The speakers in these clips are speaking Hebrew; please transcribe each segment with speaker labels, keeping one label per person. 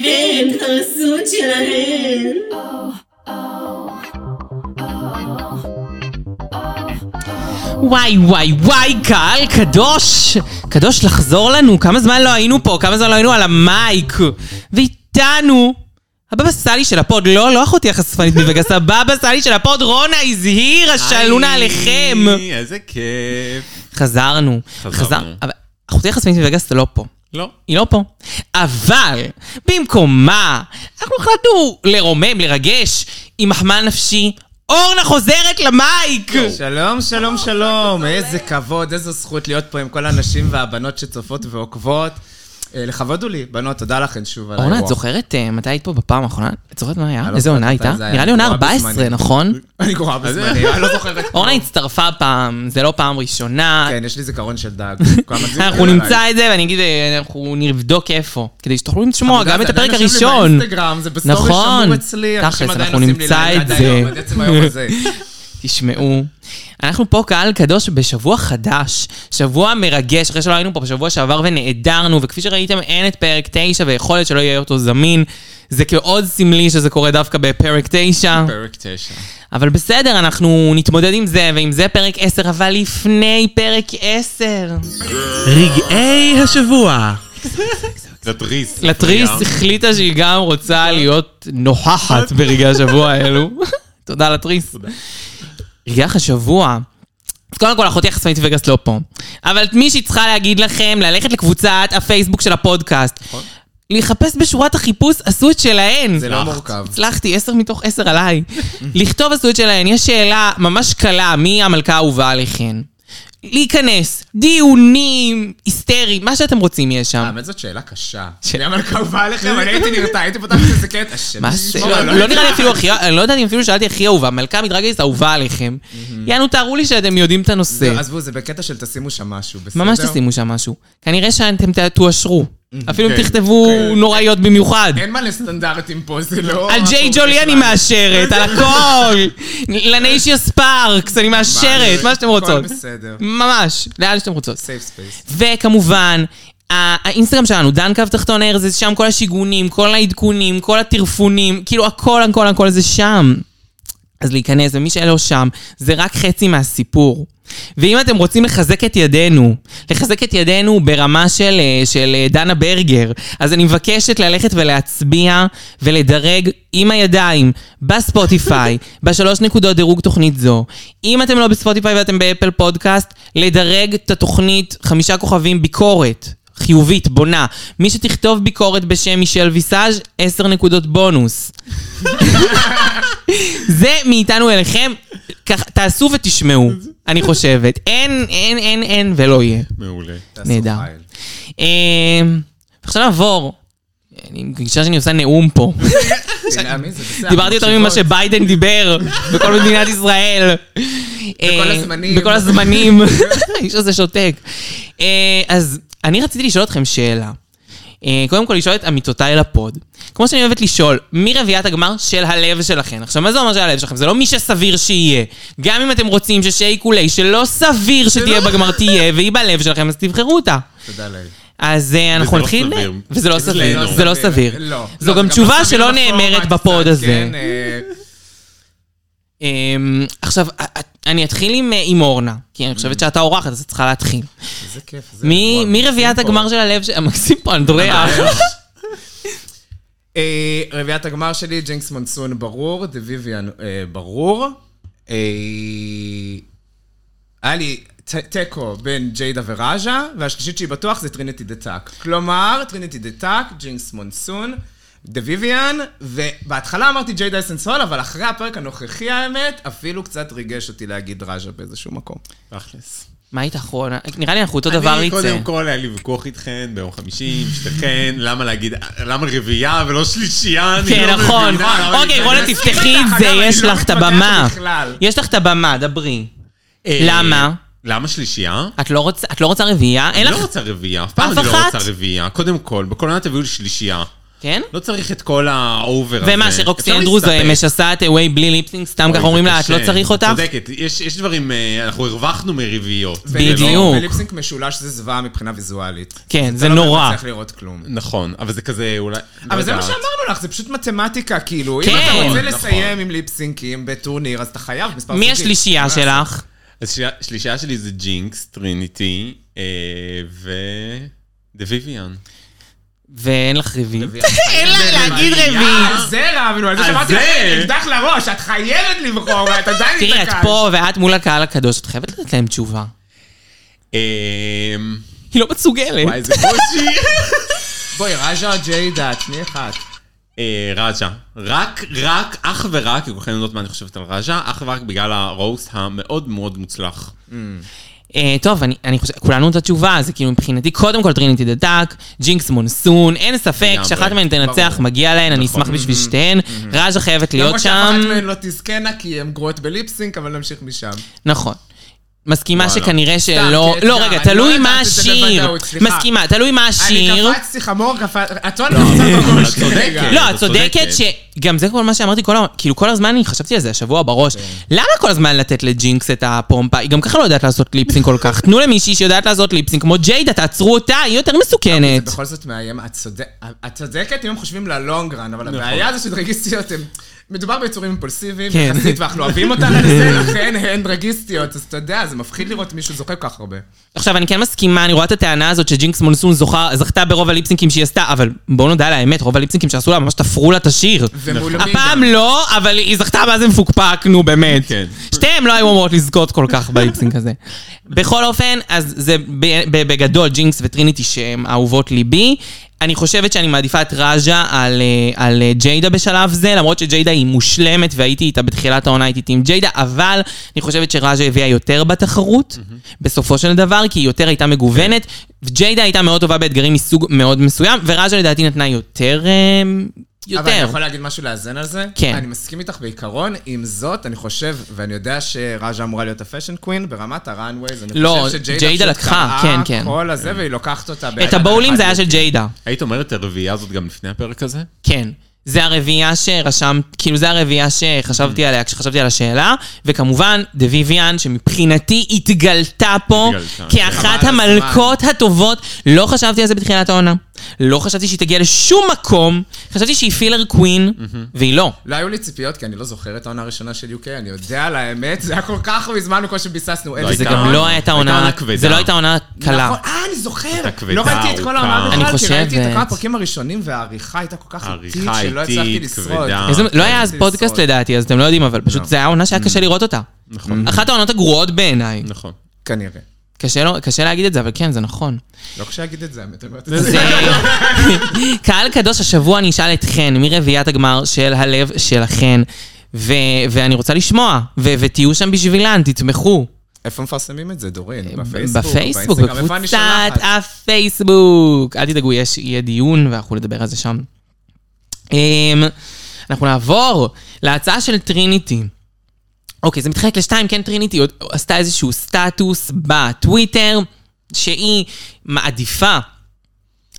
Speaker 1: הם חרסות שלהם.
Speaker 2: וואי וואי וואי, קהל קדוש! קדוש לחזור לנו, כמה זמן לא היינו פה, כמה זמן לא היינו על המייק. ואיתנו, הבבא סאלי של הפוד, לא, לא אחותי החשפנית מווגס, הבבא סאלי של הפוד, רונה הזהירה, שלונה עליכם.
Speaker 3: היי, איזה כיף.
Speaker 2: חזרנו.
Speaker 3: חזרנו.
Speaker 2: חזר- אבל אחותי החשפנית מווגס לא פה.
Speaker 3: לא.
Speaker 2: היא לא פה. אבל במקומה, אנחנו החלטנו לרומם, לרגש, עם מחמאה נפשי, אורנה חוזרת למייק!
Speaker 4: שלום, שלום, שלום. איזה כבוד, איזו זכות להיות פה עם כל הנשים והבנות שצופות ועוקבות. אה, לכבוד הוא לי, בנות, תודה לכן שוב על האירוע.
Speaker 2: אורנה, את זוכרת אה, מתי היית פה בפעם האחרונה? את זוכרת מה היה?
Speaker 4: לא
Speaker 2: איזה
Speaker 4: זוכרת
Speaker 2: עונה
Speaker 4: מתי
Speaker 2: הייתה?
Speaker 4: זה היה,
Speaker 2: נראה לי עונה
Speaker 4: אני גרועה
Speaker 2: 14,
Speaker 4: בזמנים.
Speaker 2: נכון?
Speaker 4: אני גרועה בזמני, אני לא זוכרת.
Speaker 2: אורנה הצטרפה פעם, זה לא פעם ראשונה.
Speaker 4: כן, יש לי זיכרון של דג.
Speaker 2: אנחנו נמצא את זה, ואני אגיד, אה, אנחנו נבדוק איפה. כדי שתוכלו לשמוע גם את הפרק
Speaker 4: זה
Speaker 2: הראשון.
Speaker 4: באינסטגרם, זה בסטורי
Speaker 2: נכון.
Speaker 4: שמור אצלי. אנשים
Speaker 2: תכלס,
Speaker 4: עדיין
Speaker 2: אנחנו
Speaker 4: עושים לי
Speaker 2: נמצא
Speaker 4: לייק
Speaker 2: את
Speaker 4: עד
Speaker 2: זה.
Speaker 4: היום, עד עצם היום הזה.
Speaker 2: תשמעו, אנחנו פה קהל קדוש בשבוע חדש, שבוע מרגש, אחרי שלא היינו פה בשבוע שעבר ונעדרנו, וכפי שראיתם אין את פרק 9 ויכול להיות שלא יהיה אותו זמין. זה כעוד סמלי שזה קורה דווקא בפרק 9.
Speaker 3: פרק תשע.
Speaker 2: אבל בסדר, אנחנו נתמודד עם זה, ועם זה פרק 10, אבל לפני פרק 10.
Speaker 5: רגעי השבוע.
Speaker 3: לטריס.
Speaker 2: לטריס החליטה שהיא גם רוצה להיות נוכחת ברגעי השבוע האלו. תודה לטריס. רגעי השבוע. אז קודם כל, אחותי החסמית וגס לא פה. אבל מי שצריכה להגיד לכם, ללכת לקבוצת הפייסבוק של הפודקאסט. לחפש בשורת החיפוש, עשו את שלהן.
Speaker 4: נכון. זה לא מורכב.
Speaker 2: הצלחתי, עשר מתוך עשר עליי. לכתוב עשו את שלהן, יש שאלה ממש קלה, מי המלכה האהובה עליכן? להיכנס, דיונים, היסטרי, מה שאתם רוצים יש שם.
Speaker 4: האמת אה, זאת שאלה קשה. שאלה מלכה באה לכם, אני הייתי נרתע, הייתי פותחת איזה קטע. השם
Speaker 2: מה זה?
Speaker 4: ישמור,
Speaker 2: לא-
Speaker 4: אלוהים.
Speaker 2: לא נראה לי אפילו הכי, אני לא יודעת אם אפילו שאלתי הכי אהובה, מלכה מדרגליסט אהובה עליכם. יענו, תארו לי שאתם יודעים את הנושא.
Speaker 4: לא, עזבו, זה בקטע של תשימו שם משהו, בסדר?
Speaker 2: ממש תשימו שם משהו. כנראה שאתם ת- תואשרו. אפילו אם
Speaker 3: כן,
Speaker 2: תכתבו
Speaker 4: כן.
Speaker 2: נוראיות במיוחד.
Speaker 4: אין מה לסטנדרטים פה, זה לא...
Speaker 2: על ג'יי
Speaker 4: הפורטה
Speaker 2: ג'ולי אני
Speaker 4: שלנו.
Speaker 2: מאשרת, על הכל! לניישיה ספארקס, אני מאשרת, מה שאתם
Speaker 4: הכל
Speaker 2: רוצות.
Speaker 4: בסדר.
Speaker 2: ממש, לאן שאתם רוצות.
Speaker 4: סייף ספייס.
Speaker 2: וכמובן, ה- האינסטגרם שלנו, דן קו תחתון ארז, זה שם כל השיגונים, כל העדכונים, כל הטרפונים, כאילו הכל, הכל, הכל זה שם. אז להיכנס, ומי שלא שם, זה רק חצי מהסיפור. ואם אתם רוצים לחזק את ידינו, לחזק את ידינו ברמה של, אה, של אה, דנה ברגר, אז אני מבקשת ללכת ולהצביע ולדרג עם הידיים בספוטיפיי, בשלוש נקודות דירוג תוכנית זו. אם אתם לא בספוטיפיי ואתם באפל פודקאסט, לדרג את התוכנית חמישה כוכבים ביקורת. חיובית, בונה. מי שתכתוב ביקורת בשם מישל ויסאז', עשר נקודות בונוס. זה מאיתנו אליכם, כך, תעשו ותשמעו, אני חושבת. אין, אין, אין, אין, ולא יהיה.
Speaker 3: מעולה.
Speaker 4: תעשו
Speaker 2: נהדר.
Speaker 4: חייל.
Speaker 2: אמ, עכשיו נעבור. אני מרגישה שאני עושה נאום פה.
Speaker 4: תדע מי זה, בסדר.
Speaker 2: דיברתי יותר ממה
Speaker 4: מקשיבות.
Speaker 2: שביידן דיבר בכל מדינת ישראל. בכל
Speaker 4: הזמנים.
Speaker 2: בכל הזמנים. האיש הזה שותק. אה, אז אני רציתי לשאול אתכם שאלה. אה, קודם כל לשאול את עמיתותיי לפוד. כמו שאני אוהבת לשאול, מי רביעיית הגמר של הלב שלכם? עכשיו, מה זה אומר של הלב שלכם? זה לא מי שסביר שיהיה. גם אם אתם רוצים ששיי קולי, שלא סביר שתהיה בגמר תהיה, והיא בלב שלכם, אז תבחרו אותה.
Speaker 4: תודה לאל.
Speaker 2: אז אה, אנחנו
Speaker 3: וזה לא
Speaker 2: נתחיל...
Speaker 3: סביר.
Speaker 2: וזה לא
Speaker 3: זה
Speaker 2: סביר.
Speaker 3: לא
Speaker 2: זה לא סביר.
Speaker 4: לא. לא,
Speaker 2: זו
Speaker 4: זה
Speaker 2: גם
Speaker 4: לא
Speaker 2: תשובה
Speaker 4: סביר
Speaker 2: שלא
Speaker 4: בפורמט
Speaker 2: נאמרת
Speaker 4: קצת,
Speaker 2: בפוד הזה.
Speaker 4: כן, אה,
Speaker 2: אמ, עכשיו, א- א- אני אתחיל עם, אה, עם אורנה, כי אני חושבת שאתה אורחת, אז את צריכה להתחיל.
Speaker 4: איזה כיף. זה
Speaker 2: מי
Speaker 4: אירוע
Speaker 2: מי
Speaker 4: מקסים
Speaker 2: רביעיית
Speaker 4: פה.
Speaker 2: הגמר של הלב של... מקסים פה, אנדריה.
Speaker 4: אה, רביעיית הגמר שלי, ג'ינקס מונסון ברור, דה ויויאן אה, ברור. אה, היה לי ת- תיקו בין ג'יידה וראז'ה, והשלישית שהיא בטוח זה טריניטי דה טאק. כלומר, טריניטי דה טאק, ג'ינקס מונסון, דה ויויאן, ובהתחלה אמרתי ג'יידה אסנסואל, אבל אחרי הפרק הנוכחי האמת, אפילו קצת ריגש אותי להגיד ראז'ה באיזשהו מקום.
Speaker 3: תכלס.
Speaker 2: מה היית אחרונה? נראה לי אנחנו אותו דבר
Speaker 3: אני
Speaker 2: יצא.
Speaker 3: קודם כל היה לי ויכוח איתכן ביום חמישי, עם שתיכן, למה להגיד, למה רביעייה ולא שלישייה, אני
Speaker 2: כן,
Speaker 3: לא
Speaker 2: נכון.
Speaker 3: מבינה, למה
Speaker 2: אוקיי,
Speaker 3: להיכנס
Speaker 2: רונה, תפתחי את
Speaker 4: אגב,
Speaker 2: זה,
Speaker 4: אני
Speaker 2: יש
Speaker 4: לא
Speaker 2: לך את
Speaker 4: מתווכחת
Speaker 2: הבמה.
Speaker 4: בכלל.
Speaker 2: יש לך את הבמה, דברי.
Speaker 3: אה,
Speaker 2: למה?
Speaker 3: למה שלישייה?
Speaker 2: את לא רוצה- את לא רוצה רביעייה? אין
Speaker 3: אני
Speaker 2: לך...
Speaker 3: לא רוצה רביעייה, אף פעם
Speaker 2: אף
Speaker 3: אני לא
Speaker 2: אחת?
Speaker 3: רוצה רביעייה. קודם כל, בכל עונה תביאו לי שלישייה.
Speaker 2: כן?
Speaker 3: לא אוקיי. צריך את כל האובר הזה.
Speaker 2: ומה, שרוקסי אנדרוס אה, משסה את הווי בלי ליפסינג, סתם ככה אומרים לה, את לא צריך אותך?
Speaker 3: צודקת, יש יש דברים, אה, אנחנו הרווחנו מריביות. זה לא-
Speaker 2: בדיוק.
Speaker 4: וליפסינק משולש זה זוועה מבחינה ויזואלית.
Speaker 2: כן, זה
Speaker 4: אתה לא
Speaker 2: נורא.
Speaker 4: מצליח לראות כלום.
Speaker 3: נכון, אבל זה כזה אולי...
Speaker 4: אבל
Speaker 3: לא
Speaker 4: זה מה
Speaker 3: יודעת.
Speaker 4: שאמרנו לך, זה פשוט מתמטיקה, כאילו. אם
Speaker 2: כן.
Speaker 4: אתה רוצה
Speaker 3: נכון.
Speaker 4: לסיים עם ליפסינקים בטורניר, אז אתה חייב מספר
Speaker 2: מי
Speaker 4: זוגי.
Speaker 2: השלישייה
Speaker 4: מה
Speaker 2: שלך?
Speaker 3: אז שלי- שלישה שלי זה ג'ינקס, טריניטי, אה, ו... דה ויביאן.
Speaker 2: ואין לך רביעי.
Speaker 4: לעשות?
Speaker 2: אין לה להגיד רביעי.
Speaker 4: אה, על זה רבנו, על זה
Speaker 3: על
Speaker 4: שאמרתי
Speaker 3: זה.
Speaker 4: לך, אקדח לראש, את חייבת לבחור, ואת עדיין מתקעת.
Speaker 2: תראי, את פה ואת מול הקהל הקדוש, את חייבת לתת להם תשובה.
Speaker 3: אה,
Speaker 2: היא לא מסוגלת.
Speaker 3: וואי, איזה קושי.
Speaker 4: בואי, רג'ה ג'יידה, תני אחת.
Speaker 3: אה, רג'ה. רק, רק, אך ורק, כי כולכם יודעות מה אני חושבת על רג'ה, אך ורק בגלל הרוסט המאוד מאוד מוצלח.
Speaker 2: אה, טוב, אני- אני חושבת, כולנו את התשובה, זה כאילו מבחינתי, קודם כל טריניטי דה דאק, ג'ינקס מונסון, אין ספק
Speaker 3: לגמרי,
Speaker 2: שאחת מהן תנצח,
Speaker 4: ברור. נכון. Mm-hmm.
Speaker 2: מגיע להן, אני אשמח בשביל שתיהן. רג'ה חייבת להיות
Speaker 4: למרות שאף
Speaker 2: שם.
Speaker 4: אחת מהן לא תזכנה, כי הן גרועות בליפסינק, אבל נמשיך משם.
Speaker 2: נכון. מסכימה
Speaker 3: וואלה.
Speaker 2: שכנראה שלא...
Speaker 4: סתם,
Speaker 2: לא,
Speaker 4: סתם,
Speaker 2: רגע,
Speaker 4: אני לא
Speaker 2: תלוי
Speaker 4: יודעת
Speaker 2: מה
Speaker 4: את זה
Speaker 2: השיר.
Speaker 4: בוודאות, סליחה.
Speaker 2: מסכימה, תלוי מה השיר.
Speaker 4: אני קפצתי חמור, קפצתי... את לא נמצאת
Speaker 3: את צודקת.
Speaker 4: כרגע.
Speaker 2: לא,
Speaker 3: את
Speaker 2: את צודקת
Speaker 3: צודקת.
Speaker 2: שגם זה כל מה שאמרתי, כל ה- כאילו כל הזמן אני חשבתי על זה השבוע בראש. למה כל הזמן לתת לג'ינקס את הפומפה? היא גם ככה לא יודעת לעשות ליפסינג כל כך. תנו למישהי שיודעת לעשות ליפסינג כמו ג'יידה, תעצרו אותה, היא יותר מסוכנת.
Speaker 4: בכל זאת מאיים, את צודק- את צודקת אם הם חושבים ללונגרן,
Speaker 2: נכון.
Speaker 4: אבל הבעיה זה שדרגיסטיות הן... מדובר ביצורים אימפולסיביים,
Speaker 2: כן.
Speaker 4: יחסית, ואנחנו אוהבים אותן על זה, לכן הן דרגיסטיות, אז אתה יודע, זה מפחיד לראות מישהו זוכה כל כך הרבה.
Speaker 2: עכשיו, אני כן מסכימה, אני רואה את הטענה הזאת שג'ינקס מונסון זוכה- זכתה ברוב הליפסינקים שהיא עשתה, אבל בואו נודה על האמת, רוב הליפסינקים שעשו לה ממש תפרו לה את השיר.
Speaker 4: ומול מי
Speaker 2: הפעם
Speaker 4: גם?
Speaker 2: לא, אבל היא זכתה מה זה מפוקפק, נו באמת.
Speaker 3: כן.
Speaker 2: שתיהן לא היו אמורות לזכות כל כך בליפסינג הזה. בכל אופן, אז זה ב- ב- בגדול ג'ינקס וטריניטי שהן אהובות ליבי. אני חושבת שאני מעדיפה את רג'ה על, אה, על אה, ג'יידה בשלב זה, למרות שג'יידה היא מושלמת והייתי איתה בתחילת העונה, הייתי איתי עם ג'יידה, אבל אני חושבת שרג'ה הביאה יותר בתחרות, בסופו של דבר, כי היא יותר הייתה מגוונת. ג'יידה הייתה מאוד טובה באתגרים מסוג מאוד מסוים, ורג'ה לדעתי נתנה יותר... אה, יותר.
Speaker 4: אבל אני יכול להגיד משהו לאזן על זה?
Speaker 2: כן.
Speaker 4: אני מסכים איתך בעיקרון, עם זאת, אני חושב, ואני יודע שרג'ה אמורה להיות הפאשן קווין, ברמת הראנווייז, אני
Speaker 2: לא,
Speaker 4: חושב שג'יידה
Speaker 2: ג'יידה
Speaker 4: פשוט
Speaker 2: לקחה,
Speaker 4: קראה
Speaker 2: כן, כן.
Speaker 4: כל הזה, והיא לוקחת אותה.
Speaker 2: את
Speaker 4: ביד
Speaker 2: הבולים
Speaker 4: אחת.
Speaker 2: זה היה של ג'יידה.
Speaker 3: היית אומרת את הרביעייה הזאת גם לפני הפרק הזה?
Speaker 2: כן. זה הרביעייה שרשמת, כאילו זה הרביעייה שחשבתי עליה כשחשבתי על השאלה, וכמובן, דה ויביאן, שמבחינתי התגלתה פה
Speaker 3: התגלתה,
Speaker 2: כאחת
Speaker 4: כן.
Speaker 2: המלכות הטובות. לא חשבתי על זה בתחילת העונה. לא חשבתי שהיא תגיע לשום מקום, חשבתי שהיא פילר קווין, והיא לא.
Speaker 4: לא היו לי ציפיות, כי אני לא זוכר את העונה הראשונה של UK, אני יודע על האמת, זה היה כל כך מזמן בקושי ביססנו. אין לי
Speaker 2: זה
Speaker 3: הייתה-
Speaker 2: גם לא הייתה
Speaker 3: הייתה
Speaker 2: עונה,
Speaker 3: עונה כבדה.
Speaker 2: זה לא הייתה עונה קלה.
Speaker 4: נכון, אה, אני זוכר.
Speaker 3: הייתה כבדה,
Speaker 4: לא ראיתי את כל העונה
Speaker 3: ארוכה.
Speaker 4: בכלל,
Speaker 2: אני אה,
Speaker 4: כי ראיתי את
Speaker 2: חושבת.
Speaker 4: כל הפרקים הראשונים, והעריכה הייתה כל כך איטית,
Speaker 3: העריכה
Speaker 4: שלא
Speaker 3: איטית,
Speaker 4: הצלחתי לשרוד.
Speaker 3: כבדה.
Speaker 2: איזה- לא היה אז
Speaker 4: רציתי
Speaker 2: פודקאסט
Speaker 4: לשרוד.
Speaker 2: לדעתי, אז אתם לא יודעים, אבל פשוט
Speaker 4: לא.
Speaker 2: זה היה עונה שהיה קשה לראות אותה.
Speaker 3: נכון.
Speaker 2: אחת העונות הגרועות בעיניי.
Speaker 3: נכון.
Speaker 4: כנראה.
Speaker 2: קשה לא- קשה להגיד את זה, אבל כן, זה נכון.
Speaker 4: לא קשה להגיד את זה, האמת, אני אומרת את זה.
Speaker 2: אה, זה... לא. קהל קדוש, השבוע אני אשאל אתכן, מרביעיית הגמר של הלב שלכן, ו- ואני רוצה לשמוע, ו- ותהיו שם בשבילן, תתמכו.
Speaker 4: איפה מפרסמים את זה, דורין? בפייסבוק?
Speaker 2: אה, בפייסבוק,
Speaker 4: באינסטגרם? איפה אני
Speaker 2: בקבוצת
Speaker 4: שולחת?
Speaker 2: הפייסבוק. אל תדאגו, יש, יהיה דיון ואנחנו נדבר על זה שם. אמ, אנחנו נעבור להצעה של טריניטי. אוקיי, זה מתחלק לשתיים, כן, טריניטי עוד- עשתה איזשהו סטטוס בטוויטר, שהיא מעדיפה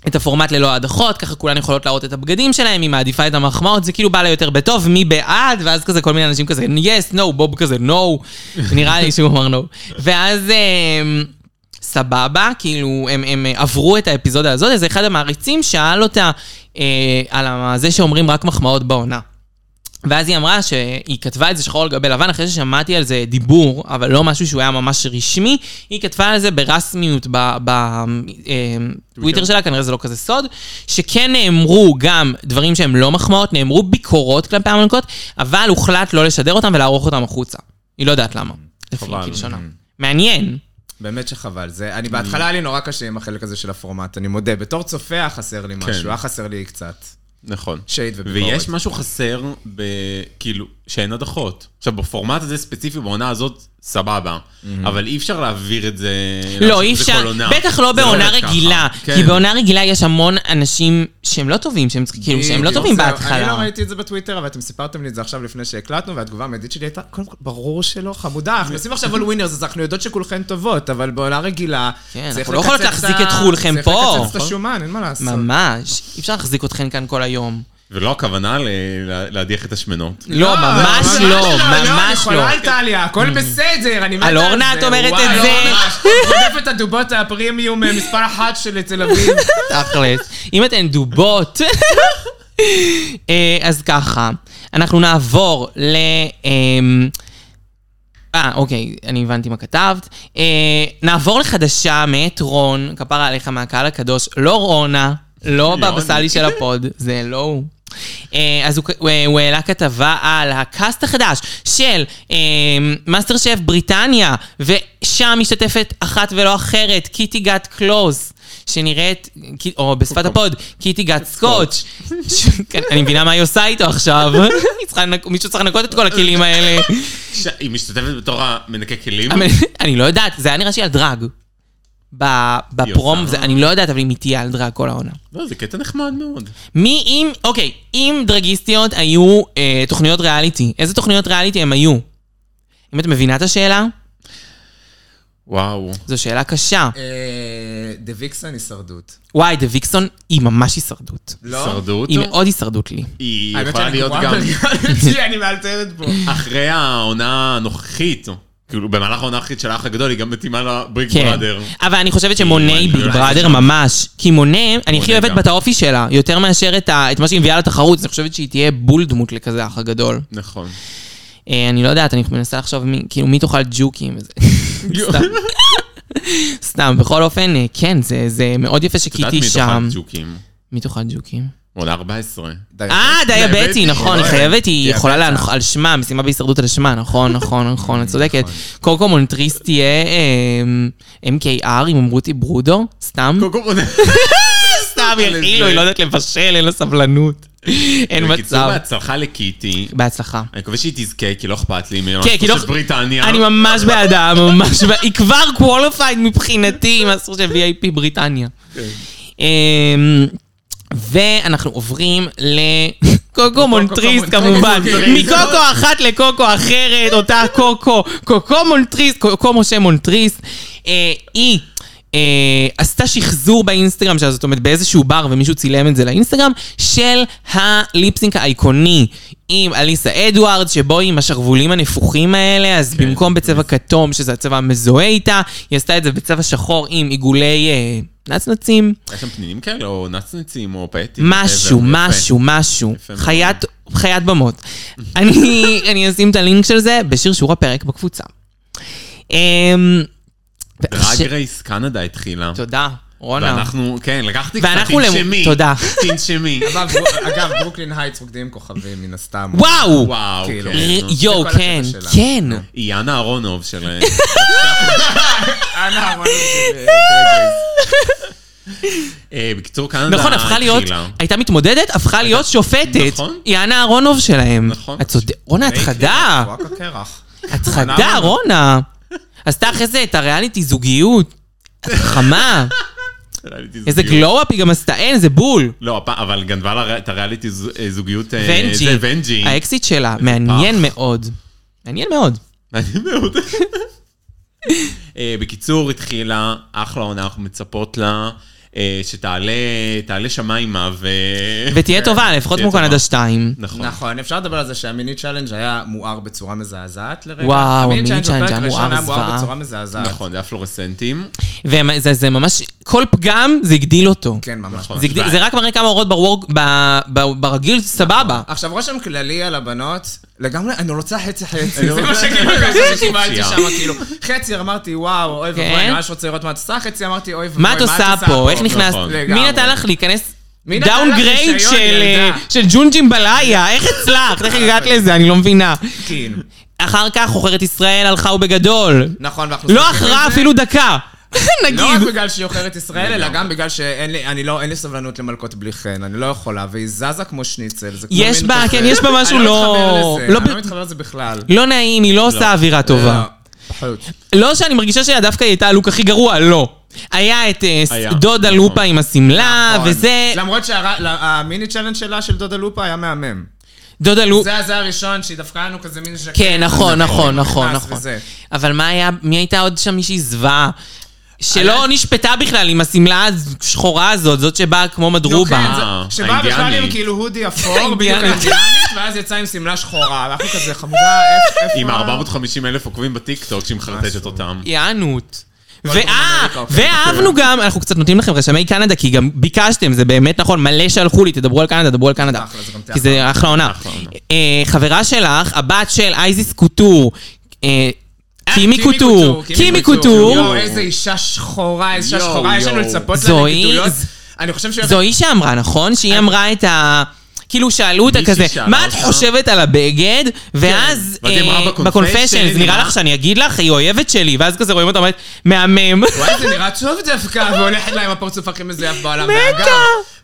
Speaker 2: את הפורמט ללא הדחות, ככה כולן יכולות להראות את הבגדים שלהם, היא מעדיפה את המחמאות, זה כאילו בא לה יותר בטוב, מי בעד, ואז כזה כל מיני אנשים כזה, yes, no, בוב כזה, no, נראה לי שהוא אמר no. ואז אה, הם, סבבה, כאילו, הם, הם אה, עברו את האפיזודה הזאת, אז אחד המעריצים שאל אותה אה, על ה- זה שאומרים רק מחמאות בעונה. ואז היא אמרה שהיא כתבה את זה שחור על גבי לבן, אחרי ששמעתי על זה דיבור, אבל לא משהו שהוא היה ממש רשמי, היא כתבה על זה ברסמיות בטוויטר שלה, כנראה זה לא כזה סוד, שכן נאמרו גם דברים שהם לא מחמאות, נאמרו ביקורות כלפי המלכות, אבל הוחלט לא לשדר אותם ולערוך אותם החוצה. היא לא יודעת למה. לפי
Speaker 3: חבל.
Speaker 2: כלשונה. מעניין.
Speaker 4: באמת שחבל. זה, אני בהתחלה היה לי נורא קשה עם החלק הזה של הפורמט, אני מודה. בתור צופה היה חסר
Speaker 3: כן.
Speaker 4: לי משהו, היה חסר לי קצת.
Speaker 3: נכון.
Speaker 4: שייד וביקורת.
Speaker 3: ויש משהו חסר, ב... כאילו, שאין הדחות. עכשיו, בפורמט הזה ספציפי, בעונה הזאת, סבבה. אבל אי אפשר להעביר את זה...
Speaker 2: לא,
Speaker 3: לעשות
Speaker 2: אי
Speaker 3: את זה כל
Speaker 2: אפשר,
Speaker 3: עונה.
Speaker 2: בטח לא
Speaker 3: זה
Speaker 2: בעונה
Speaker 3: עובד ככה.
Speaker 2: רגילה.
Speaker 3: כן.
Speaker 2: כי בעונה רגילה יש המון אנשים שהם לא טובים, שהם צריכים- כאילו, שהם לא
Speaker 4: בדיוק,
Speaker 2: טובים
Speaker 4: זהו, אני לא
Speaker 2: בהתחלה.
Speaker 4: ראיתי את זה בטוויטר, אבל אתם סיפרתם לי את זה עכשיו לפני שהקלטנו, והתגובה המיידית שלי הייתה, קודם כל, ברור שלא, חמודה, אנחנו עושים עכשיו על ווינרס, אז אנחנו יודעות שכולכן טובות, אבל בעונה רגילה,
Speaker 2: כן,
Speaker 4: צריך
Speaker 2: אנחנו לא יכולות
Speaker 4: לקצץ
Speaker 2: להחזיק
Speaker 4: ה-
Speaker 2: את כולכן
Speaker 4: צריך
Speaker 2: פה.
Speaker 4: לקצץ את השומן, אין מה לעשות.
Speaker 2: ממש, אי אפשר להחזיק אתכן כאן כל היום.
Speaker 3: ולא הכוונה ל- ל- להדיח את השמנות.
Speaker 2: לא, ממש לא, ממש
Speaker 4: אני
Speaker 2: לא.
Speaker 4: יכולה איטליה, הכל בסדר, אני מתה על
Speaker 2: על
Speaker 4: זה.
Speaker 2: אורנה את אומרת
Speaker 4: וואי,
Speaker 2: את זה.
Speaker 4: אורנה, חוטפת את הדובות הפרימיום אה, מספר אחת של תל אביב.
Speaker 2: תכלס. אם אתן דובות. אה, אז ככה, אנחנו נעבור ל... אמ, אה, אוקיי, אני הבנתי מה כתבת. אה, נעבור לחדשה מאת רון, כפרה עליך מהקהל הקדוש, לא רונה, לא
Speaker 3: לא
Speaker 2: בבא סאלי
Speaker 3: אני.
Speaker 2: של הפוד, זה לא הוא. אה, אז הוא, הוא, הוא העלה כתבה על הקאסט החדש של אה, מאסטר שף בריטניה, ושם משתתפת אחת ולא אחרת, קיטי גאט קלוז, שנראית, קי- או בשפת הפוד, קיטי גאט סקוטש. ש- כן, אני מבינה מה היא עושה איתו עכשיו. היא צריכה לנק- מישהו צריך לנקות את כל הכלים האלה.
Speaker 3: ש- היא משתתפת בתור המנקה כלים.
Speaker 2: אבל אני לא יודעת, זה היה נראה שהיא על דרג. ב- בפרום,
Speaker 3: עושה-
Speaker 2: זה- אני לא יודעת, אבל אם היא תהיה על דרג כל העונה.
Speaker 3: לא, זה קטע נחמד מאוד.
Speaker 2: מי אם, אוקיי, אם דרגיסטיות היו אה, תוכניות ריאליטי, איזה תוכניות ריאליטי הם היו? אם את מבינה את השאלה,
Speaker 3: וואו.
Speaker 2: זו שאלה קשה.
Speaker 4: אה, דה ויקסן הישרדות.
Speaker 2: וואי, דה ויקסון היא ממש הישרדות.
Speaker 4: לא?
Speaker 3: הישרדות.
Speaker 2: היא מאוד הישרדות לי.
Speaker 3: היא
Speaker 4: האמת
Speaker 3: יכולה
Speaker 4: שאני
Speaker 3: להיות
Speaker 4: גרועה
Speaker 3: גם
Speaker 4: בריאליטי, אני מאלתרת פה.
Speaker 3: אחרי העונה הנוכחית, כאילו במהלך העונה הנוכחית של האח הגדול, היא גם מתאימה לבריג
Speaker 2: כן.
Speaker 3: בראדר.
Speaker 2: אבל אני חושבת שמונה היא ביג
Speaker 3: מלאה.
Speaker 2: בראדר ממש. כי מונה, אני הכי
Speaker 3: מונה
Speaker 2: אוהבת
Speaker 3: גם.
Speaker 2: את האופי שלה, יותר מאשר את ה- את מה שהיא מביאה לתחרות, אז אני חושבת שהיא תהיה בול דמות לכזה אח הגדול.
Speaker 3: נכון.
Speaker 2: אה, אני לא יודעת, אני מנסה לחשוב מי, כאילו, מי תאכל ג'וקים וזה. סתם. סתם, בכל אופן, אה, כן, זה, זה מאוד יפה
Speaker 3: את יודעת
Speaker 2: שקיטי
Speaker 3: מי
Speaker 2: שם.
Speaker 3: תאכל ג'וקים?
Speaker 2: מי תאכל ג'וקים?
Speaker 3: עונה 14.
Speaker 2: אה, דיאבטי,
Speaker 3: דיאבטי,
Speaker 2: נכון, היא
Speaker 3: נכון.
Speaker 2: חייבת, היא יכולה להנח... על שמה, משימה בהישרדות על שמה, נכון, נכון, נכון, את צודקת. קוקו מונטריס תהיה אה, MKR עם אמרותי ברודו, סתם.
Speaker 3: קוקו בונה.
Speaker 2: סתם, ירעילו, היא לא יודעת לבשל, אין לה סבלנות. אין
Speaker 3: בקיצור,
Speaker 2: מצב.
Speaker 3: בהצלחה לקיטי.
Speaker 2: בהצלחה.
Speaker 3: אני מקווה שהיא תזכה, כי לא אכפת לי ממה
Speaker 2: כן, כי לא-
Speaker 3: שקורה בריטניה.
Speaker 2: אני ממש בעדה, ממש בעדה. היא כבר qualified מבחינתי, עם הסוג של VIP בריטניה. אמ, ואנחנו עוברים לקוקו מונטריסט כמובן,
Speaker 3: מונטריסט.
Speaker 2: מקוקו אוקיי, אחת לקוקו אחרת, אותה קוקו, קוקו מונטריסט, קוקו משה מונטריסט, אה, היא אה, עשתה שחזור באינסטגרם שלה, זאת אומרת באיזשהו בר ומישהו צילם את זה לאינסטגרם, של הליפסינק האייקוני עם אליסה אדוארד, שבו היא עם השרוולים הנפוחים האלה, אז במקום בצבע כתום, שזה הצבע המזוהה איתה, היא עשתה את זה בצבע שחור עם עיגולי אה, נצנצים.
Speaker 3: היה שם פנינים כאלה, או נצנצים, או פטים.
Speaker 2: משהו,
Speaker 3: וזה, יפה.
Speaker 2: משהו, משהו.
Speaker 3: יפה מאוד.
Speaker 2: חיית, חיית במות. אני, אני אשים את הלינק של זה בשרשור הפרק בקבוצה. אמ, ש-
Speaker 3: דרג רייס קנדה התחילה.
Speaker 2: תודה, רונה.
Speaker 3: ואנחנו, כן, לקחתי קצת,
Speaker 2: ואנחנו למ-
Speaker 3: תנשמי.
Speaker 2: תודה.
Speaker 3: תנשמי.
Speaker 4: אגב, ברו- אגב, ברוקלין הייטס רוקדים עם כוכבים, מן הסתם.
Speaker 2: וואו!
Speaker 3: וואו,
Speaker 4: כאילו.
Speaker 3: כן.
Speaker 2: ר- יואו,
Speaker 4: זה כל הקטע
Speaker 2: כן,
Speaker 4: שלה.
Speaker 2: כן.
Speaker 3: היא יאנה אהרונוב של... אה,
Speaker 4: אנא, אמרנו את זה בדרגייס.
Speaker 3: אה, בקיצור, קנדה
Speaker 2: נכון, הפכה להיות,
Speaker 3: התחילה.
Speaker 2: הייתה מתמודדת, הפכה להיות שופטת.
Speaker 3: נכון.
Speaker 2: היא אנה אהרונוב שלהם.
Speaker 3: נכון.
Speaker 2: את צודקת, רונה, את חדה.
Speaker 4: וואק הקרח.
Speaker 2: את חדה, רונה. עשתה אחרי זה את הריאליטי זוגיות. את חכמה. איזה גלו-אפ היא גם עשתה, אין, זה בול.
Speaker 3: לא, הפ- אבל גנבה לה את הריאליטי זו- אה, זוגיות... אה,
Speaker 2: ונג'י.
Speaker 3: זה ונג'י.
Speaker 2: האקסיט שלה, מעניין מאוד. מעניין מאוד.
Speaker 3: מעניין מאוד. אה, בקיצור, התחילה אחלה עונה, אנחנו מצפות לה אה, שתעלה תעלה שמיימה ו...
Speaker 2: ותהיה טובה, לפחות
Speaker 3: כן, תהיה
Speaker 2: כמו
Speaker 3: טובה.
Speaker 2: קנדה 2.
Speaker 3: נכון.
Speaker 4: נכון, אפשר לדבר על זה שהמיני צ'אלנג' היה מואר בצורה מזעזעת לרגע.
Speaker 2: וואו, המיני צ'אלנג'
Speaker 4: בפרק
Speaker 2: היה
Speaker 4: הראשון
Speaker 2: מואר
Speaker 4: היה מואר
Speaker 2: זוועה.
Speaker 4: בצורה מזעזעת.
Speaker 3: נכון, זה היה פלורסנטים.
Speaker 2: וזה ממש, כל פגם זה הגדיל אותו.
Speaker 4: כן, ממש.
Speaker 3: נכון.
Speaker 2: זה הגדיל- זה רק מראה כמה אורות בוורק- ב- ב- ברגיל, סבבה.
Speaker 4: עכשיו, רושם כללי על הבנות, לגמרי, אני רוצה חצי חצי.
Speaker 3: אני
Speaker 4: זה מה
Speaker 3: רוצה-
Speaker 4: שכאילו ככה שקיבלתי
Speaker 3: שנייה.
Speaker 4: שם, כאילו. חצי אמרתי, וואו, אוי
Speaker 2: כן?
Speaker 4: ואבוי, אני ממש רוצה לראות מה את עושה, חצי אמרתי, אוי ואבוי,
Speaker 2: מה את עושה פה? איך נכנסת?
Speaker 3: נכון.
Speaker 2: מי
Speaker 4: לגמרי.
Speaker 2: נתן לך להיכנס?
Speaker 4: מי נתן לך
Speaker 2: דאונגרייד
Speaker 4: רישיון,
Speaker 2: של אה,
Speaker 4: ילדה?
Speaker 2: של ג'ונג'ימבליה, איך הצלחת? איך הגעת לזה? אני לא מבינה.
Speaker 4: כן.
Speaker 2: אחר כך חוכרת ישראל הלכה ובגדול.
Speaker 4: נכון, ואנחנו...
Speaker 2: לא
Speaker 4: שמחים על
Speaker 2: אחרה
Speaker 4: זה.
Speaker 2: אפילו דקה.
Speaker 4: לא רק
Speaker 2: נגיד.
Speaker 4: בגלל שהיא עוכרת ישראל, אלא גם בגלל שאין לי, אני לא, אין לי סבלנות למלכות בלי חן, אני לא יכולה, והיא זזה כמו שניצל, זה כמו
Speaker 2: יש
Speaker 4: מין
Speaker 2: בה-
Speaker 4: כזה.
Speaker 2: כן, יש בה משהו לא-
Speaker 4: אני
Speaker 2: לא
Speaker 4: לא מתחבר לזה, אני
Speaker 2: ב-
Speaker 4: לא מתחבר לזה בכלל.
Speaker 2: לא נעים, היא לא עושה אווירה טובה.
Speaker 4: לא, פחות.
Speaker 2: לא שאני מרגישה שדווקא היא הייתה הלוק הכי גרוע, לא. היה את אה, ס-
Speaker 3: היה,
Speaker 2: דודה
Speaker 3: נכון.
Speaker 2: לופה עם השמלה, אה,
Speaker 4: נכון.
Speaker 2: וזה...
Speaker 4: למרות שהמיני צ'אלנג' שלה, של דודה לופה, היה מהמם.
Speaker 2: דודה לופה...
Speaker 4: זה הזה הראשון, שהיא דווקא לנו כזה מין ז'קט.
Speaker 2: כן, נכון, נכון, נכון,
Speaker 4: נכנס
Speaker 2: נכון.
Speaker 4: וזה.
Speaker 2: אבל מה היה, מי הייתה עוד שם מישהי זוועה? שלא נשפטה בכלל עם השמלה השחורה הזאת, זאת שבאה כמו
Speaker 4: נו, כן,
Speaker 2: מדרובה.
Speaker 4: זה- שבא בכלל
Speaker 3: האינדיאנית.
Speaker 4: עם כאילו הודי אפור, בדיוק
Speaker 2: האינדיאנית.
Speaker 4: האינדיאנית, ואז יצא עם שמלה שחורה, ואנחנו כזה חמודה, איפה...
Speaker 3: עם
Speaker 4: איפה-
Speaker 3: 450 אלף עוקבים בטיקטוק שהיא מחרטטת אותם.
Speaker 2: יענות.
Speaker 4: דרום
Speaker 2: ואה,
Speaker 4: אמריקה הופכת
Speaker 2: ואהבנו גם, אנחנו קצת נותנים לכם רשמי קנדה, כי גם ביקשתם, זה באמת נכון, מלא שלחו לי, תדברו על קנדה, תדברו על קנדה.
Speaker 4: אחלה, זה גם
Speaker 2: כי זה אחלה עונה.
Speaker 3: אחלה עונה.
Speaker 2: אה, חברה שלך, הבת של אייזיס קוטור, אה,
Speaker 4: אה,
Speaker 2: קימי קוטור, קימי קוטור,
Speaker 4: יואו, איזה אישה שחורה, אישה
Speaker 3: יואו,
Speaker 4: שחורה, יש לנו
Speaker 3: יואו.
Speaker 4: לצפות לה
Speaker 2: זוהי-
Speaker 4: לגידולות. אני חושב שהיא...
Speaker 2: זו היא שאמרה, נכון? שהיא אמרה את ה... כאילו שאלו אותה
Speaker 3: מישהי
Speaker 2: כזה,
Speaker 3: שאלה
Speaker 2: מה את
Speaker 3: אותה?"
Speaker 2: חושבת על הבגד? ואז, אה,
Speaker 3: ואז היא אמרה, "בקונפשן,
Speaker 2: בקונפשן, נראה
Speaker 3: מה?"
Speaker 2: לך שאני אגיד לך, היא אוהבת שלי, ואז כזה רואים אותה אומרת, מהמם.
Speaker 4: וואי, זה נראה טוב דווקא, והולכת לה עם הפרצוף הכי מזויף בעולם.
Speaker 2: מתה.
Speaker 4: ואגב,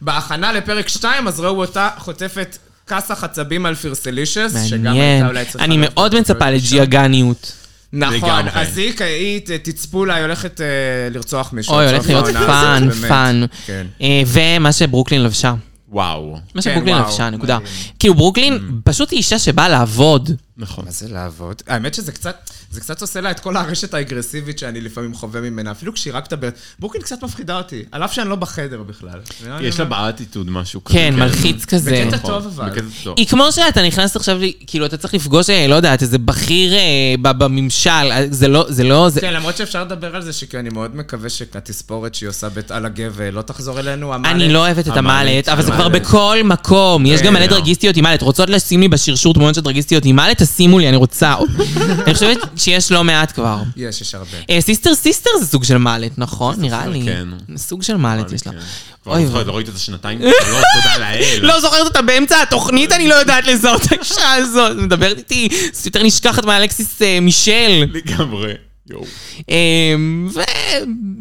Speaker 4: בהכנה לפרק 2, אז ראו אותה חוטפת כסח עצבים על פירסלישס, שגם
Speaker 2: מעניין.
Speaker 4: הייתה אולי צריכה...
Speaker 2: אני
Speaker 4: להיות
Speaker 2: מאוד
Speaker 4: בפרק
Speaker 2: מצפה
Speaker 4: הראשון.
Speaker 2: לג'יאגניות.
Speaker 4: נכון,
Speaker 3: לגמרי.
Speaker 4: אז היא כעת, תצפו לה, היא הולכת אה, לרצוח מישהו.
Speaker 2: אוי,
Speaker 4: עכשיו
Speaker 2: הולך להיות
Speaker 4: בעונה
Speaker 2: פאן,
Speaker 4: הזאת, באמת.
Speaker 2: פאן.
Speaker 4: כן.
Speaker 2: אה, ומה שברוקלין לבשה.
Speaker 3: וואו.
Speaker 2: מה
Speaker 4: כן,
Speaker 2: שברוקלין
Speaker 4: וואו,
Speaker 2: לבשה, נקודה.
Speaker 4: מדהים. Mm.
Speaker 2: כאילו, ברוקלין פשוט היא אישה שבאה לעבוד.
Speaker 4: כן,
Speaker 3: נכון.
Speaker 4: מה זה לעבוד? האמת שזה קצת, זה קצת עושה לה את כל הרשת האגרסיבית שאני לפעמים חווה ממנה, אפילו כשהיא רק מדברת. ברוקלין קת מפחידה אותי, על אף שאני לא בחדר בכלל.
Speaker 3: יש לה באטיטוד משהו כזה.
Speaker 2: כן, מלחיץ כזה.
Speaker 4: בקטע
Speaker 3: נכון,
Speaker 4: טוב אבל.
Speaker 3: בקטע טוב.
Speaker 2: היא כמו שאתה נכנס עכשיו, ל- כאילו, אתה צריך לפגוש, אה, לא יודעת, איזה בכיר אה, ב- בממשל, אה, זה לא, זה לא, זה...
Speaker 4: כן, למרות שאפשר לדבר על זה, שכי אני מאוד מקווה שהתספורת שהיא עושה בית על הגבל לא תחזור אלינו. המעלה-
Speaker 2: אני לא אוהבת את
Speaker 3: המעלית,
Speaker 2: המעלת, אבל זה
Speaker 4: כן.
Speaker 2: כבר
Speaker 3: המעלית.
Speaker 2: בכל מקום. יש גם מלא
Speaker 3: לא.
Speaker 2: דרגיסטיות עם מעלת. רוצות לשים לי בשרשור תמונות של דרגיסטיות עם מעלת? תשימו לי, אני רוצה. אני חושבת שיש לא מעט כבר.
Speaker 4: יש, יש הרבה.
Speaker 2: אה, סיסטר סיסטר זה סוג של מעלת, נכון? נראה לי.
Speaker 3: כן.
Speaker 2: סוג של מעלת
Speaker 3: אני
Speaker 2: יש לה.
Speaker 3: כן. כבר
Speaker 2: אוי
Speaker 3: לא זוכרת,
Speaker 2: ואבוי.
Speaker 3: לא ראיתי אותה שנתיים, לא, תודה לאל.
Speaker 2: לא זוכרת אותה באמצע התוכנית, אני לא יודעת לזהות את האישה הזאת. מדברת איתי, זה יותר נשכחת מאלכסיס אה, מישל.
Speaker 3: לגמרי. יואו.
Speaker 2: אמ,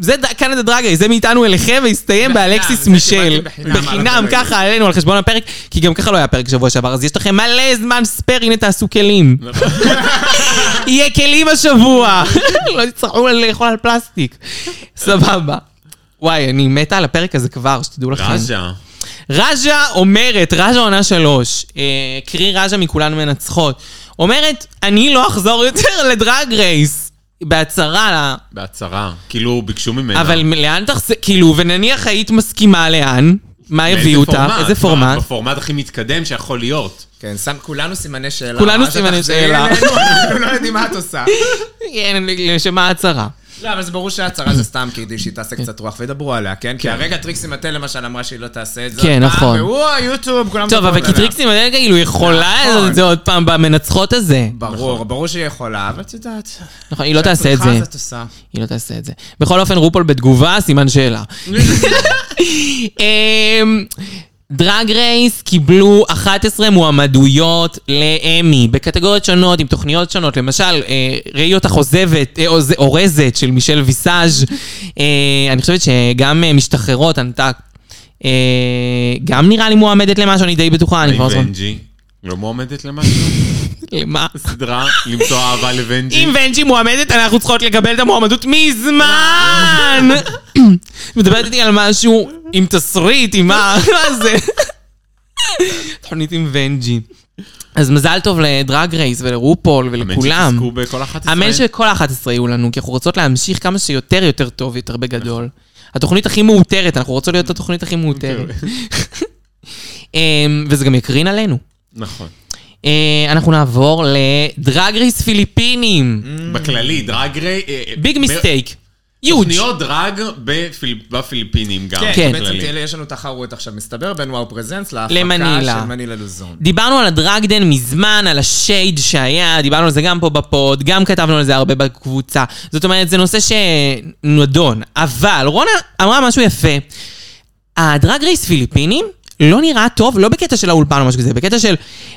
Speaker 2: וזה ד- קנדה דרגי, זה מאיתנו אליכם, והסתיים
Speaker 4: בחינם,
Speaker 2: באלקסיס
Speaker 4: זה
Speaker 2: מישל.
Speaker 4: קיבלתי בחינם על
Speaker 2: בחינם,
Speaker 4: הפרק.
Speaker 2: ככה עלינו על חשבון הפרק, כי גם ככה לא היה פרק שבוע שעבר, אז יש לכם מלא זמן ספייר, הנה תעשו כלים.
Speaker 4: נכון.
Speaker 2: יהיה כלים השבוע. לא תצטרכו לאכול על פלסטיק. סבבה. וואי, אני מתה על הפרק הזה כבר, שתדעו לכם.
Speaker 3: ראז'ה.
Speaker 2: רג'ה אומרת, רג'ה עונה שלוש, אה, קרי רג'ה מכולן מנצחות, אומרת, אני לא אחזור יותר לדרג רייס. בהצהרה לה,
Speaker 3: בהצהרה. כאילו, ביקשו ממנה.
Speaker 2: אבל מ- לאן תחז... כאילו, ונניח היית מסכימה לאן, מה הביא אותה, איזה פורמט.
Speaker 3: לא, בפורמט הכי מתקדם שיכול להיות.
Speaker 4: כן, שם כולנו סימני שאלה.
Speaker 2: כולנו
Speaker 4: מה זה
Speaker 2: סימני
Speaker 4: תחזרי
Speaker 2: שאלה.
Speaker 4: אלינו? אנחנו לא יודעים מה את עושה.
Speaker 2: כן, לשם ההצהרה.
Speaker 4: לא, אבל זה ברור שההצהרה זה סתם כדי שהיא תעשה קצת רוח וידברו עליה, כן? כי הרגע טריקסי מטה למשל אמרה שהיא לא תעשה את זה.
Speaker 2: כן,
Speaker 4: עוד פעם,
Speaker 2: נכון.
Speaker 4: והוא היוטיוב, כולם
Speaker 2: טוב,
Speaker 4: מדברים
Speaker 2: אבל כי
Speaker 4: עליה.
Speaker 2: טריקסים עדיין כאילו יכולה
Speaker 4: נכון.
Speaker 2: לעשות את זה עוד פעם במנצחות הזה.
Speaker 4: ברור,
Speaker 3: נכון.
Speaker 4: ברור שהיא יכולה, אבל את יודעת.
Speaker 2: נכון, היא לא תעשה את
Speaker 4: צריכה,
Speaker 2: זה.
Speaker 4: אז את עושה.
Speaker 2: היא לא תעשה את זה. בכל אופן, רופול בתגובה, סימן שאלה. אמ, דרג רייס קיבלו 11 מועמדויות לאמי, בקטגוריות שונות, עם תוכניות שונות. למשל, אה, ראיות החוזבת, אה, אוז- אורזת של מישל ויסאז'. אה, אני חושבת שגם אה, משתחררות, ענתה, אה, גם נראה לי מועמדת למשהו, אני די בטוחה, אני כבר לא זוכרת.
Speaker 3: ונג'י. לא מועמדת למשהו?
Speaker 2: למה?
Speaker 3: סדרה? למצוא אהבה לוונג'י?
Speaker 2: אם ונג'י מועמדת, אנחנו צריכות לקבל את המועמדות מזמן! מדברת איתי על משהו עם תסריט, עם מה, מה זה? תוכנית עם ונג'י. אז מזל טוב לדרג רייס ולרופול
Speaker 3: אמן
Speaker 2: ולכולם.
Speaker 3: שתזכו בכל 11.
Speaker 2: אמן שכל 11 יהיו לנו, כי אנחנו רוצות להמשיך כמה שיותר יותר טוב, יותר בגדול. התוכנית הכי מאותרת, אנחנו רוצות להיות התוכנית הכי מאותרת. אוקיי. אמ, וזה גם יקרין עלינו.
Speaker 3: נכון.
Speaker 2: אה, אנחנו נעבור לדרג רייס פיליפינים.
Speaker 3: בכללי, דרג ריי... אה, אה,
Speaker 2: ביג
Speaker 3: מ-
Speaker 2: מיסטייק. יוג'.
Speaker 3: תוכניות דרג בפיל- בפיליפינים גם.
Speaker 4: כן,
Speaker 2: כן.
Speaker 4: בעצם
Speaker 3: בכללי.
Speaker 4: תהיה- יש לנו תחרות עכשיו, מסתבר, בין וואו פרזנס להפקה
Speaker 2: למנילה.
Speaker 4: של מנילה לוזון.
Speaker 2: דיברנו על הדרגדן מזמן, על השייד שהיה, דיברנו על זה גם פה בפוד, גם כתבנו על זה הרבה בקבוצה. זאת אומרת, זה נושא שנדון. אבל רונה אמרה משהו יפה. הדרג רייס פיליפינים לא נראה טוב, לא בקטע של האולפן או משהו כזה, בקטע של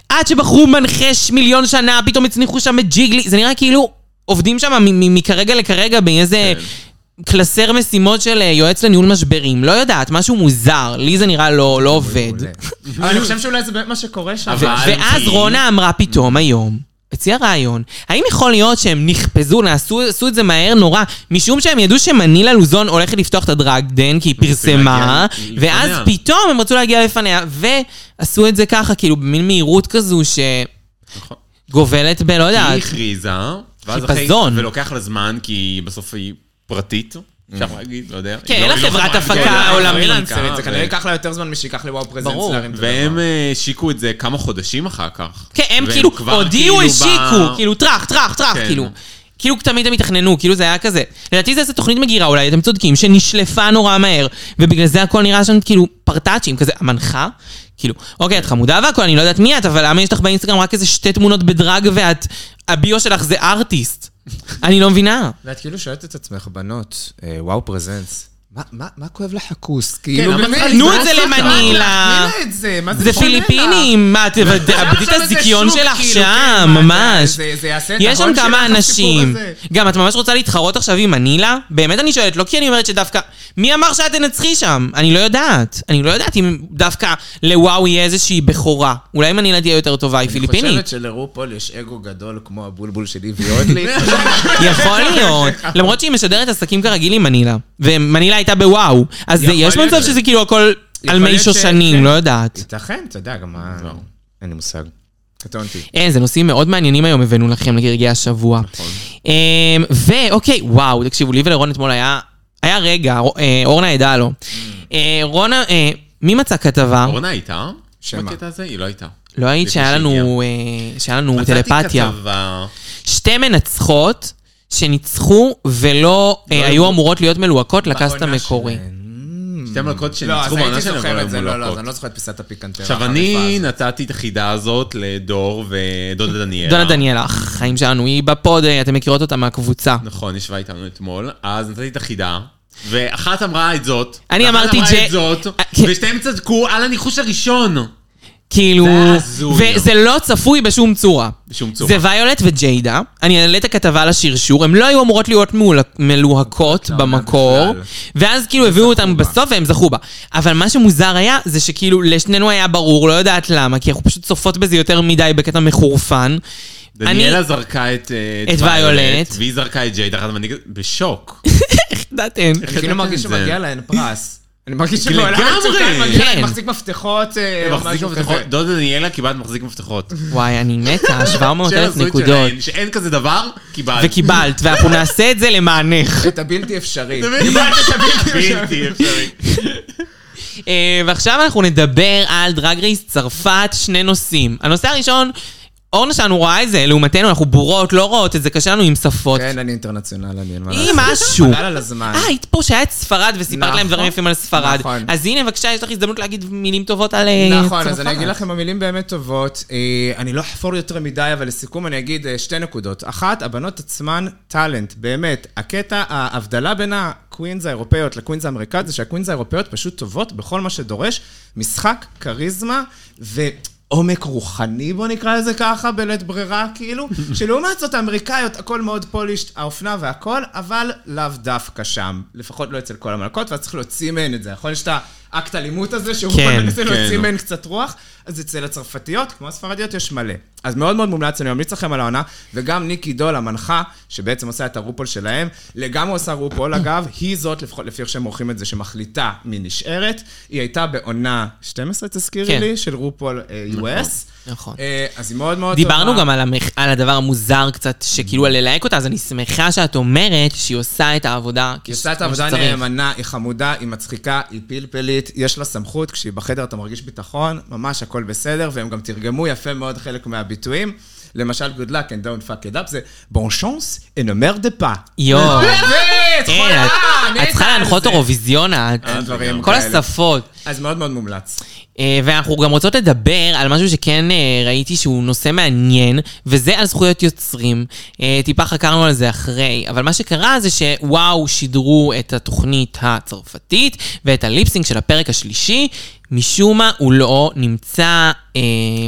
Speaker 2: עד שבחרו מנחש מיליון שנה,
Speaker 4: כן.
Speaker 2: פתאום הצניחו שם את ג'יגלי, זה נראה כאילו עובדים שם מ- מ- מכרגע לכרגע באיזה... קלסר משימות של אה, יועץ לניהול משברים, לא יודעת, משהו מוזר, לי זה נראה לא, לא עובד.
Speaker 4: מעולה. אבל אני חושב שאולי זה באמת מה שקורה שם.
Speaker 3: אבל-
Speaker 2: ואז
Speaker 3: כי-
Speaker 2: רונה אמרה פתאום היום, הציעה רעיון, האם יכול להיות שהם נכפזו, נעשו עשו את זה מהר נורא, משום שהם ידעו שמנילה לוזון הולכת לפתוח את הדרגדן, כי היא
Speaker 3: רוצים
Speaker 2: פרסמה,
Speaker 3: להגיע לפניה.
Speaker 2: ואז פתאום הם רצו להגיע לפניה, ועשו את זה ככה, כאילו במין מהירות כזו
Speaker 3: נכון.
Speaker 2: שגובלת בלא
Speaker 3: היא
Speaker 2: יודעת.
Speaker 3: הכריזה, ואז
Speaker 2: אה, חיפזון.
Speaker 3: אחרי... ולוקח לה זמן, כי בסוף היא פרטית, אפשר להגיד, לא יודע.
Speaker 2: כן,
Speaker 3: היא
Speaker 2: אין
Speaker 3: לא-
Speaker 2: לה
Speaker 3: היא לא
Speaker 2: חברת
Speaker 3: חברה-
Speaker 2: הפקה
Speaker 3: כן, היא לא
Speaker 2: עולמית.
Speaker 3: חברת הפקה,
Speaker 4: פרילנסרית, זה
Speaker 3: ו-
Speaker 4: כנראה ייקח לה יותר זמן משיקח לוואו פרזנט
Speaker 2: ברור.
Speaker 4: להרים את הדבר.
Speaker 3: והם אה, השיקו את זה כמה חודשים אחר כך.
Speaker 2: כן, הם
Speaker 3: והם
Speaker 2: כאילו
Speaker 3: כבר
Speaker 2: הודיעו,
Speaker 3: כאילו
Speaker 2: השיקו,
Speaker 3: ב-
Speaker 2: כאילו טראח, טראח, טראח,
Speaker 3: כן.
Speaker 2: כאילו. כאילו תמיד הם התכננו, כאילו זה היה כזה. לדעתי זה איזה תוכנית מגירה אולי, אתם צודקים, שנשלפה נורא מהר, ובגלל זה הכל נראה שם כאילו פרטאצ'ים, כזה, המנחה? כאילו, אוקיי, את חמודה והכל, אני לא יודעת מי את, אבל למה יש לך באינסטגרם רק איזה שתי תמונות בדרג ואת, הביו שלך זה ארטיסט. אני לא מבינה.
Speaker 4: ואת כאילו שואלת את עצמך, בנות, אה, וואו פרזנטס, מה- מה מה כואב לך הכוס?
Speaker 3: למה
Speaker 4: כאילו,
Speaker 3: את
Speaker 4: באמת,
Speaker 3: כן, צריכה
Speaker 2: תנו
Speaker 3: זה
Speaker 2: את זה
Speaker 3: לא
Speaker 2: למנילה.
Speaker 4: תני לה את זה, מה זה
Speaker 2: זה
Speaker 4: חונה לה?
Speaker 2: פיליפינים, מה, תאבדי את
Speaker 4: שם איזה
Speaker 2: הזיקיון
Speaker 4: שוק,
Speaker 2: שלך
Speaker 4: כאילו,
Speaker 2: שם,
Speaker 4: כן, מה,
Speaker 2: ממש.
Speaker 4: זה- זה יעשה את
Speaker 2: יש שם
Speaker 4: ההון
Speaker 2: כמה
Speaker 4: נכון שלך, הסיפור
Speaker 2: אנשים.
Speaker 4: הזה.
Speaker 2: גם את ממש רוצה להתחרות עכשיו עם מנילה? באמת אני שואלת, לא כי אני אומרת שדווקא... מי אמר שאת תנצחי שם? אני לא יודעת. אני לא יודעת אם דווקא לוואו יהיה איזושהי בכורה. אולי מנילה תהיה יותר טובה, היא
Speaker 4: אני
Speaker 2: פיליפינית.
Speaker 4: חושבת שלרופול יש אגו גדול כמו הבולבול שלי ויודלי.
Speaker 2: יכול להיות. למרות שהיא משדרת עסקים כרגיל עם מנילה. ומנילה הייתה בוואו. אז
Speaker 4: יכול
Speaker 2: יש
Speaker 4: להיות
Speaker 2: מצב
Speaker 4: ש-
Speaker 2: שזה כאילו הכל על
Speaker 4: יכול
Speaker 2: מי
Speaker 4: להיות ש-
Speaker 2: שושנים,
Speaker 4: כן.
Speaker 2: לא יודעת.
Speaker 4: ייתכן, אתה יודע, גם מה...
Speaker 3: לא.
Speaker 4: אין לי מושג. קטונתי.
Speaker 2: אין, אה, זה נושאים מאוד מעניינים היום הבאנו לכם לרגעי השבוע.
Speaker 3: נכון.
Speaker 2: אמ, ואוקיי, וואו, תקשיבו, לי ולרון אתמול היה, היה רגע, ר- אה, אורנה עדה לו. אה, רונה, אה, מי מצא כתבה?
Speaker 3: Mm. אורנה הייתה?
Speaker 4: שמה?
Speaker 3: בקטע הזה? היא לא הייתה.
Speaker 2: לא היית
Speaker 3: לפני
Speaker 2: שהיה
Speaker 3: שהגיעה.
Speaker 2: לנו, אה, שהיה לנו
Speaker 3: מצאתי
Speaker 2: טלפתיה.
Speaker 3: כתבה-
Speaker 2: שתי מנצחות שניצחו ולא
Speaker 3: לא
Speaker 2: אה, היו אמורות להיות מלוהקות לקאסט
Speaker 4: בעונה
Speaker 2: המקורי.
Speaker 3: שתי מלכות
Speaker 4: לא, אז
Speaker 3: שניצחו
Speaker 4: הייתי
Speaker 3: בעונה שלהם, אבל
Speaker 4: זוכר את זה,
Speaker 3: הן
Speaker 4: לא, לא, אז
Speaker 3: מולכות.
Speaker 4: אני לא זוכר את פיסת הפיקנטרה.
Speaker 3: עכשיו, אני נתתי את החידה הזאת לדור ודודה דניאלה.
Speaker 2: דונה דניאלה, החיים שלנו, היא בפוד, אה, אתם מכירות אותה מהקבוצה.
Speaker 3: נכון, ישבה איתנו אתמול, אז נתתי את החידה, ואחת אמרה את זאת,
Speaker 2: אני
Speaker 3: ואחת
Speaker 2: אמרתי
Speaker 3: אמרה
Speaker 2: ג'יי-
Speaker 3: את זאת,
Speaker 2: אה, כן.
Speaker 3: ושתיהם צדקו על הניחוש הראשון.
Speaker 2: כאילו,
Speaker 3: זה היה הזוי.
Speaker 2: וזה לא צפוי בשום צורה.
Speaker 3: בשום צורה.
Speaker 2: זה ויולט וג'יידה, אני אעלה את הכתבה לשרשור, הן לא היו אמורות להיות מעול- מלוהקות במקור,
Speaker 4: בכלל.
Speaker 2: ואז כאילו הביאו אותם בסוף והם זכו בה. אבל מה שמוזר היה, זה שכאילו לשנינו היה ברור, לא יודעת למה, כי אנחנו פשוט צופות בזה יותר מדי בקטע מחורפן.
Speaker 3: דניאלה זרקה את... אה,
Speaker 2: את ויולט. כן,
Speaker 3: והיא זרקה את ג'ייד, אחת המנהיגת, בשוק.
Speaker 2: ידעתם.
Speaker 3: איך
Speaker 4: אני כאילו
Speaker 3: ידעתם
Speaker 4: מרגיש
Speaker 3: את זה?
Speaker 4: שמגיע להן פרס. כאילו, אני מרגיש
Speaker 3: לגמרי.
Speaker 4: שבעולם מצוקה, מגיע
Speaker 2: כן.
Speaker 4: להן מחזיק מפתחות, אה, או
Speaker 3: כן, מחזיק
Speaker 4: משהו
Speaker 3: מפתחות,
Speaker 4: כזה.
Speaker 3: דודה דניאלה קיבלת מחזיק מפתחות.
Speaker 2: וואי, אני מתה,
Speaker 3: של
Speaker 2: 700,000
Speaker 3: הזוג
Speaker 2: נקודות.
Speaker 3: שלהן, שאין כזה דבר, קיבלת.
Speaker 2: וקיבלת, ואנחנו נעשה את זה למענך.
Speaker 4: את הבלתי אפשרי.
Speaker 3: קיבלת בלתי אפשרי.
Speaker 2: אה, ועכשיו אנחנו נדבר על דרג רייס צרפת, שני נושאים. הנושא הראשון, אורנה שלנו רואה את זה, לעומתנו אנחנו בורות, לא רואות את זה, קשה לנו עם שפות.
Speaker 4: כן, אני אינטרנציונל, אני אין מה
Speaker 2: היא
Speaker 4: לעשות.
Speaker 2: משהו.
Speaker 4: חבל על הזמן.
Speaker 2: אה, היית פה שהיה את ספרד וסיפרת להם
Speaker 4: נכון.
Speaker 2: דברים יפים על ספרד.
Speaker 4: נכון.
Speaker 2: אז הנה, בבקשה, יש לך הזדמנות להגיד מילים טובות על אה, צרפת.
Speaker 4: נכון, אז אני אגיד לכם המילים באמת טובות. אה, אני לא אחפור יותר מדי, אבל לסיכום אני אגיד אה, שתי נקודות. אחת, הבנות עצמן טאלנט, באמת. הקטע, ההבדלה בין הקווינז האירופאיות לקווינז האמריקאיות זה שהקווינז האירופאיות פשוט טובות בכל מה שדורש. משחק, כריזמה ועומק רוחני, בוא נקרא לזה ככה, בלית ברירה, כאילו. שלעומת זאת, האמריקאיות, הכל מאוד פולישט, האופנה והכל, אבל לאו דווקא שם. לפחות לא אצל כל המלכות, ואז צריך להוציא מהן את זה. נכון? יש את האקט אלימות הזה, שהוא
Speaker 2: כן,
Speaker 4: כן, מנסה
Speaker 3: כן.
Speaker 4: להוציא מהן קצת רוח, אז אצל הצרפתיות, כמו הספרדיות, יש מלא. אז מאוד מאוד מומלץ, אני ממליץ לכם על העונה, וגם ניקי דול, המנחה, שבעצם עושה את הרופול שלהם, לגמרי עושה רופול, אגב, היא זאת, לפחות לפי איך שהם עורכים את זה, שמחליטה מי נשארת. היא הייתה בעונה 12, תזכירי
Speaker 2: כן.
Speaker 4: לי, של רופול אה, US.
Speaker 2: נכון.
Speaker 4: אה, אז היא מאוד מאוד
Speaker 2: דיברנו
Speaker 4: טובה.
Speaker 2: גם על, המח... על הדבר המוזר קצת,
Speaker 4: Mm.
Speaker 2: שכאילו על ללהק אותה, אז אני שמחה שאת אומרת שהיא עושה את העבודה
Speaker 4: היא
Speaker 2: כש-
Speaker 4: עושה את
Speaker 2: כמו
Speaker 4: העבודה
Speaker 2: שצריך.
Speaker 4: נאמנה, היא חמודה, היא מצחיקה, היא פלפלית, יש לה סמכות, כשהיא בחדר אתה מרגיש ביטחון, ממש הכל בסדר, והם גם תרגמו יפה מאוד חלק מהביטויים. למשל, good luck and don't fuck it up זה בון שונס and a mer de pas.
Speaker 2: יואו.
Speaker 4: באמת,
Speaker 2: אה,
Speaker 4: חולה,
Speaker 2: את- את
Speaker 4: מתה
Speaker 2: צריכה
Speaker 4: על
Speaker 2: להנחות
Speaker 4: זה.
Speaker 2: אירוויזיון, את.
Speaker 4: אה, דברים
Speaker 2: כל
Speaker 4: כאלה.
Speaker 2: השפות.
Speaker 4: אז מאוד מאוד מומלץ.
Speaker 2: אה, ואנחנו גם רוצות לדבר על משהו שכן אה, ראיתי שהוא נושא מעניין, וזה על זכויות יוצרים. אה, טיפה חקרנו על זה אחרי, אבל מה שקרה זה שוואו שידרו את התוכנית הצרפתית ואת הליפסינג של הפרק השלישי. משום מה הוא לא נמצא... אה,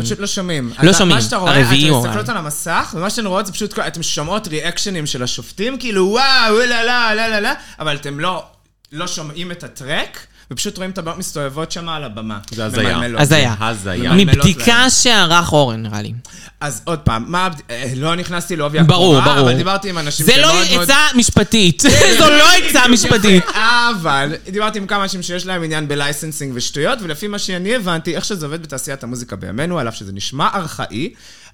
Speaker 4: פשוט לא שומעים.
Speaker 2: לא
Speaker 4: אתה-
Speaker 2: שומעים.
Speaker 4: מה שאתה רואה,
Speaker 2: הרביעי
Speaker 4: אתן
Speaker 2: יורד.
Speaker 4: מסתכלות על המסך, ומה שאתן רואות זה פשוט, כל- אתן שומעות ריאקשנים של השופטים, כאילו וואו, אה, לא, לא, לא, לא, לא, אבל אתם לא לא שומעים את הטרק, ופשוט רואים את הבנות מסתובבות שם על הבמה.
Speaker 3: זה הזיה.
Speaker 4: ממלמלות.
Speaker 2: הזיה.
Speaker 3: הזיה.
Speaker 2: מבדיקה שערך אורן, נראה לי.
Speaker 4: אז עוד פעם, מה, הבד- אה, לא נכנסתי לעובי הקורה,
Speaker 2: ברור, ברור.
Speaker 4: אבל דיברתי עם אנשים
Speaker 2: זה לא
Speaker 4: שמאוד מאוד...
Speaker 2: עצה משפטית. זו לא עצה משפטית.
Speaker 4: אבל דיברתי עם כמה אנשים שיש להם עניין בלייסנסינג ושטויות, ולפי מה שאני הבנתי, איך שזה עובד בתעשיית המוזיקה בימינו, על אף שזה נשמע ארכאי,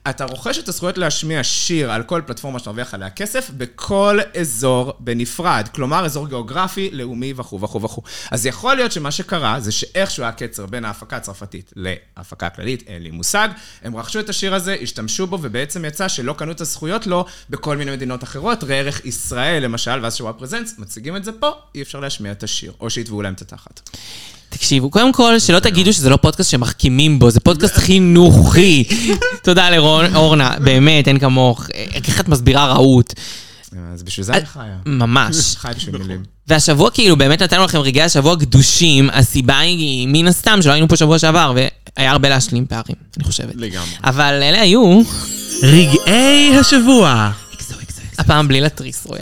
Speaker 4: אתה רוכש את הזכויות להשמיע שיר על כל פלטפורמה שתרוויח עליה כסף, בכל אזור בנפרד. כלומר, אזור גיאוגרפי, לאומי וכו' וכו' וכו'. אז יכול להיות שמה שקרה, זה שאיכשהו היה קצר בין ההפקה הצרפתית להפקה הכללית, אין לי מושג. הם רכשו את השיר הזה, השתמשו בו, ובעצם יצא שלא קנו את הזכויות לו בכל מיני מדינות אחרות, ראה ערך ישראל למשל, ואז שוואפ פרזנס, מציגים את זה פה, אי אפשר להשמיע את השיר, או שיתבעו להם את התחת.
Speaker 2: תקשיבו, קודם כל, שלא תגידו שזה לא פודקאסט שמחכימים בו, זה פודקאסט חינוכי. תודה לאורנה, באמת, אין כמוך. אה, איך את מסבירה רהוט.
Speaker 4: אז בשביל זה אני חיה.
Speaker 2: ממש.
Speaker 4: חי בשביל מילים.
Speaker 2: והשבוע כאילו באמת נתנו לכם רגעי השבוע קדושים, הסיבה היא מן הסתם שלא היינו פה שבוע שעבר, והיה הרבה להשלים פערים, אני חושבת.
Speaker 3: לגמרי.
Speaker 2: אבל אלה היו,
Speaker 5: רגעי השבוע.
Speaker 2: הפעם בלי להתריס, רואה.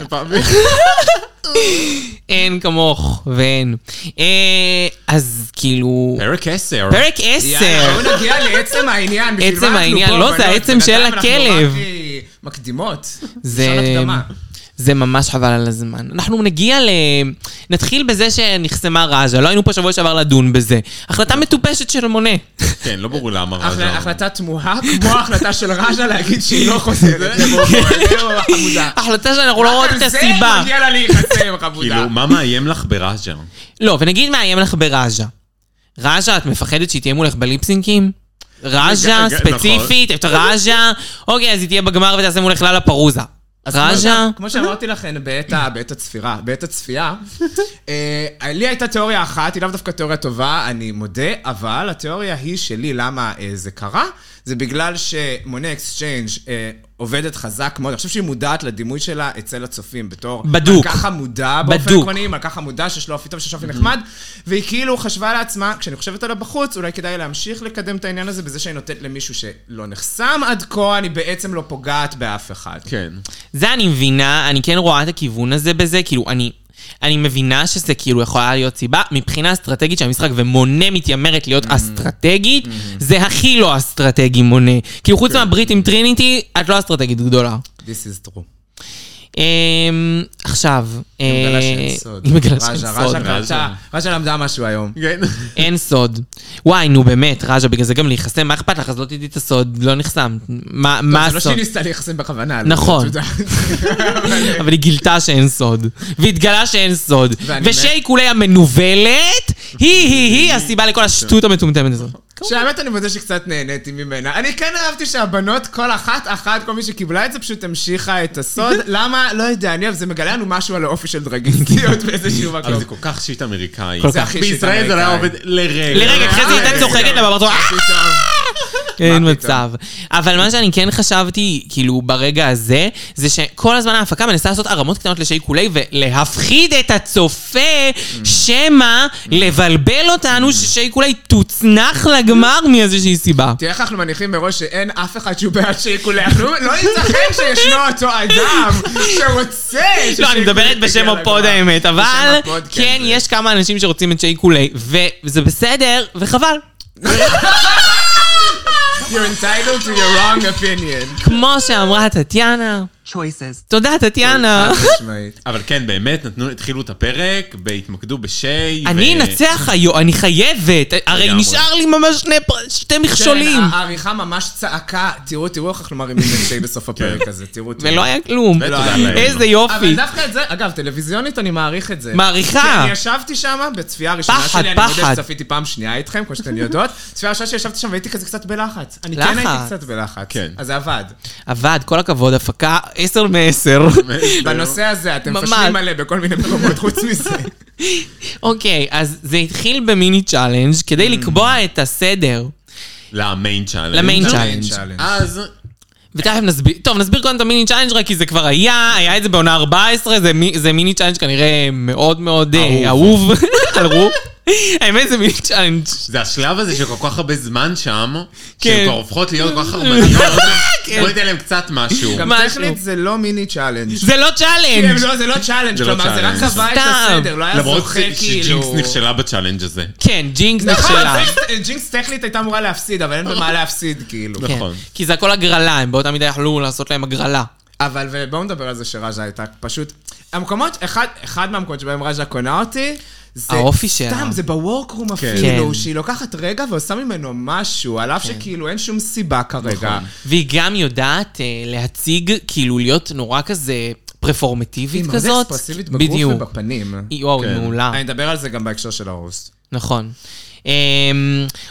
Speaker 2: אין כמוך ואין. אה, אז כאילו...
Speaker 3: פרק 10.
Speaker 2: פרק 10!
Speaker 4: בואו נגיע לעצם העניין, בשביל
Speaker 2: עצם
Speaker 4: מה אנחנו
Speaker 2: העניין,
Speaker 4: פה,
Speaker 2: לא, זה
Speaker 4: בנות?
Speaker 2: העצם של
Speaker 4: בינתיים אנחנו
Speaker 2: הכלב.
Speaker 4: רק, אה, מקדימות.
Speaker 2: זה-
Speaker 4: לשון הקדמה.
Speaker 2: זה ממש חבל על הזמן. אנחנו נגיע ל... נתחיל בזה שנחסמה ראז'ה, לא היינו פה שבוע שעבר לדון בזה. החלטה מטופשת של מונה.
Speaker 3: כן, לא ברור למה
Speaker 4: החל-
Speaker 3: רג'ה.
Speaker 4: החלטה תמוהה, כמו ההחלטה של רג'ה להגיד שהיא לא חוזרת. זהו, חמודה.
Speaker 2: החלטה שאנחנו לא רואות את
Speaker 4: זה
Speaker 2: הסיבה.
Speaker 4: מגיע לה להיחסם, חמודה.
Speaker 3: כאילו, מה מאיים לך בראז'ה?
Speaker 2: לא, ונגיד מאיים לך בראז'ה. ראז'ה, את מפחדת שהיא תהיה מולך בליפסינקים? ראז'ה,
Speaker 3: רגע,
Speaker 4: נכון.
Speaker 3: רגע,
Speaker 2: ספציפית, את ראז'ה, אוקיי, אז היא תהיה בגמר ותעשה מולך ללה פרוזה. ראז'ה,
Speaker 4: כמו שאמרתי לכן בעת ה- בעת הצפירה, בעת הצפייה, אה, לי הייתה תיאוריה אחת, היא לאו דווקא תיאוריה טובה, אני מודה, אבל התיאוריה היא שלי למה אה, זה קרה, זה בגלל שמונה אקסצ'יינג' אה, עובדת חזק מאוד, אני חושב שהיא מודעת לדימוי שלה אצל הצופים בתור...
Speaker 2: בדוק.
Speaker 4: מלכה חמודה באופן
Speaker 2: בדוק.
Speaker 4: עקרוני, מלכה חמודה שיש לו אופי טוב, שיש לו אופי נחמד, והיא כאילו חשבה לעצמה, כשאני חושבת עליו בחוץ, אולי כדאי להמשיך לקדם את העניין הזה בזה שאני נותנת למישהו שלא נחסם עד כה, אני בעצם לא פוגעת באף אחד.
Speaker 3: כן.
Speaker 2: זה אני מבינה, אני כן רואה את הכיוון הזה בזה, כאילו, אני... אני מבינה שזה כאילו יכולה להיות סיבה מבחינה אסטרטגית של המשחק, ומונה מתיימרת
Speaker 4: Mm-hmm.
Speaker 2: להיות אסטרטגית, זה הכי לא אסטרטגי מונה. כאילו
Speaker 4: כן.
Speaker 2: חוץ מהברית עם טריניטי, את לא אסטרטגית גדולה.
Speaker 4: This is true.
Speaker 2: אמ, עכשיו,
Speaker 4: היא מגלה
Speaker 2: אה,
Speaker 4: שם סוד.
Speaker 2: היא מגלה שם
Speaker 4: רג'ה,
Speaker 2: סוד.
Speaker 4: רג'ה קלטה, רג'ה למדה משהו היום.
Speaker 3: כן.
Speaker 2: אין סוד. וואי, נו באמת, רג'ה, בגלל זה גם להיחסם, מה אכפת לך? אז לא תדעי את הסוד, לא נחסם. מה מה
Speaker 4: זה לא שהיא
Speaker 2: הסוד?
Speaker 4: ניסתה להיחסם בכוונה. לא,
Speaker 2: נכון.
Speaker 4: את יודעת.
Speaker 2: אבל היא גילתה שאין סוד, והתגלה שאין סוד,
Speaker 4: ואני
Speaker 2: ושאיקולי המנוולת, היא-היא-היא הסיבה לכל השטות המטומטמת הזאת.
Speaker 4: שהאמת אני מודה שקצת נהניתי ממנה. אני כן אהבתי שהבנות, כל אחת, אחת, כל מי שקיבלה את זה, פשוט המשיכה את הסוד. למה? לא יודע, אני אוהב, זה מגלה לנו משהו על האופי של דרגיסטיות באיזשהו
Speaker 3: אבל
Speaker 4: מקום.
Speaker 3: זה כל כך שיט אמריקאי.
Speaker 2: כל
Speaker 3: זה
Speaker 4: כך.
Speaker 3: הכי שיט בישראל זה לא היה עובד לרגע.
Speaker 2: לרגע, כן. אחרי זה היא הייתה צוחקת לה, ואמרת לו, "אה, אין
Speaker 4: מה פתאום?
Speaker 2: מצב. אבל מה שאני כן חשבתי, כאילו, ברגע הזה, זה שכל הזמן ההפקה מנסה לעשות הרמות קטנות לשאיקולי ולהפחיד את הצופה, שמא לבלבל אותנו ששאיקולי תוצנח לגמר מאיזושהי סיבה.
Speaker 4: תראה איך אנחנו מניחים מראש שאין אף אחד שהוא בעד שיקולי החלום, לא ייתכן שישנו אותו אדם שרוצה...
Speaker 2: לא, אני
Speaker 4: ששיקולי
Speaker 2: מדברת בשם
Speaker 4: יגיע
Speaker 2: הפוד
Speaker 4: לגמר.
Speaker 2: האמת, אבל
Speaker 4: בשם הפוד,
Speaker 2: כן,
Speaker 4: זה-
Speaker 2: יש כמה אנשים שרוצים את שייקולי, וזה בסדר, וחבל.
Speaker 4: You're entitled to your wrong opinion.
Speaker 2: כמו שאמרה טטיאנה. תודה, טטיאנה.
Speaker 4: משמעית.
Speaker 3: אבל כן, באמת, נתנו, התחילו את הפרק, והתמקדו בשיי.
Speaker 2: אני
Speaker 3: ו-
Speaker 2: אנצח היום, אני חייבת. הרי
Speaker 3: לגמרי.
Speaker 2: נשאר לי ממש שני פר- שתי מכשולים.
Speaker 4: כן, העריכה ממש צעקה, תראו, תראו איך אנחנו מרימים את שי
Speaker 3: כן.
Speaker 4: בסוף הפרק הזה, תראו, תראו.
Speaker 2: ולא היה כלום.
Speaker 3: ותודה
Speaker 4: היה.
Speaker 3: לאל.
Speaker 2: איזה
Speaker 4: אה, אבל
Speaker 2: יופי.
Speaker 4: דווקא את זה, כן, אגב, טלוויזיונית אני מעריך את זה.
Speaker 2: מעריכה.
Speaker 4: כי אני ישבתי שם בצפייה הראשונה
Speaker 2: פחד,
Speaker 4: שלי, אני
Speaker 2: פחד.
Speaker 4: מודה שצפיתי פעם שנייה איתכם, כמו שאתן יודעות. צפייה ראשונה שישבתי שם והייתי כזה קצת בלחץ. אני כן
Speaker 2: לחץ.
Speaker 4: הייתי קצת בלחץ.
Speaker 3: כן.
Speaker 4: אז זה עבד.
Speaker 2: עבד, כל הכבוד, הפקה 10 מ-10.
Speaker 3: כאילו-
Speaker 4: בנושא הזה אתם
Speaker 2: ממש.
Speaker 4: מפשלים מלא בכל מיני מקומות חוץ מזה.
Speaker 2: אוקיי, אז זה התחיל במיני צ'אלנג' כדי לקבוע את הסדר.
Speaker 3: למיין צ'אלנג'.
Speaker 2: למיין צ'אלנג'.
Speaker 4: challenge.
Speaker 3: אז
Speaker 2: ותכף נסביר, טוב, נסביר קודם את המיני צ'אלנג' רק כי זה כבר היה, היה את זה בעונה 14, זה, מי, זה מיני צ'אלנג' כנראה מאוד מאוד אה, אהוב, על רוב. האמת זה מיני צ'אלנג'.
Speaker 3: זה השלב הזה של כל כך הרבה זמן שם,
Speaker 2: כן.
Speaker 3: שהן כבר הופכות להיות כל כך חרמניות, בואי ניתן להם קצת משהו.
Speaker 4: גם
Speaker 2: משהו.
Speaker 4: טכנית זה לא מיני צ'אלנג'.
Speaker 2: זה לא
Speaker 4: כן,
Speaker 2: צ'אלנג'.
Speaker 4: לא, זה לא צ'אלנג',
Speaker 3: זה לא
Speaker 4: כלומר, זה רק
Speaker 3: צ'אלנג'.
Speaker 4: קבע את
Speaker 2: סתם.
Speaker 4: הסדר, לא היה
Speaker 3: למרות
Speaker 4: זוכה
Speaker 3: ש-
Speaker 4: כאילו.
Speaker 3: שג'ינקס נכשלה בצ'אלנג' הזה.
Speaker 2: כן, ג'ינקס נכשלה.
Speaker 4: נכון, ג'ינקס טכנית הייתה אמורה להפסיד, אבל אין במה להפסיד, כאילו.
Speaker 2: כן.
Speaker 3: נכון.
Speaker 2: כי זה הכל הגרלה, הם באותה מידה יכלו לעשות להם הגרלה.
Speaker 4: אבל ובואו נדבר על זה שראז'ה הייתה פשוט... המקומות, אחד, אחד מהמקומות שבהם ראז'ה קונה אותי, זה...
Speaker 2: האופי
Speaker 4: סתם,
Speaker 2: שלה.
Speaker 4: זה בוורקרום
Speaker 2: כן.
Speaker 4: אפילו, שהיא לוקחת רגע ועושה ממנו משהו, על אף שכאילו אין שום סיבה כרגע.
Speaker 2: והיא גם יודעת אה, להציג, כאילו להיות נורא כזה
Speaker 4: היא
Speaker 2: פרפורמטיבית
Speaker 4: מאוד
Speaker 2: כזאת.
Speaker 4: אקספרסיבית בגוף
Speaker 2: בדיוק. אה.
Speaker 4: ובפנים.
Speaker 2: היא- וואו, היא
Speaker 3: כן.
Speaker 2: מעולה.
Speaker 4: אני אדבר על זה גם בהקשר של ההוסט.
Speaker 2: נכון. אמ,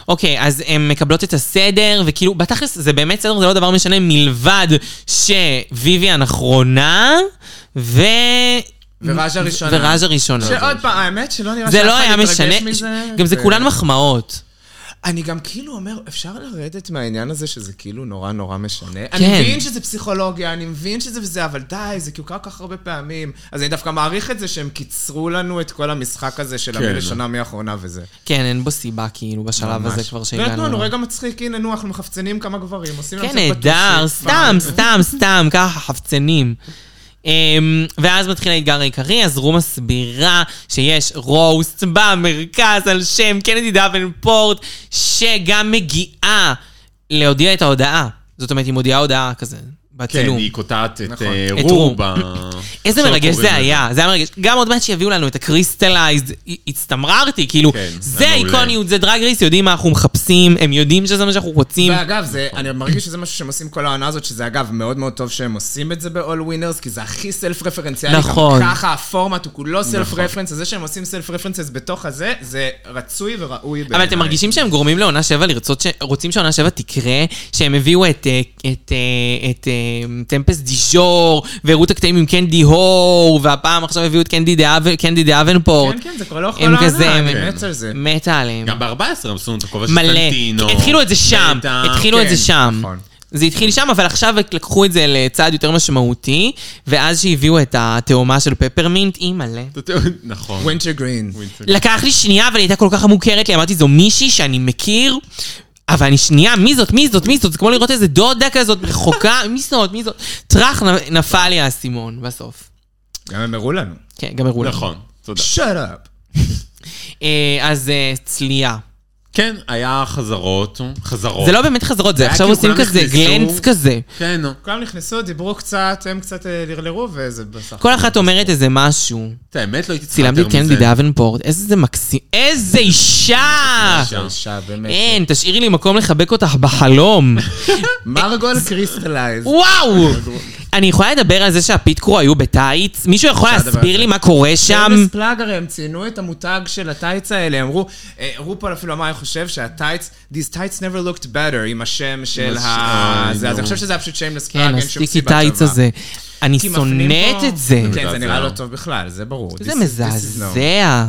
Speaker 2: אוקיי, אז הן מקבלות את הסדר, וכאילו, בתכלס זה באמת סדר, זה לא דבר משנה, מלבד שוויביאן אחרונה, ו...
Speaker 4: וראז'ה ראשונה.
Speaker 2: וראז' הראשונה.
Speaker 4: שעוד פעם, האמת שלא נראה
Speaker 2: זה
Speaker 4: שאף
Speaker 2: לא
Speaker 4: אחד
Speaker 2: היה
Speaker 4: התרגש
Speaker 2: משנה,
Speaker 4: מזה,
Speaker 2: גם זה
Speaker 4: ו-
Speaker 2: כולן מחמאות.
Speaker 4: אני גם כאילו אומר, אפשר לרדת מהעניין הזה שזה כאילו נורא נורא משנה? כן.
Speaker 2: כן.
Speaker 4: אני מבין שזה פסיכולוגיה, אני מבין שזה וזה, אבל די, זה כי הוא קרה כל כך הרבה פעמים. אז אני דווקא מעריך את זה שהם קיצרו לנו את כל המשחק הזה של המי
Speaker 3: כן.
Speaker 4: לשנה, מי האחרונה וזה.
Speaker 2: כן, אין בו סיבה, כאילו, בשלב הזה
Speaker 4: ממש. לא
Speaker 2: כבר
Speaker 4: ונתנו
Speaker 2: שהגענו.
Speaker 4: לנו רגע מצחיק, הנה, נו, אנחנו מחפצנים כמה גברים, עושים לנו
Speaker 2: כן,
Speaker 4: קצת
Speaker 2: נהדר,
Speaker 4: פטושית.
Speaker 2: סתם,
Speaker 4: מה?
Speaker 2: סתם, סתם, ככה, חפצנים. אמ, ואז מתחיל האתגר העיקרי, אז רו מסבירה שיש רוסט במרכז על שם קנדי דאבנפורט, שגם מגיעה להודיע את ההודעה. זאת אומרת, היא מודיעה הודעה כזה,
Speaker 3: כן,
Speaker 2: בצילום.
Speaker 3: היא קוטעת את
Speaker 4: נכון.
Speaker 3: אה,
Speaker 2: את
Speaker 3: רו
Speaker 2: רו.
Speaker 3: ב...
Speaker 2: איזה
Speaker 3: שלא
Speaker 2: מרגש
Speaker 3: קוראים
Speaker 2: זה
Speaker 3: לזה.
Speaker 2: היה, זה היה מרגש. גם עוד מעט שיביאו לנו את הקריסטלייזד, הצטמררתי, כאילו,
Speaker 3: כן,
Speaker 2: זה
Speaker 3: זה מעולה.
Speaker 2: איקוניות, זה דרג רייס, יודעים מה אנחנו מחפשים, הם יודעים שזה מה שאנחנו רוצים.
Speaker 4: ואגב, זה, אני מרגיש שזה משהו שהם עושים כל העונה הזאת, שזה אגב מאוד מאוד טוב שהם עושים את זה ב-all winners, כי זה הכי סלף רפרנציאלי.
Speaker 2: נכון.
Speaker 4: גם ככה הפורמט הוא כולו סלף רפרנס, אז זה שהם עושים סלף רפרנסס בתוך הזה, זה רצוי וראוי
Speaker 2: אבל
Speaker 4: בעיניי.
Speaker 2: אתם מרגישים שהם גורמים לעונה שבע לרצות, ש... רוצים שעונה שבע תקרה, שהם הביאו את, אה, את, אה, את אה, טמפס דיז'ור, והראו את הקטעים עם קנדי הור, והפעם עכשיו הביאו את קנדי, דאב... קנדי דאבנפורט.
Speaker 4: כן, כן, זה כבר לא כל
Speaker 2: הם
Speaker 4: העונה,
Speaker 2: כזה,
Speaker 4: אני
Speaker 2: הם-
Speaker 4: מת על זה.
Speaker 2: מתה עליהם.
Speaker 3: גם ב-14 הם עשו לנו את הכובע של
Speaker 2: מלא.
Speaker 3: טנטינו.
Speaker 2: התחילו את זה שם,
Speaker 3: נטע.
Speaker 2: התחילו את זה
Speaker 4: כן,
Speaker 2: שם.
Speaker 4: נכון.
Speaker 2: זה התחיל שם, אבל עכשיו לקחו את זה לצעד יותר משמעותי, ואז שהביאו את התאומה של פפרמינט, היא מלא.
Speaker 3: נכון.
Speaker 4: ווינטר גרין.
Speaker 2: לקח לי שנייה, אבל היא הייתה כל כך מוכרת לי, אמרתי, זו מישהי שאני מכיר, אבל אני שנייה, מי זאת, מי זאת, מי זאת, זה כמו לראות איזה דודה כזאת רחוקה, מי זאת, מי זאת. טראח, נ- נפל לי האסימון בסוף.
Speaker 4: גם הם הראו לנו.
Speaker 2: כן, גם הראו לנו.
Speaker 3: נכון, תודה.
Speaker 4: שאט אפ.
Speaker 2: אה, אז אה, צלייה.
Speaker 3: כן, היה חזרות, חזרות.
Speaker 2: זה לא באמת חזרות, זה
Speaker 3: היה
Speaker 2: עכשיו
Speaker 3: כאילו
Speaker 2: עושים
Speaker 3: כולם
Speaker 2: כזה
Speaker 3: נכנסו.
Speaker 2: גלנץ כזה.
Speaker 3: כן, נו.
Speaker 4: כולם נכנסו, דיברו קצת, הם קצת אה, לרלרו, וזה בסך
Speaker 2: כל אחת אומרת איזה משהו.
Speaker 3: את האמת, לא הייתי צריכה
Speaker 2: צילמתי
Speaker 3: יותר
Speaker 2: את
Speaker 3: מזה.
Speaker 2: קנדי דאבנפורט, איזה מקסים... איזה אישה!
Speaker 3: אישה.
Speaker 4: אישה, באמת.
Speaker 2: אין, תשאירי לי מקום לחבק אותך בחלום.
Speaker 4: מרגול קריסטלייז.
Speaker 2: וואו! אני יכולה לדבר על זה שהפיטקרו היו בטייץ? מישהו יכול
Speaker 4: אפשר לדבר
Speaker 2: להסביר
Speaker 4: על
Speaker 2: לי
Speaker 4: זה. כן,
Speaker 2: מה קורה שם?
Speaker 4: ג'יימס פלאג הרי הם ציינו את המותג של הטייץ האלה, אמרו, אה, רופול אפילו אמר, אני חושב שהטייץ, these tights never looked better, עם השם של
Speaker 3: הש-
Speaker 4: ה...
Speaker 3: אה,
Speaker 4: זה, אז
Speaker 3: נו.
Speaker 4: אני חושב שזה היה פשוט שיימלס פלאג,
Speaker 2: כן,
Speaker 4: אה, אין שום
Speaker 2: הסטיקי
Speaker 4: סיבה טובה.
Speaker 2: טייץ הזה. אני
Speaker 4: כי מפנים
Speaker 2: שונאת
Speaker 4: פה-
Speaker 2: את זה.
Speaker 4: כן, זה
Speaker 3: מזעזע.
Speaker 4: נראה לא טוב בכלל, זה ברור. This
Speaker 2: זה
Speaker 4: is- this is no.
Speaker 2: מזעזע.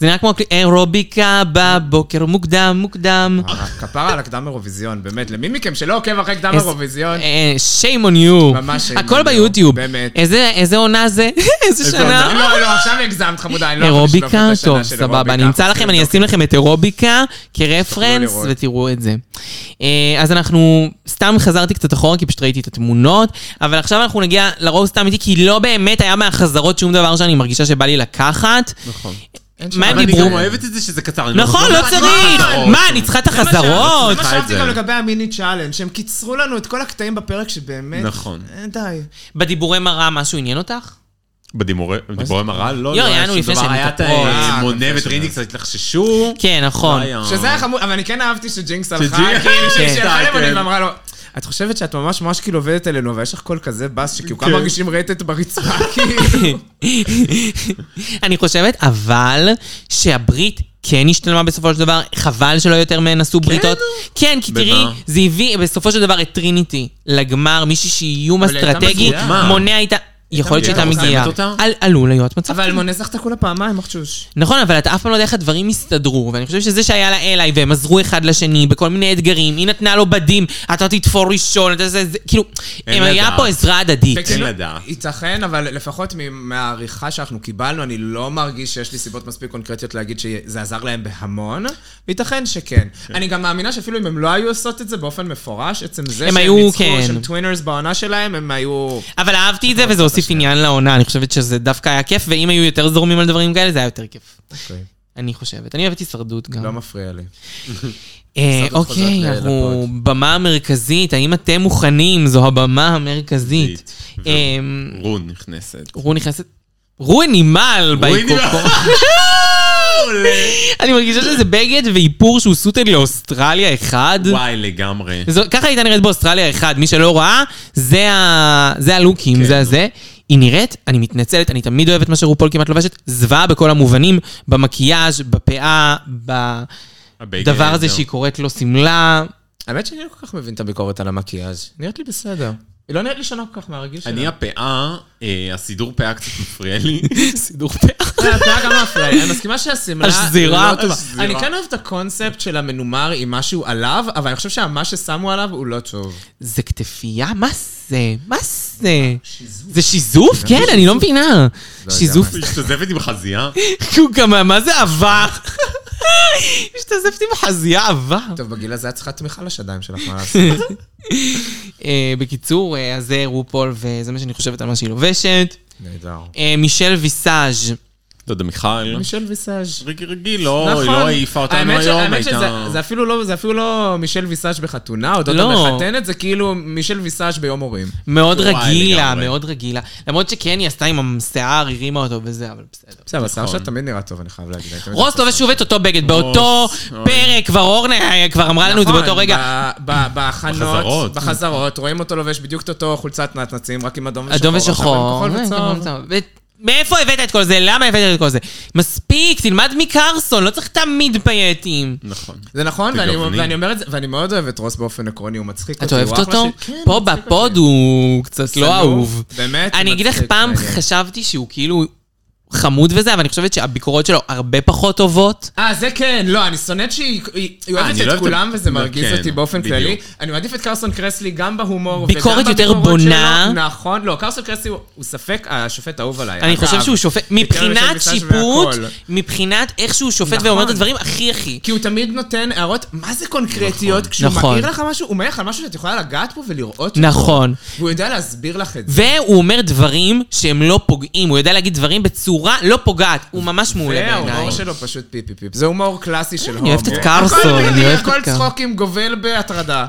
Speaker 2: זה נראה כמו אירוביקה בבוקר מוקדם, מוקדם.
Speaker 4: אה, כפרה על הקדם אירוויזיון, באמת, למי מכם שלא עוקב אחרי קדם
Speaker 2: איזה-
Speaker 4: אירוויזיון?
Speaker 2: אה, שיים און יו.
Speaker 4: אה. ממש shame on
Speaker 2: הכל
Speaker 4: you,
Speaker 2: ביוטיוב.
Speaker 4: באמת.
Speaker 2: איזה איזה עונה זה? איזה שנה?
Speaker 4: לא, לא, עכשיו הגזמת, חמודה, אני לא יכול לשלוף את
Speaker 2: אירוביקה?
Speaker 4: השנה
Speaker 2: טוב,
Speaker 4: של
Speaker 2: סבבה.
Speaker 4: אירוביקה.
Speaker 2: אני אמצא לכם, אני אשים לכם את אירוביקה כרפרנס,
Speaker 4: לראות.
Speaker 2: ותראו את זה. אה, אז אנחנו, סתם חזרתי קצת אחורה, כי פשוט ראיתי את התמונות, אבל עכשיו אנחנו נגיע לרוסט האמיתי, כי לא באמת היה מהחזרות שום דבר שאני מרגישה שבא לי לקחת.
Speaker 4: נכון. אין
Speaker 2: מה
Speaker 4: שום-
Speaker 2: הם
Speaker 3: אבל אני
Speaker 2: דיברו?
Speaker 3: גם אוהבת את זה שזה קצר. אני
Speaker 2: נכון, לא
Speaker 3: יודעת
Speaker 2: צריך!
Speaker 3: החזרות.
Speaker 2: מה, אני צריכה את החזרות?
Speaker 4: זה מה
Speaker 3: צריכה את
Speaker 4: שאמרתי
Speaker 3: זה.
Speaker 4: גם לגבי המיני צ'אלנג', שהם קיצרו לנו את כל הקטעים בפרק שבאמת...
Speaker 3: נכון.
Speaker 4: אה, די.
Speaker 2: בדיבורי מראה משהו עניין אותך?
Speaker 3: בדיבורי בדיבורי מראה? לא,
Speaker 2: יואי,
Speaker 3: לא
Speaker 2: היה לנו
Speaker 3: שום
Speaker 2: לפני
Speaker 3: דבר.
Speaker 2: שהן
Speaker 3: היה את
Speaker 2: מתאפרות.
Speaker 4: אה,
Speaker 3: מונה
Speaker 4: לפני
Speaker 3: וטרינדי קצת התלחששו.
Speaker 2: כן, נכון.
Speaker 3: לא היה.
Speaker 4: שזה היה חמור, אבל אני כן אהבתי שג'ינקס הלכה,
Speaker 3: שג'ינקס-
Speaker 4: כאילו,
Speaker 2: כן.
Speaker 4: שהיא שלחה
Speaker 3: כן.
Speaker 4: לבונים ואמרה לו, את חושבת שאת ממש ממש כאילו עובדת עלינו, אבל יש לך קול כזה בס, שכאילו
Speaker 3: כן.
Speaker 4: כמה מרגישים רטט ברצפה, כאילו.
Speaker 2: אני חושבת, אבל, שהברית כן השתלמה בסופו של דבר, חבל שלא יותר מהן עשו בריתות. כן, כי
Speaker 3: במה?
Speaker 2: תראי, זה הביא בסופו של דבר את טריניטי לגמר, מישהי שהיא איום
Speaker 4: אבל היא הייתה
Speaker 2: אסטרטגי,
Speaker 4: מזוהה.
Speaker 3: מה?
Speaker 2: מונע איתה... יכול להיות שהייתה
Speaker 3: מגיעה, רוצה
Speaker 2: מגיעה.
Speaker 3: לאמת אותה?
Speaker 2: על- עלול להיות מצב.
Speaker 4: אבל
Speaker 2: כזה.
Speaker 4: מונה זכתה כולה פעמיים, מחשוש.
Speaker 2: נכון, אבל אתה אף פעם לא יודע איך הדברים הסתדרו, ואני חושב שזה שהיה לה אליי, והם עזרו אחד לשני בכל מיני אתגרים, היא נתנה לו בדים, אתה תתפור ראשון, אתה זה, זה, כאילו,
Speaker 3: אין
Speaker 2: הם היה
Speaker 3: לדעת.
Speaker 2: פה עזרה הדדית.
Speaker 3: תקשיב,
Speaker 4: כאילו,
Speaker 3: לדעת.
Speaker 4: ייתכן, אבל לפחות מ- מהעריכה שאנחנו קיבלנו, אני לא מרגיש שיש לי סיבות מספיק קונקרטיות להגיד שזה עזר להם בהמון, וייתכן שכן.
Speaker 3: כן.
Speaker 4: אני גם מאמינה שאפילו אם הם לא היו עושות את זה באופן מפורש, עצם זה
Speaker 2: הם
Speaker 4: שהם
Speaker 2: היו,
Speaker 4: ניצחו,
Speaker 2: כן.
Speaker 4: שהם טווינרס בעונה שלהם, הם היו...
Speaker 2: אבל אהבתי את זה, וזה הוסיף עניין לעונה, אני חושבת שזה דווקא היה כיף, ואם היו יותר זורמים על דברים כאלה, זה היה יותר כיף. אני חושבת. אני אוהבת הישרדות גם.
Speaker 4: אוקיי, לא מפריע לי.
Speaker 2: אה,
Speaker 4: הישרדות
Speaker 2: אוקיי,
Speaker 4: חוזרת
Speaker 2: אנחנו
Speaker 4: לפוד.
Speaker 2: במה המרכזית, האם אתם מוכנים? זו הבמה המרכזית.
Speaker 3: ו-
Speaker 2: אמ,
Speaker 3: רון נכנסת. לא.
Speaker 2: רו נכנסת... רו נימל
Speaker 3: רואי
Speaker 2: בייקוקו. אני מרגישה שזה בגד ואיפור שהוא סוטד לאוסטרליה אחד.
Speaker 3: וואי, לגמרי.
Speaker 2: זו, ככה הייתה נראית באוסטרליה אחד, מי שלא ראה, זה, ה, זה הלוקים,
Speaker 3: כן.
Speaker 2: זה הזה. היא נראית, אני מתנצלת, אני תמיד אוהבת מה שרופול כמעט לובשת, זוועה בכל המובנים, במקיאז', בפאה,
Speaker 3: הבגד,
Speaker 2: בדבר הזה
Speaker 3: זהו.
Speaker 2: שהיא קוראת לו שמלה.
Speaker 4: האמת שאני לא כל כך מבין את הביקורת על המקיאז'. נראית לי בסדר. היא לא נראית לי שונה כל כך מהרגיל שלה.
Speaker 3: אני הפאה, אה, הסידור פאה קצת מפריע לי.
Speaker 2: סידור פאה.
Speaker 4: כן, הפאה גם מפריע לי. אני מסכימה שהשמלה
Speaker 2: השזירה,
Speaker 4: לא טובה.
Speaker 3: השזירה.
Speaker 4: אני כן אוהב את הקונספט של המנומר עם משהו עליו, אבל אני חושב שמה ששמו עליו הוא לא טוב.
Speaker 2: זה כתפייה? מה זה? מה זה? זה שיזוף? כן, אני לא מבינה. שיזוף
Speaker 3: היא משתזפת עם חזייה.
Speaker 2: כאילו גם, מה זה עבר? השתזפת עם חזייה עבר.
Speaker 4: טוב, בגיל הזה את צריכה תמיכה לשדיים שלך, מה לעשות?
Speaker 2: אה, בקיצור, אה, אז זה רופול, וזה מה שאני חושבת על מה שהיא לובשת.
Speaker 4: נהדר.
Speaker 2: אה, מישל ויסאז'
Speaker 3: דודה לא מיכל.
Speaker 4: מישל ויסאז'. נכון.
Speaker 3: רגיל רגיל, לא,
Speaker 2: נכון.
Speaker 3: היא לא העיפה אותנו
Speaker 4: האמת ש-
Speaker 3: היום,
Speaker 4: האמת
Speaker 3: הייתה...
Speaker 4: שזה זה אפילו לא- זה אפילו לא מישל ויסאז' בחתונה, או דודה
Speaker 2: לא.
Speaker 4: מחתנת, זה כאילו מישל ויסאז' ביום הורים.
Speaker 2: מאוד
Speaker 3: וואי,
Speaker 2: רגילה,
Speaker 3: לגמרי.
Speaker 2: מאוד רגילה. למרות שכן, היא עשתה עם השיער, הרימה אותו וזה, אבל בסדר. נכון.
Speaker 4: בסדר, השיער שלה תמיד נראה טוב, אני חייב להגיד. הייתם
Speaker 2: רוס לובש שוב את אותו בגד, באותו
Speaker 3: אוי.
Speaker 2: פרק, כבר אורנה אה, כבר אמרה לנו את זה
Speaker 4: נכון,
Speaker 2: באותו רגע.
Speaker 4: ב- ב- בהכנות,
Speaker 3: בחזרות.
Speaker 4: בחזרות, רואים אותו לובש בדיוק את אותו חולצת נצנצים, רק עם אדום ושחור.
Speaker 2: אדום
Speaker 4: עכשיו
Speaker 2: ושחור.
Speaker 4: עם
Speaker 2: אה,
Speaker 4: כחול
Speaker 2: כחול
Speaker 4: וצהוב.
Speaker 2: וצהוב. ו- מאיפה הבאת את כל זה? למה הבאת את כל זה? מספיק, תלמד מקרסון, לא צריך תמיד פייטים.
Speaker 3: נכון.
Speaker 4: זה נכון, ואני-
Speaker 3: תגווני.
Speaker 4: ואני אומר את זה, ואני מאוד אוהב את רוס באופן עקרוני, הוא מצחיק אותי.
Speaker 2: את אוהבת
Speaker 4: הוא אחלה
Speaker 2: אותו?
Speaker 4: של- כן,
Speaker 2: פה
Speaker 4: מצחיק
Speaker 2: בפוד
Speaker 4: אותי.
Speaker 2: הוא קצת
Speaker 4: שנוא,
Speaker 2: לא אהוב.
Speaker 4: באמת,
Speaker 2: אני אגיד לך,
Speaker 4: מצחיק,
Speaker 2: פעם
Speaker 4: מעניין.
Speaker 2: חשבתי שהוא כאילו חמוד וזה, אבל אני חושבת שהביקורות שלו הרבה פחות טובות.
Speaker 4: אה, זה כן, לא, אני שונאת שהיא היא- היא
Speaker 3: אני לא
Speaker 4: אוהבת
Speaker 3: אוהב
Speaker 4: את
Speaker 3: את
Speaker 4: כולם
Speaker 3: ה-
Speaker 4: וזה
Speaker 3: לא,
Speaker 4: מרגיז
Speaker 3: כן,
Speaker 4: אותי באופן
Speaker 3: בדיוק.
Speaker 4: כללי. אני מעדיף את קרסון קרסלי גם בהומור וגם
Speaker 2: ביקורת יותר
Speaker 4: בביקורות
Speaker 2: בונה.
Speaker 4: שלו. נכון, לא, קרסון קרסלי הוא- הוא ספק השופט האהוב עליי.
Speaker 2: אני
Speaker 4: אגב,
Speaker 2: חושב שהוא שופט,
Speaker 4: ביקר בשם
Speaker 2: מבחינת
Speaker 4: ויסאז'
Speaker 2: שיפוט,
Speaker 4: כן, והכל.
Speaker 2: מבחינת איך שהוא שופט
Speaker 4: נכון.
Speaker 2: ואומר את הדברים הכי הכי.
Speaker 4: כי הוא תמיד נותן הערות, מה זה קונקרטיות? כשהוא
Speaker 2: נכון.
Speaker 4: מכיר לך משהו, הוא מעיר לך על משהו שאת יכולה לגעת בו ולראות.
Speaker 2: נכון.
Speaker 4: והוא יודע להסביר לך את זה.
Speaker 2: והוא אומר דברים שהם לא פוגעים, הוא יודע להגיד דברים בצורה לא פוגעת, הוא ממש מעולה בעיניי.
Speaker 4: וההומור שלו פשוט פיפי פיפ. זה הומור קלאסי של הומו.
Speaker 2: אוהבת את קרסון,
Speaker 4: הכל
Speaker 2: אני
Speaker 4: מיני,
Speaker 2: אוהבת את
Speaker 4: הכל
Speaker 2: קרסון.
Speaker 4: צחוקים גובל בהטרדה.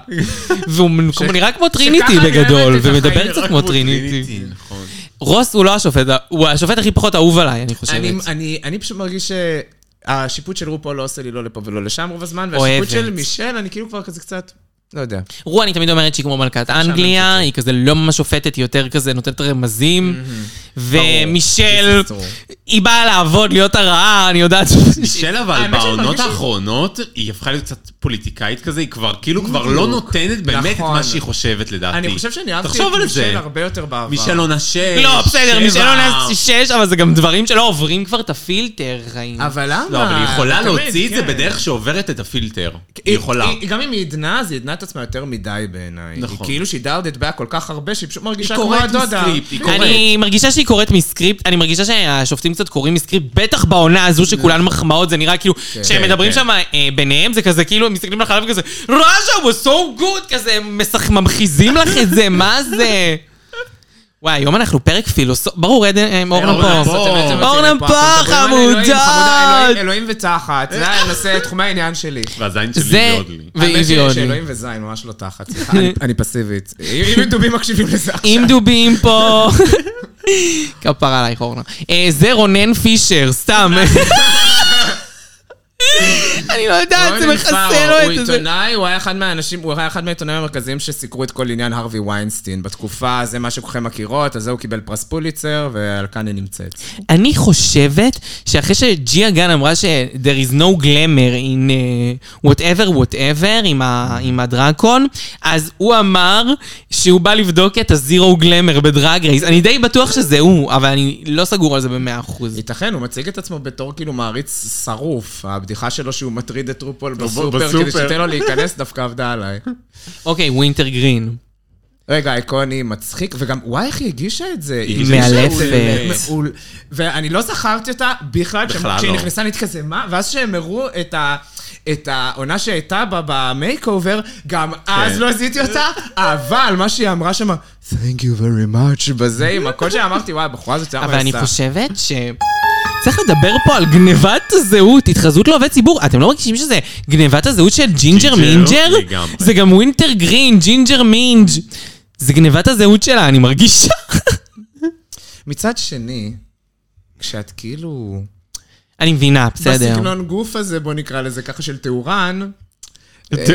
Speaker 2: והוא
Speaker 4: ש-
Speaker 2: נראה כמו
Speaker 4: שככה
Speaker 2: טריניטי
Speaker 4: אני
Speaker 2: בגדול,
Speaker 4: אוהבת את
Speaker 2: ומדבר
Speaker 4: החיים,
Speaker 2: קצת
Speaker 4: רק
Speaker 2: כמו
Speaker 3: הוא
Speaker 2: טריניטי.
Speaker 3: נכון.
Speaker 2: רוס הוא לא השופט, ה- הוא השופט הכי פחות אהוב עליי, אני חושבת.
Speaker 4: אני- אני אני פשוט מרגיש שהשיפוט של רופו לא עושה לי לא לפה ולא לשם רוב הזמן,
Speaker 2: אוהבת.
Speaker 4: והשיפוט של מישל, אני כאילו כבר כזה קצת, לא יודע.
Speaker 2: רו, אני תמיד אומרת שהיא כמו מלכת אנגליה, היא כזה לא ממש שופטת, היא יותר כזה נותנת רמזים. ומישל,
Speaker 4: This is true.
Speaker 2: היא באה לעבוד, להיות הרעה, אני יודעת.
Speaker 3: מישל אבל
Speaker 4: האמת שאני
Speaker 3: בעונות
Speaker 4: מרגיש שהיא-
Speaker 3: האחרונות, היא הפכה להיות קצת פוליטיקאית כזה, היא כבר כאילו כבר לא נותנת באמת את
Speaker 4: נכון.
Speaker 3: מה שהיא חושבת לדעתי.
Speaker 4: אני חושב שאני אהבתי
Speaker 3: אוקיי. תחשוב
Speaker 4: את
Speaker 3: על
Speaker 4: מישל
Speaker 3: זה.
Speaker 4: הרבה יותר בעבר.
Speaker 3: מישל עונה שש,
Speaker 2: לא, בסדר,
Speaker 3: אה, שבע.
Speaker 2: מישל עונה שש, אבל זה גם דברים שלא עוברים כבר את הפילטר, חיים.
Speaker 4: אבל למה?
Speaker 3: לא, אבל היא יכולה
Speaker 4: תמיד,
Speaker 3: להוציא את זה
Speaker 4: כן.
Speaker 3: בדרך שעוברת את הפילטר. היא יכולה.
Speaker 4: היא- גם אם היא עדנה, אז היא עדנה את עצמה יותר מדי בעיניי. נכון.
Speaker 3: נכון.
Speaker 4: היא כאילו שהיא דארדד ביה כל כך הרבה, שהיא פשוט מרגישה
Speaker 3: היא
Speaker 4: כמו
Speaker 3: קוראת
Speaker 4: הדודה.
Speaker 3: מסקריפט, היא קוראת.
Speaker 2: אני מרגישה שהיא קוראת מסקריפט, אני מרגישה שהשופטים קצת קוראים מסקריפט, בטח בעונה הזו שכולן מחמאות, זה נראה כאילו, כשהם
Speaker 3: כן,
Speaker 2: מדברים
Speaker 3: כן.
Speaker 2: שם אה, ביניהם, זה כזה כאילו, הם מסתכלים לך עליו כזה, ראז'ה, הוא so good, כזה, הם משח- ממחיזים לך את זה, מה זה? וואי, היום אנחנו פרק פילוסופ... ברור, עדן, אה, אורנה
Speaker 3: אורנה
Speaker 2: פה.
Speaker 3: פה.
Speaker 2: אורנה פח, חמודה.
Speaker 4: אלוהים ותחת, זה הנושא, תחומי העניין שלי.
Speaker 3: והזין שלי
Speaker 2: זה...
Speaker 3: מאוד לי.
Speaker 4: האמת
Speaker 2: ואיזי
Speaker 4: שלי
Speaker 2: אוני.
Speaker 4: שאלוהים וזין, ממש לא תחת, סליחה, אני- אני פסיבית. אם אם דובים מקשיבים לזה
Speaker 2: עם
Speaker 4: עכשיו.
Speaker 2: דובים פה. כפרה עלייך, אורנה. אה, זה רונן פישר, סתם. אני לא יודעת, זה
Speaker 4: רוני
Speaker 2: מכסה
Speaker 4: פארו,
Speaker 2: לו
Speaker 4: הוא
Speaker 2: את זה.
Speaker 4: עיתונאי, הוא היה אחד מהאנשים, הוא היה אחד מהעיתונאים המרכזיים שסיקרו את כל עניין הרווי ויינסטין. בתקופה, זה מה שכולכם מכירות, על זה הוא קיבל פרס פוליצר, ועל כאן היא נמצאת.
Speaker 2: אני חושבת שאחרי שג'יה גן אמרה ש- there is no glamour in uh, whatever whatever עם, ה, עם הדרקון, אז הוא אמר שהוא בא לבדוק את הזירו גלמר בדרג רייס. אני די בטוח שזה הוא, אבל אני לא סגור על זה במאה אחוז.
Speaker 4: ייתכן, הוא מציג את עצמו בתור כאילו מעריץ שרוף. הבדיחה שלו שהוא מטריד את טרופול בסופר,
Speaker 3: בסופר.
Speaker 4: כדי שתיתן לו להיכנס, דווקא עבדה עליי.
Speaker 2: אוקיי, ווינטר גרין.
Speaker 4: רגע, איקוני מצחיק, וגם, וואי, איך היא הגישה את זה? היא
Speaker 2: הגישה
Speaker 4: הגישה
Speaker 2: מאלפת.
Speaker 4: מעולה, מעול. ואני לא זכרתי אותה בכלל,
Speaker 3: כן. בכלל
Speaker 4: כשהם- כשהיא
Speaker 3: לא.
Speaker 4: נכנסה, אני הייתי כזה, מה? ואז שהם הראו את ה... את העונה שהייתה בה במייק אובר, גם
Speaker 3: כן.
Speaker 4: אז לא זיהיתי אותה, אבל מה שהיא אמרה שם, Thank you very much, בזה, עם הקול שלה, אמרתי, וואי, הבחורה הזאת
Speaker 2: אבל אני
Speaker 4: מהסף."
Speaker 2: חושבת ש... צריך לדבר פה על גנבת הזהות, התחזות לעובד ציבור. אתם לא מרגישים שזה גנבת הזהות של ג'ינג'ר
Speaker 3: ג'ינג'ר?
Speaker 2: מינג'ר?
Speaker 3: לגמרי.
Speaker 2: זה גם ווינטר גרין, ג'ינג'ר מינג'. זה גנבת הזהות שלה, אני מרגישה.
Speaker 4: מצד שני, כשאת כאילו...
Speaker 2: אני מבינה, בסדר.
Speaker 4: בסגנון גוף הזה, בוא נקרא לזה ככה, של טהורן. אה,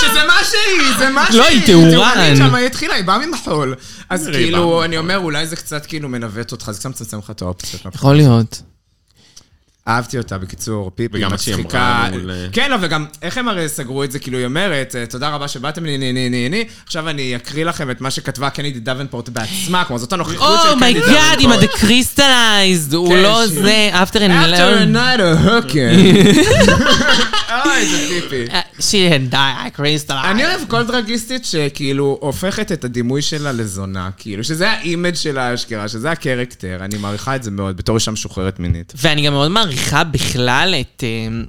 Speaker 4: שזה מה שהיא, זה מה שהיא.
Speaker 2: לא, היא טהורן.
Speaker 4: טהורנית שם, היא התחילה, היא באה ממחול. אז
Speaker 3: היא
Speaker 4: כאילו,
Speaker 3: באה
Speaker 4: אני אומר, אולי זה קצת כאילו מנווט אותך, זה קצת מצמצם לך את האופציות.
Speaker 2: יכול להיות.
Speaker 4: אהבתי אותה, בקיצור, פיפי
Speaker 3: וגם מה שהיא
Speaker 4: מצחיקה.
Speaker 3: אמרה מול, אה,
Speaker 4: כן, לא, וגם, איך הם הרי סגרו את זה? כאילו, היא אומרת, אה, תודה רבה שבאתם, ני, ני, ני, ני, ני. עכשיו אני אקריא לכם את מה שכתבה קנדי דוונפורט בעצמה, כלומר, זאת הנוכחות
Speaker 3: Oh
Speaker 4: של קנדי
Speaker 2: אומייגאד, עם
Speaker 4: דוונפורט.
Speaker 2: ה-Decristallized, הוא
Speaker 4: כן,
Speaker 2: לא
Speaker 4: שהיא-
Speaker 2: זה, after an
Speaker 4: After a
Speaker 2: alone.
Speaker 4: night of hooking. אוי, זה פיפי.
Speaker 2: Uh, She had died, crystallized.
Speaker 4: אני אוהב כל דרגיסטית שכאילו הופכת את הדימוי שלה לזונה, כאילו, שזה האימג' שלה אשכרה, שזה הקרקטר, אני מעריכה את זה מאוד, בתור אישה משוחררת מינית.
Speaker 2: ואני גם מאוד מעריכה בכלל את... אמ,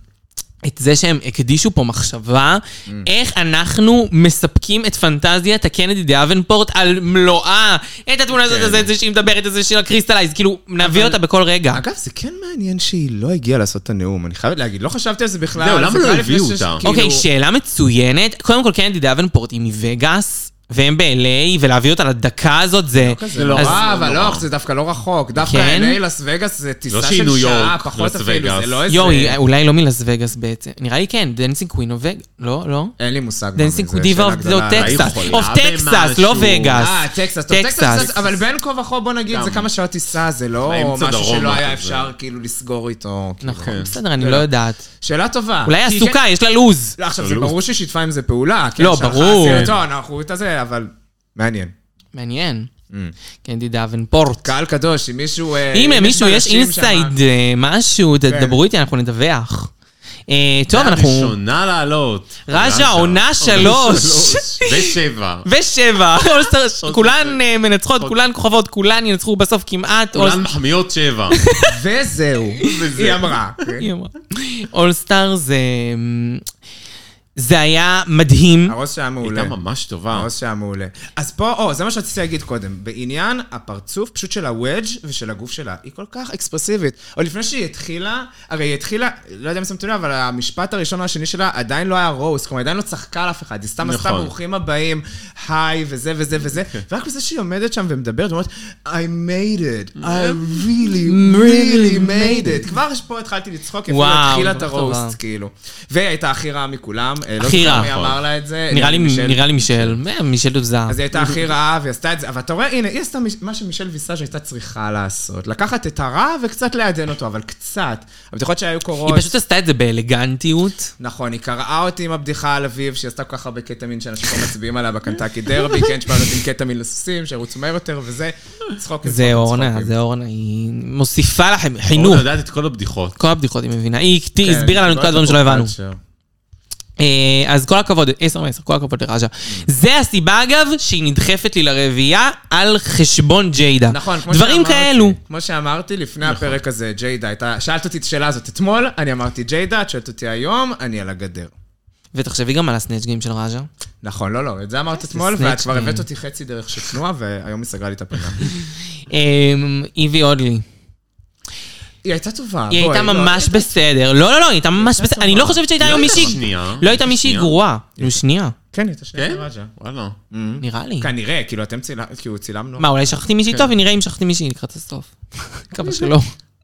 Speaker 2: את זה שהם הקדישו פה מחשבה,
Speaker 4: Mm.
Speaker 2: איך אנחנו מספקים את פנטזיית הקנדי דאבנפורט על מלואה. את התמונה
Speaker 4: כן.
Speaker 2: הזאת, הזה, את זה שהיא מדברת, את זה של הקריסטלייז, כאילו, נביא אותה בכל רגע.
Speaker 4: אגב, זה כן מעניין שהיא לא הגיעה לעשות את הנאום, אני חייבת להגיד, לא חשבתי על זה בכלל.
Speaker 3: זהו, למה
Speaker 4: זה
Speaker 3: לא
Speaker 4: קרה לפני
Speaker 3: הביאו
Speaker 4: שש-
Speaker 3: אותה?
Speaker 4: כאילו-
Speaker 2: אוקיי, שאלה מצוינת. קודם כל, קנדי דאבנפורט היא מווגאס, והם ב-LA, ולהביא אותה לדקה הזאת זה...
Speaker 4: זה לא
Speaker 2: אז-
Speaker 4: רע, אבל לא, זה דווקא לא רחוק. דווקא
Speaker 2: כן?
Speaker 4: LA לס וגאס זה טיסה
Speaker 3: לא שהיא
Speaker 4: של
Speaker 3: ניו
Speaker 4: שעה,
Speaker 3: יורק, אה,
Speaker 4: פחות
Speaker 3: לס
Speaker 4: אפילו,
Speaker 3: וגאס.
Speaker 4: זה לא איזה...
Speaker 2: יואו, היא אולי לא מלאס וגאס בעצם. נראה לי כן, דנסינג קווין אוף וגאס. לא, לא.
Speaker 4: אין לי מושג. מה
Speaker 2: דנסינג
Speaker 4: מזה,
Speaker 2: דיבה
Speaker 4: שאלה
Speaker 2: אוף
Speaker 4: גדולה.
Speaker 2: טקסס.
Speaker 3: היא
Speaker 2: אוף
Speaker 3: חולה
Speaker 2: טקסס, לא
Speaker 3: במשהו.
Speaker 2: וגאס.
Speaker 4: אה, טקסס, טוב, טקסס, אבל בין כה וכה, בוא נגיד,
Speaker 3: גם.
Speaker 4: זה כמה שעות טיסה, זה לא
Speaker 3: לאמצע
Speaker 4: משהו שלא
Speaker 3: דרומה
Speaker 4: היה
Speaker 3: כזה.
Speaker 4: אפשר כאילו לסגור איתו. כאילו.
Speaker 2: נכון, בסדר, אני לא יודעת.
Speaker 4: שאלה טובה.
Speaker 2: אולי
Speaker 4: כי
Speaker 2: עסוקה, יש לה לוז.
Speaker 4: כן- לא, עכשיו, זה ברור שהיא שיתפה עם זה פעולה. כן,
Speaker 2: לא,
Speaker 4: שלחה
Speaker 2: ברור.
Speaker 4: סרטון, אנחנו את הזה, אבל... מעניין.
Speaker 2: מעניין.
Speaker 4: Mm.
Speaker 2: קנדי דאבנפורט.
Speaker 4: קהל קדוש, אם מישהו... אה,
Speaker 2: אם למישהו יש
Speaker 4: אנשים
Speaker 2: אינסייד
Speaker 4: שמה-
Speaker 2: אה, משהו,
Speaker 4: כן.
Speaker 2: תדברו איתי, אנחנו נדווח. אה, טוב, אנחנו...
Speaker 3: ראשונה לעלות.
Speaker 2: רג'ה, עונה שלוש.
Speaker 3: ושבע.
Speaker 2: ושבע, כולן אה, מנצחות, כולן כוכבות, כולן ינצחו בסוף כמעט.
Speaker 3: כולן מחמיאות שבע.
Speaker 4: וזהו, היא אמרה. כן.
Speaker 2: אולסטאר זה... אה, זה היה מדהים.
Speaker 4: הראש שהיה מעולה.
Speaker 3: הייתה ממש טובה.
Speaker 4: הראש שהיה מעולה. אז פה, או, זה מה שרציתי להגיד קודם. בעניין הפרצוף פשוט של הוודג' ושל הגוף שלה, היא כל כך אקספרסיבית. עוד לפני שהיא התחילה, הרי היא התחילה, לא יודע אם שמתם לב, אבל המשפט הראשון או השני שלה עדיין לא היה רוסט, כלומר, עדיין לא צחקה על אף אחד, היא סתם עשתה
Speaker 3: נכון.
Speaker 4: ברוכים הבאים, היי, וזה וזה וזה,
Speaker 2: אוקיי.
Speaker 4: ורק בזה שהיא עומדת שם ומדברת, ואומרת, I made it, I
Speaker 2: Mm.
Speaker 4: really, really made it. כבר פה התחלתי לצחוק, היא אפילו
Speaker 2: וואו,
Speaker 4: התחילה את
Speaker 2: כל כך טובה.
Speaker 4: הרוסט, כאילו. והיא הייתה הכי רעה מכולם, אה, לא
Speaker 2: הכי
Speaker 4: זוכר
Speaker 2: רעה. נכון.
Speaker 4: מי אמר לה את זה.
Speaker 2: נראה לי
Speaker 4: מישל.
Speaker 2: נראה לי מישל. אה, מישל דובזה.
Speaker 4: אז היא הייתה הכי רעה, והיא עשתה את זה, אבל אתה רואה, הנה, היא עשתה מש- מה שמישל ויסאז' הייתה צריכה לעשות. לקחת את הרע וקצת לעדן אותו, אבל קצת. הבדיחות שהיו קורות...
Speaker 2: היא פשוט עשתה את זה באלגנטיות.
Speaker 4: נכון, היא קראה אותי עם הבדיחה על אביב, שהיא עשתה כל כך הרבה קטמין שאנשים כבר מצביעים עליה בקנטקי דרבי, כן, שפעם נותנים קטמין לסוסים, שירוצו מהר יותר, וזה צחוקים.
Speaker 2: זה
Speaker 4: צחוקים,
Speaker 2: אורנה,
Speaker 4: צחוקים.
Speaker 2: זה אורנה, היא מוסיפה לכם
Speaker 3: נו.
Speaker 2: חינוך.
Speaker 3: את יודעת את כל הבדיחות.
Speaker 2: כל הבדיחות היא מבינה, היא הקטי-
Speaker 4: כן,
Speaker 2: הסבירה לנו את כל הדברים שלא הבנו.
Speaker 4: פרופקצ'ר.
Speaker 2: אה, אז כל הכבוד, 10 מ-10, כל הכבוד לראז'ה. זה הסיבה אגב שהיא נדחפת לי לרביעייה על חשבון ג'יידה.
Speaker 4: נכון, כמו
Speaker 2: דברים
Speaker 4: שאמרתי-
Speaker 2: כאלו. נכון.
Speaker 4: כמו שאמרתי לפני הפרק הזה, ג'יידה הייתה... שאלת אותי את השאלה הזאת אתמול, אני אמרתי ג'יידה, את שואלת אותי היום, אני על הגדר.
Speaker 2: ותחשבי גם על הסנאצ' גיים של ראז'ה.
Speaker 4: נכון, לא, לא, את זה אמרת אתמול,
Speaker 2: סנאצ'
Speaker 4: ואת כבר
Speaker 2: גיים.
Speaker 4: הבאת אותי חצי דרך של תנועה, והיום היא סגרה לי את הפינה.
Speaker 2: אה, איבי אודלי.
Speaker 4: היא הייתה טובה,
Speaker 2: היא
Speaker 4: בואי,
Speaker 2: הייתה
Speaker 4: לא,
Speaker 2: ממש בסדר. לא, לא, לא, היא הייתה ממש בסדר. אני לא חושבת שהייתה היום מישהי...
Speaker 3: שנייה.
Speaker 2: לא הייתה מישהי
Speaker 3: שנייה.
Speaker 2: גרועה. נו, שנייה.
Speaker 4: כן, היא הייתה שנייה
Speaker 3: כן?
Speaker 4: בראז'ה.
Speaker 3: וואלה.
Speaker 2: נראה לי.
Speaker 4: כנראה, כאילו, אתם צילמתם, כאילו, צילמנו.
Speaker 2: מה, אולי שכחתי
Speaker 4: כן.
Speaker 2: מישהי טוב, ונראה אם שכחתי מישהי לקראת הסוף. כמה שלא.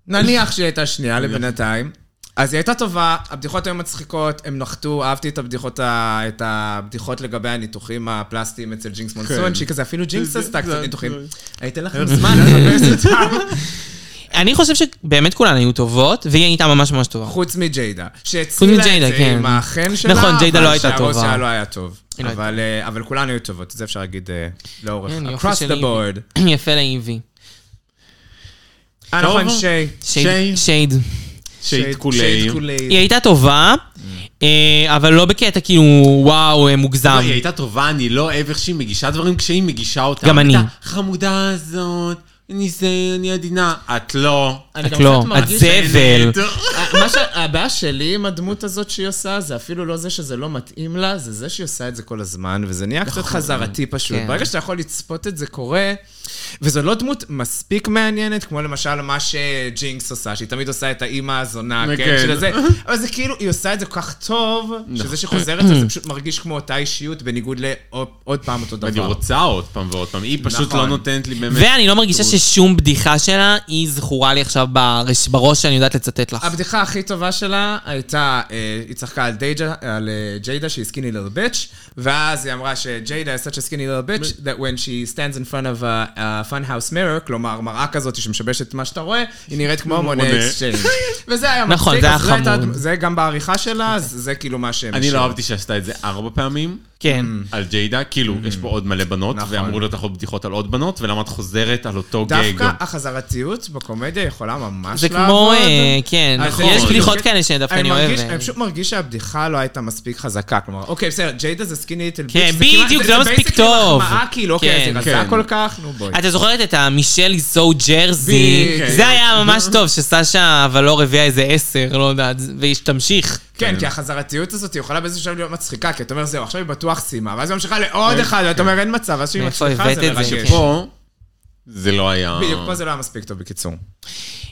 Speaker 4: נניח שהיא הייתה שנייה לבינתיים. אז היא הייתה טובה, הבדיחות היו מצחיקות, הם נחתו, אהבתי את הבדיחות, ה- את הבדיחות לגבי הניתוחים הפלסטיים אצל ג'ינקס מונסון, שהיא כזה אפילו ג'ינקס
Speaker 3: כן. זה-
Speaker 4: עשתה
Speaker 3: זה-
Speaker 4: קצת
Speaker 3: זה-
Speaker 4: ניתוחים.
Speaker 3: זה-
Speaker 4: אני אתן לכם זמן לחפש אותם,
Speaker 2: אני חושב שבאמת כולן היו טובות, והיא הייתה ממש ממש טובה.
Speaker 4: חוץ מג'יידה. שהצילה את
Speaker 2: מג'יידה,
Speaker 4: זה
Speaker 2: כן.
Speaker 4: עם האחן שלה,
Speaker 2: נכון, ג'יידה לא הייתה
Speaker 4: אבל
Speaker 2: טובה.
Speaker 4: שהראש שלה לא היה טוב.
Speaker 2: היא לא הייתה
Speaker 4: אבל, אה, אבל כולנו היו טובות, זה אפשר להגיד אה, לאורך.
Speaker 2: כן, יופי
Speaker 4: across
Speaker 2: של
Speaker 4: the board.
Speaker 2: איבי. יפה לאיבי.
Speaker 4: אה,
Speaker 3: טוב.
Speaker 4: נכון, שי.
Speaker 2: שייד.
Speaker 3: שייד.
Speaker 2: שייד.
Speaker 3: שייט קולי.
Speaker 2: היא הייתה טובה,
Speaker 4: Mm.
Speaker 2: אה, אבל לא בקטע כאילו, וואו, אה,
Speaker 4: לא,
Speaker 2: מוגזם.
Speaker 3: היא הייתה טובה, אני לא אוהב איך שהיא מגישה דברים כשהיא מגישה אותם.
Speaker 2: גם אני.
Speaker 3: הייתה, חמודה הזאת, אני זה, אני עדינה. את לא.
Speaker 4: אני
Speaker 2: את
Speaker 4: גם
Speaker 2: לא,
Speaker 4: קצת לא
Speaker 2: את
Speaker 4: מרגיש-
Speaker 2: זבל.
Speaker 4: אה, מה ש... הבעיה שלי עם הדמות הזאת שהיא עושה, זה אפילו לא זה שזה לא מתאים לה, זה זה שהיא עושה את זה כל הזמן, וזה נהיה קצת חזרתי פשוט.
Speaker 2: כן.
Speaker 4: ברגע שאתה יכול לצפות את זה קורה, וזו לא דמות מספיק מעניינת, כמו למשל מה שג'ינקס עושה, שהיא תמיד עושה את האימא הזונה, כן,
Speaker 3: כן.
Speaker 4: של זה, אבל זה כאילו, היא עושה את זה כל כך טוב, שזה שחוזר את זה, זה פשוט מרגיש כמו אותה אישיות, בניגוד לעוד פעם אותו
Speaker 3: אני
Speaker 4: דבר.
Speaker 3: רוצה עוד פעם ועוד פעם, היא פשוט
Speaker 4: נכון.
Speaker 3: לא נותנת לי באמת.
Speaker 2: ואני לא מרגישה ששום בדיחה שלה היא זכורה לי עכשיו ברש- בראש שאני יודעת לצטט לך.
Speaker 4: הבדיחה הכי טובה שלה הייתה, אה, היא צחקה על, דייג'ה, על אה, ג'יידה שהיא סקיני ליל ביץ', ואז היא אמרה שג'יידה is such a skinny little bitch that when she stands in front of a, a fun house mirror, כלומר מראה כזאת שמשבשת את מה שאתה רואה, היא נראית כמו מונה
Speaker 3: מונה.
Speaker 4: אקסצ'יינג. וזה היה מצחיק,
Speaker 2: נכון, זה היה
Speaker 4: אז הייתה
Speaker 2: חמוד.
Speaker 4: הדמ- זה גם בעריכה שלה, אז זה כאילו מה שהם...
Speaker 3: אוקיי. אני לא
Speaker 4: השאירו.
Speaker 3: אהבתי שעשתה את זה ארבע פעמים.
Speaker 2: כן.
Speaker 4: Mm.
Speaker 3: על ג'יידה, כאילו, יש פה עוד מלא בנות,
Speaker 4: נכון.
Speaker 3: ואמרו לך עוד בדיחות על עוד בנות, ולמה את חוזרת על אותו גג?
Speaker 4: דווקא החזרתיות בקומדיה יכולה ממש
Speaker 2: זה
Speaker 4: לעבוד.
Speaker 2: כמו, אה, כן,
Speaker 4: אז
Speaker 3: נכון.
Speaker 4: זה-
Speaker 2: יש בדיחות
Speaker 4: אני-
Speaker 2: כאלה שדווקא אני אה.
Speaker 4: מרגיש- אני
Speaker 2: אוהבת.
Speaker 4: פשוט מרגיש שהבדיחה לא הייתה מספיק חזקה, כלומר, אוקיי, בסדר, ג'יידה זה סקיני ליטל ביץ'.
Speaker 2: כן, בדיוק, זה לא מספיק טוב.
Speaker 4: זה מחמאה, כאילו,
Speaker 2: כן,
Speaker 4: אוקיי, זה רזה
Speaker 3: כן.
Speaker 4: כל כך, נו בואי.
Speaker 2: אתה זוכרת את המישל זו ג'רזי?
Speaker 4: בדיוק.
Speaker 2: זה היה ממש טוב, שסשה אבל לא הביאה איזה עשר, לא יודעת, והיא תמשיך.
Speaker 4: כן, כי החזרתיות הזאת היא יכולה באיזשהו שלב להיות מצחיקה, כי אתה אומר, זהו, עכשיו היא בטוח סיימה, ואז היא ממשיכה לעוד אחד, ואתה אומר, אין מצב, ואז שהיא
Speaker 2: כן, מאיפה
Speaker 4: מצליחה,
Speaker 2: הבאת
Speaker 4: זה
Speaker 2: את זה?
Speaker 4: מרגש.
Speaker 2: כן.
Speaker 3: פה, זה לא היה...
Speaker 4: בדיוק, פה זה לא היה מספיק טוב, בקיצור.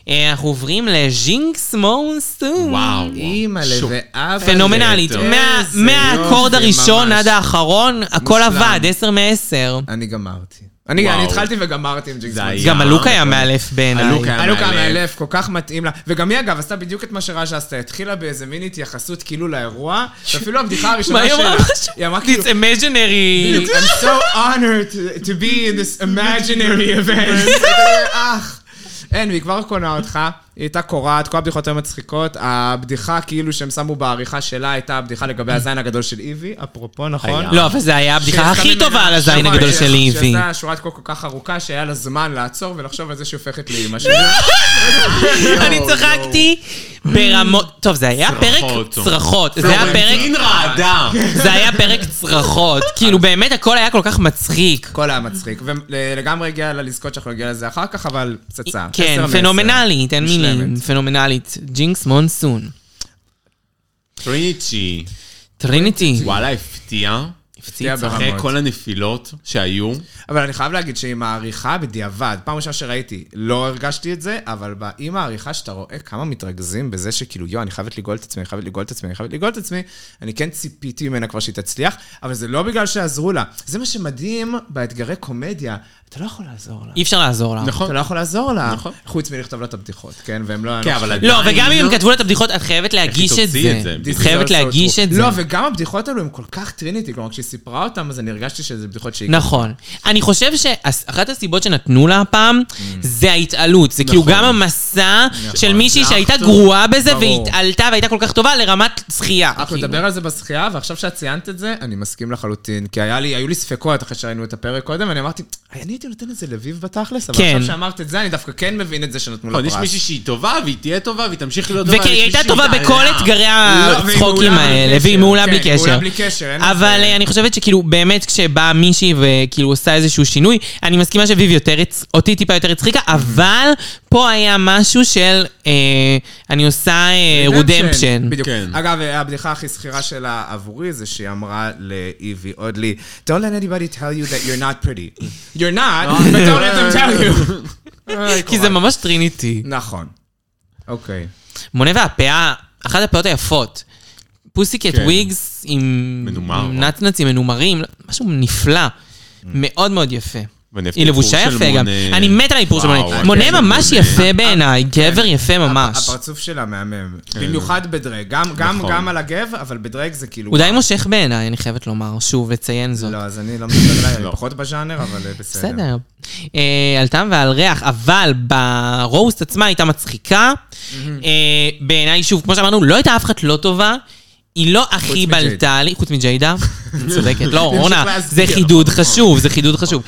Speaker 2: אה, אנחנו עוברים לז'ינקס מונסטון.
Speaker 3: וואו.
Speaker 4: אימא'לה
Speaker 3: שוב.
Speaker 4: ואבא.
Speaker 2: פנומנלית.
Speaker 3: איזה
Speaker 2: מה-
Speaker 4: יופי,
Speaker 2: מהאקורד הראשון
Speaker 4: ממש.
Speaker 2: עד האחרון, הכל
Speaker 4: מושלם.
Speaker 2: עבד, עשר מעשר.
Speaker 4: אני גמרתי. אני
Speaker 3: וואו.
Speaker 4: אני התחלתי וגמרתי עם ג'ינקס
Speaker 3: זה
Speaker 4: מונסון.
Speaker 3: היה-
Speaker 2: גם הלוק היה מאלף
Speaker 3: הלוק
Speaker 2: בעיניי.
Speaker 3: היה-
Speaker 4: הלוקה
Speaker 3: מהלב.
Speaker 4: מהלב, כל כך מתאים לה. וגם היא, אגב, עשתה בדיוק את מה שראז'ה עשתה. התחילה באיזה מין התייחסות כאילו לאירוע, ואפילו הבדיחה הראשונה
Speaker 2: מה היא אמרה
Speaker 4: שלה,
Speaker 2: משהו?
Speaker 4: היא אמרה כאילו,
Speaker 2: It's imaginary.
Speaker 4: I'm so honored to- to be in this imaginary event. אח. אין, והיא כבר קונה אותך, היא הייתה קורעת, כל הבדיחות היו מצחיקות. הבדיחה כאילו שהם שמו בעריכה שלה הייתה הבדיחה לגבי הזין הגדול של איבי, אפרופו, נכון?
Speaker 3: היה.
Speaker 2: לא, אבל זה היה הבדיחה
Speaker 4: שעשתה
Speaker 2: הכי
Speaker 4: ממנה-
Speaker 2: טובה על הזין
Speaker 4: שמה,
Speaker 2: הגדול
Speaker 4: ש-
Speaker 2: של איבי.
Speaker 4: שעשתה שורת קול כל כך ארוכה, שהיה לה זמן לעצור ולחשוב על זה שהיא הופכת לאימא שלה.
Speaker 2: אני צחקתי ברמות... טוב, זה היה פרק
Speaker 3: צרחות.
Speaker 2: צרחות. זה היה
Speaker 3: אין
Speaker 2: פרק...
Speaker 3: רעדה.
Speaker 2: זה היה פרק צרחות. כאילו, באמת הכל היה כל כך מצחיק.
Speaker 4: הכל היה מצחיק, ולגמרי הגיע לה לזכות שאנחנו נגיע לזה אחר כך, אבל פצצה. עשר
Speaker 2: כן,
Speaker 4: מעשר.
Speaker 2: פנומנלית, אין
Speaker 4: מושלמת.
Speaker 2: מילים. פנומנלית. ג'ינקס מונסון.
Speaker 3: טריניצ'י,
Speaker 2: טריניטי.
Speaker 3: וואלה, הפתיע.
Speaker 2: הפציצה.
Speaker 4: הפתיע
Speaker 3: אחרי
Speaker 4: ברמות.
Speaker 3: כל הנפילות
Speaker 4: לא
Speaker 3: שהיו,
Speaker 4: אבל אני חייב להגיד שעם העריכה בדיעבד, פעם ראשונה שראיתי, לא הרגשתי את זה, אבל ב- עם העריכה שאתה רואה כמה מתרכזים בזה שכאילו, יואו, אני חייבת לגאול את עצמי, אני חייבת לגאול את עצמי, אני חייבת לגאול את עצמי, אני כן ציפיתי ממנה כבר שהיא תצליח, אבל זה לא בגלל שעזרו לה. זה מה שמדהים באתגרי קומדיה, אתה לא יכול לעזור לה.
Speaker 2: אי אפשר לעזור לה.
Speaker 4: אתה לא יכול לעזור לה,
Speaker 3: נכון.
Speaker 4: חוץ מלכתוב לה את הבדיחות, כן? והם לא...
Speaker 3: כן, אבל
Speaker 2: לא,
Speaker 3: עדיין
Speaker 2: וגם אם הם
Speaker 3: לא.
Speaker 2: כתבו לה את הבדיחות, את חייבת להגיש את
Speaker 3: תוציא
Speaker 2: זה.
Speaker 3: את זה?
Speaker 2: את
Speaker 3: This
Speaker 4: This is
Speaker 2: חייבת
Speaker 4: also
Speaker 2: להגיש
Speaker 4: true.
Speaker 2: את זה.
Speaker 4: לא, וגם הבדיחות האלו הן כל כך טריניטי, כלומר, כשהיא סיפרה אותן, אז אני הרגשתי שזה בדיחות שהיא...
Speaker 2: נכון. אני חושב שאחת הסיבות שנתנו לה הפעם, זה ההתעלות. זה כאילו גם המסע של מישהי שהייתה גרועה בזה,
Speaker 4: ברור.
Speaker 2: והתעלתה והייתה כל כך טובה לרמת זכייה.
Speaker 4: אנחנו
Speaker 2: כאילו.
Speaker 4: נדבר על זה בשחייה, ועכשיו שאת ציינת את זה, אני מסכים לחלוטין. כי היה לי, היו לי ספקות אחרי שראינו את הפרק קודם, ואני אמרתי, "היי, אני הייתי נותן לזה לביב בתכלס, אבל
Speaker 2: כן.
Speaker 4: עכשיו שאמרת את זה, אני דווקא כן מבין את זה שנתנו
Speaker 3: נכון,
Speaker 4: לה
Speaker 3: יש
Speaker 4: פרס.
Speaker 3: מישהי שהיא טובה, והיא תהיה טובה, והיא תמשיך להיות טובה.
Speaker 2: וכי
Speaker 3: ויש
Speaker 2: היא הייתה
Speaker 3: מישהי
Speaker 2: טובה
Speaker 3: שהיא
Speaker 2: בכל
Speaker 3: תעלה.
Speaker 2: אתגרי
Speaker 4: אה, לא, והיא
Speaker 2: הצחוקים
Speaker 4: מעולה בלי
Speaker 2: האלה,
Speaker 4: קשר.
Speaker 2: והיא מעולה
Speaker 4: כן,
Speaker 2: בלי
Speaker 4: היא מעולה
Speaker 2: קשר.
Speaker 4: בלי קשר, אין
Speaker 2: אבל
Speaker 4: לזה.
Speaker 2: אה, אני חושבת שכאילו, באמת, כשבאה מישהי וכאילו עושה איזשהו שינוי, אני מסכימה שביב יותר, הצ- אותי טיפה יותר הצחיקה,
Speaker 4: Mm-hmm.
Speaker 2: אבל פה היה משהו של, אה, אני עושה אה, רודמפשן.
Speaker 4: בדיוק.
Speaker 3: כן.
Speaker 4: אגב, הבדיחה הכי שכירה שלה עבורי זה שהיא אמרה לאיבי עוד לי, Don't let anybody tell you that you're not pretty. You're not, but don't let them tell you. אוי,
Speaker 2: כי
Speaker 4: קורל.
Speaker 2: זה ממש טריניטי.
Speaker 4: נכון. אוקיי.
Speaker 2: מונה והפאה, אחת הפאות היפות. פוסיקט
Speaker 3: כן.
Speaker 2: וויגס עם
Speaker 3: מנומר.
Speaker 4: Mm.
Speaker 2: עם נצנצים מנומרים, משהו נפלא. מאוד מאוד יפה.
Speaker 3: ואני אוהב את
Speaker 2: היא
Speaker 3: האיפור
Speaker 2: לבושה
Speaker 3: של
Speaker 2: יפה גם.
Speaker 3: מונה.
Speaker 2: אני מת על האיפור של
Speaker 3: וואו, אוקיי. אה,
Speaker 2: מונה.
Speaker 3: הקטע של
Speaker 2: מונה ממש יפה בעיניי, גבר
Speaker 3: אה,
Speaker 2: יפה ממש.
Speaker 4: הפרצוף שלה מהמם. במיוחד בדרג. גם- גם-
Speaker 3: נכון.
Speaker 4: גם על הגב, אבל בדרג זה כאילו...
Speaker 2: הוא
Speaker 3: אה.
Speaker 2: די מושך בעיניי, אני חייבת לומר, שוב, לציין זאת.
Speaker 4: לא, אז אני לא מדבר עליי,
Speaker 3: לא.
Speaker 4: אני פחות בז'אנר, אבל אה, בסדר.
Speaker 2: בסדר. אה, על טעם ועל ריח, אבל ברוסט עצמה הייתה מצחיקה. אה, בעיניי, שוב, כמו שאמרנו, לא הייתה אף אחת לא טובה. היא לא הכי
Speaker 4: מג'יידה.
Speaker 2: בלטה לי, חוץ מג'יידה, צודקת, לא,
Speaker 4: נמשיך
Speaker 2: אורנה, זה
Speaker 4: להזכיר.
Speaker 2: חידוד חשוב, זה חידוד חשוב.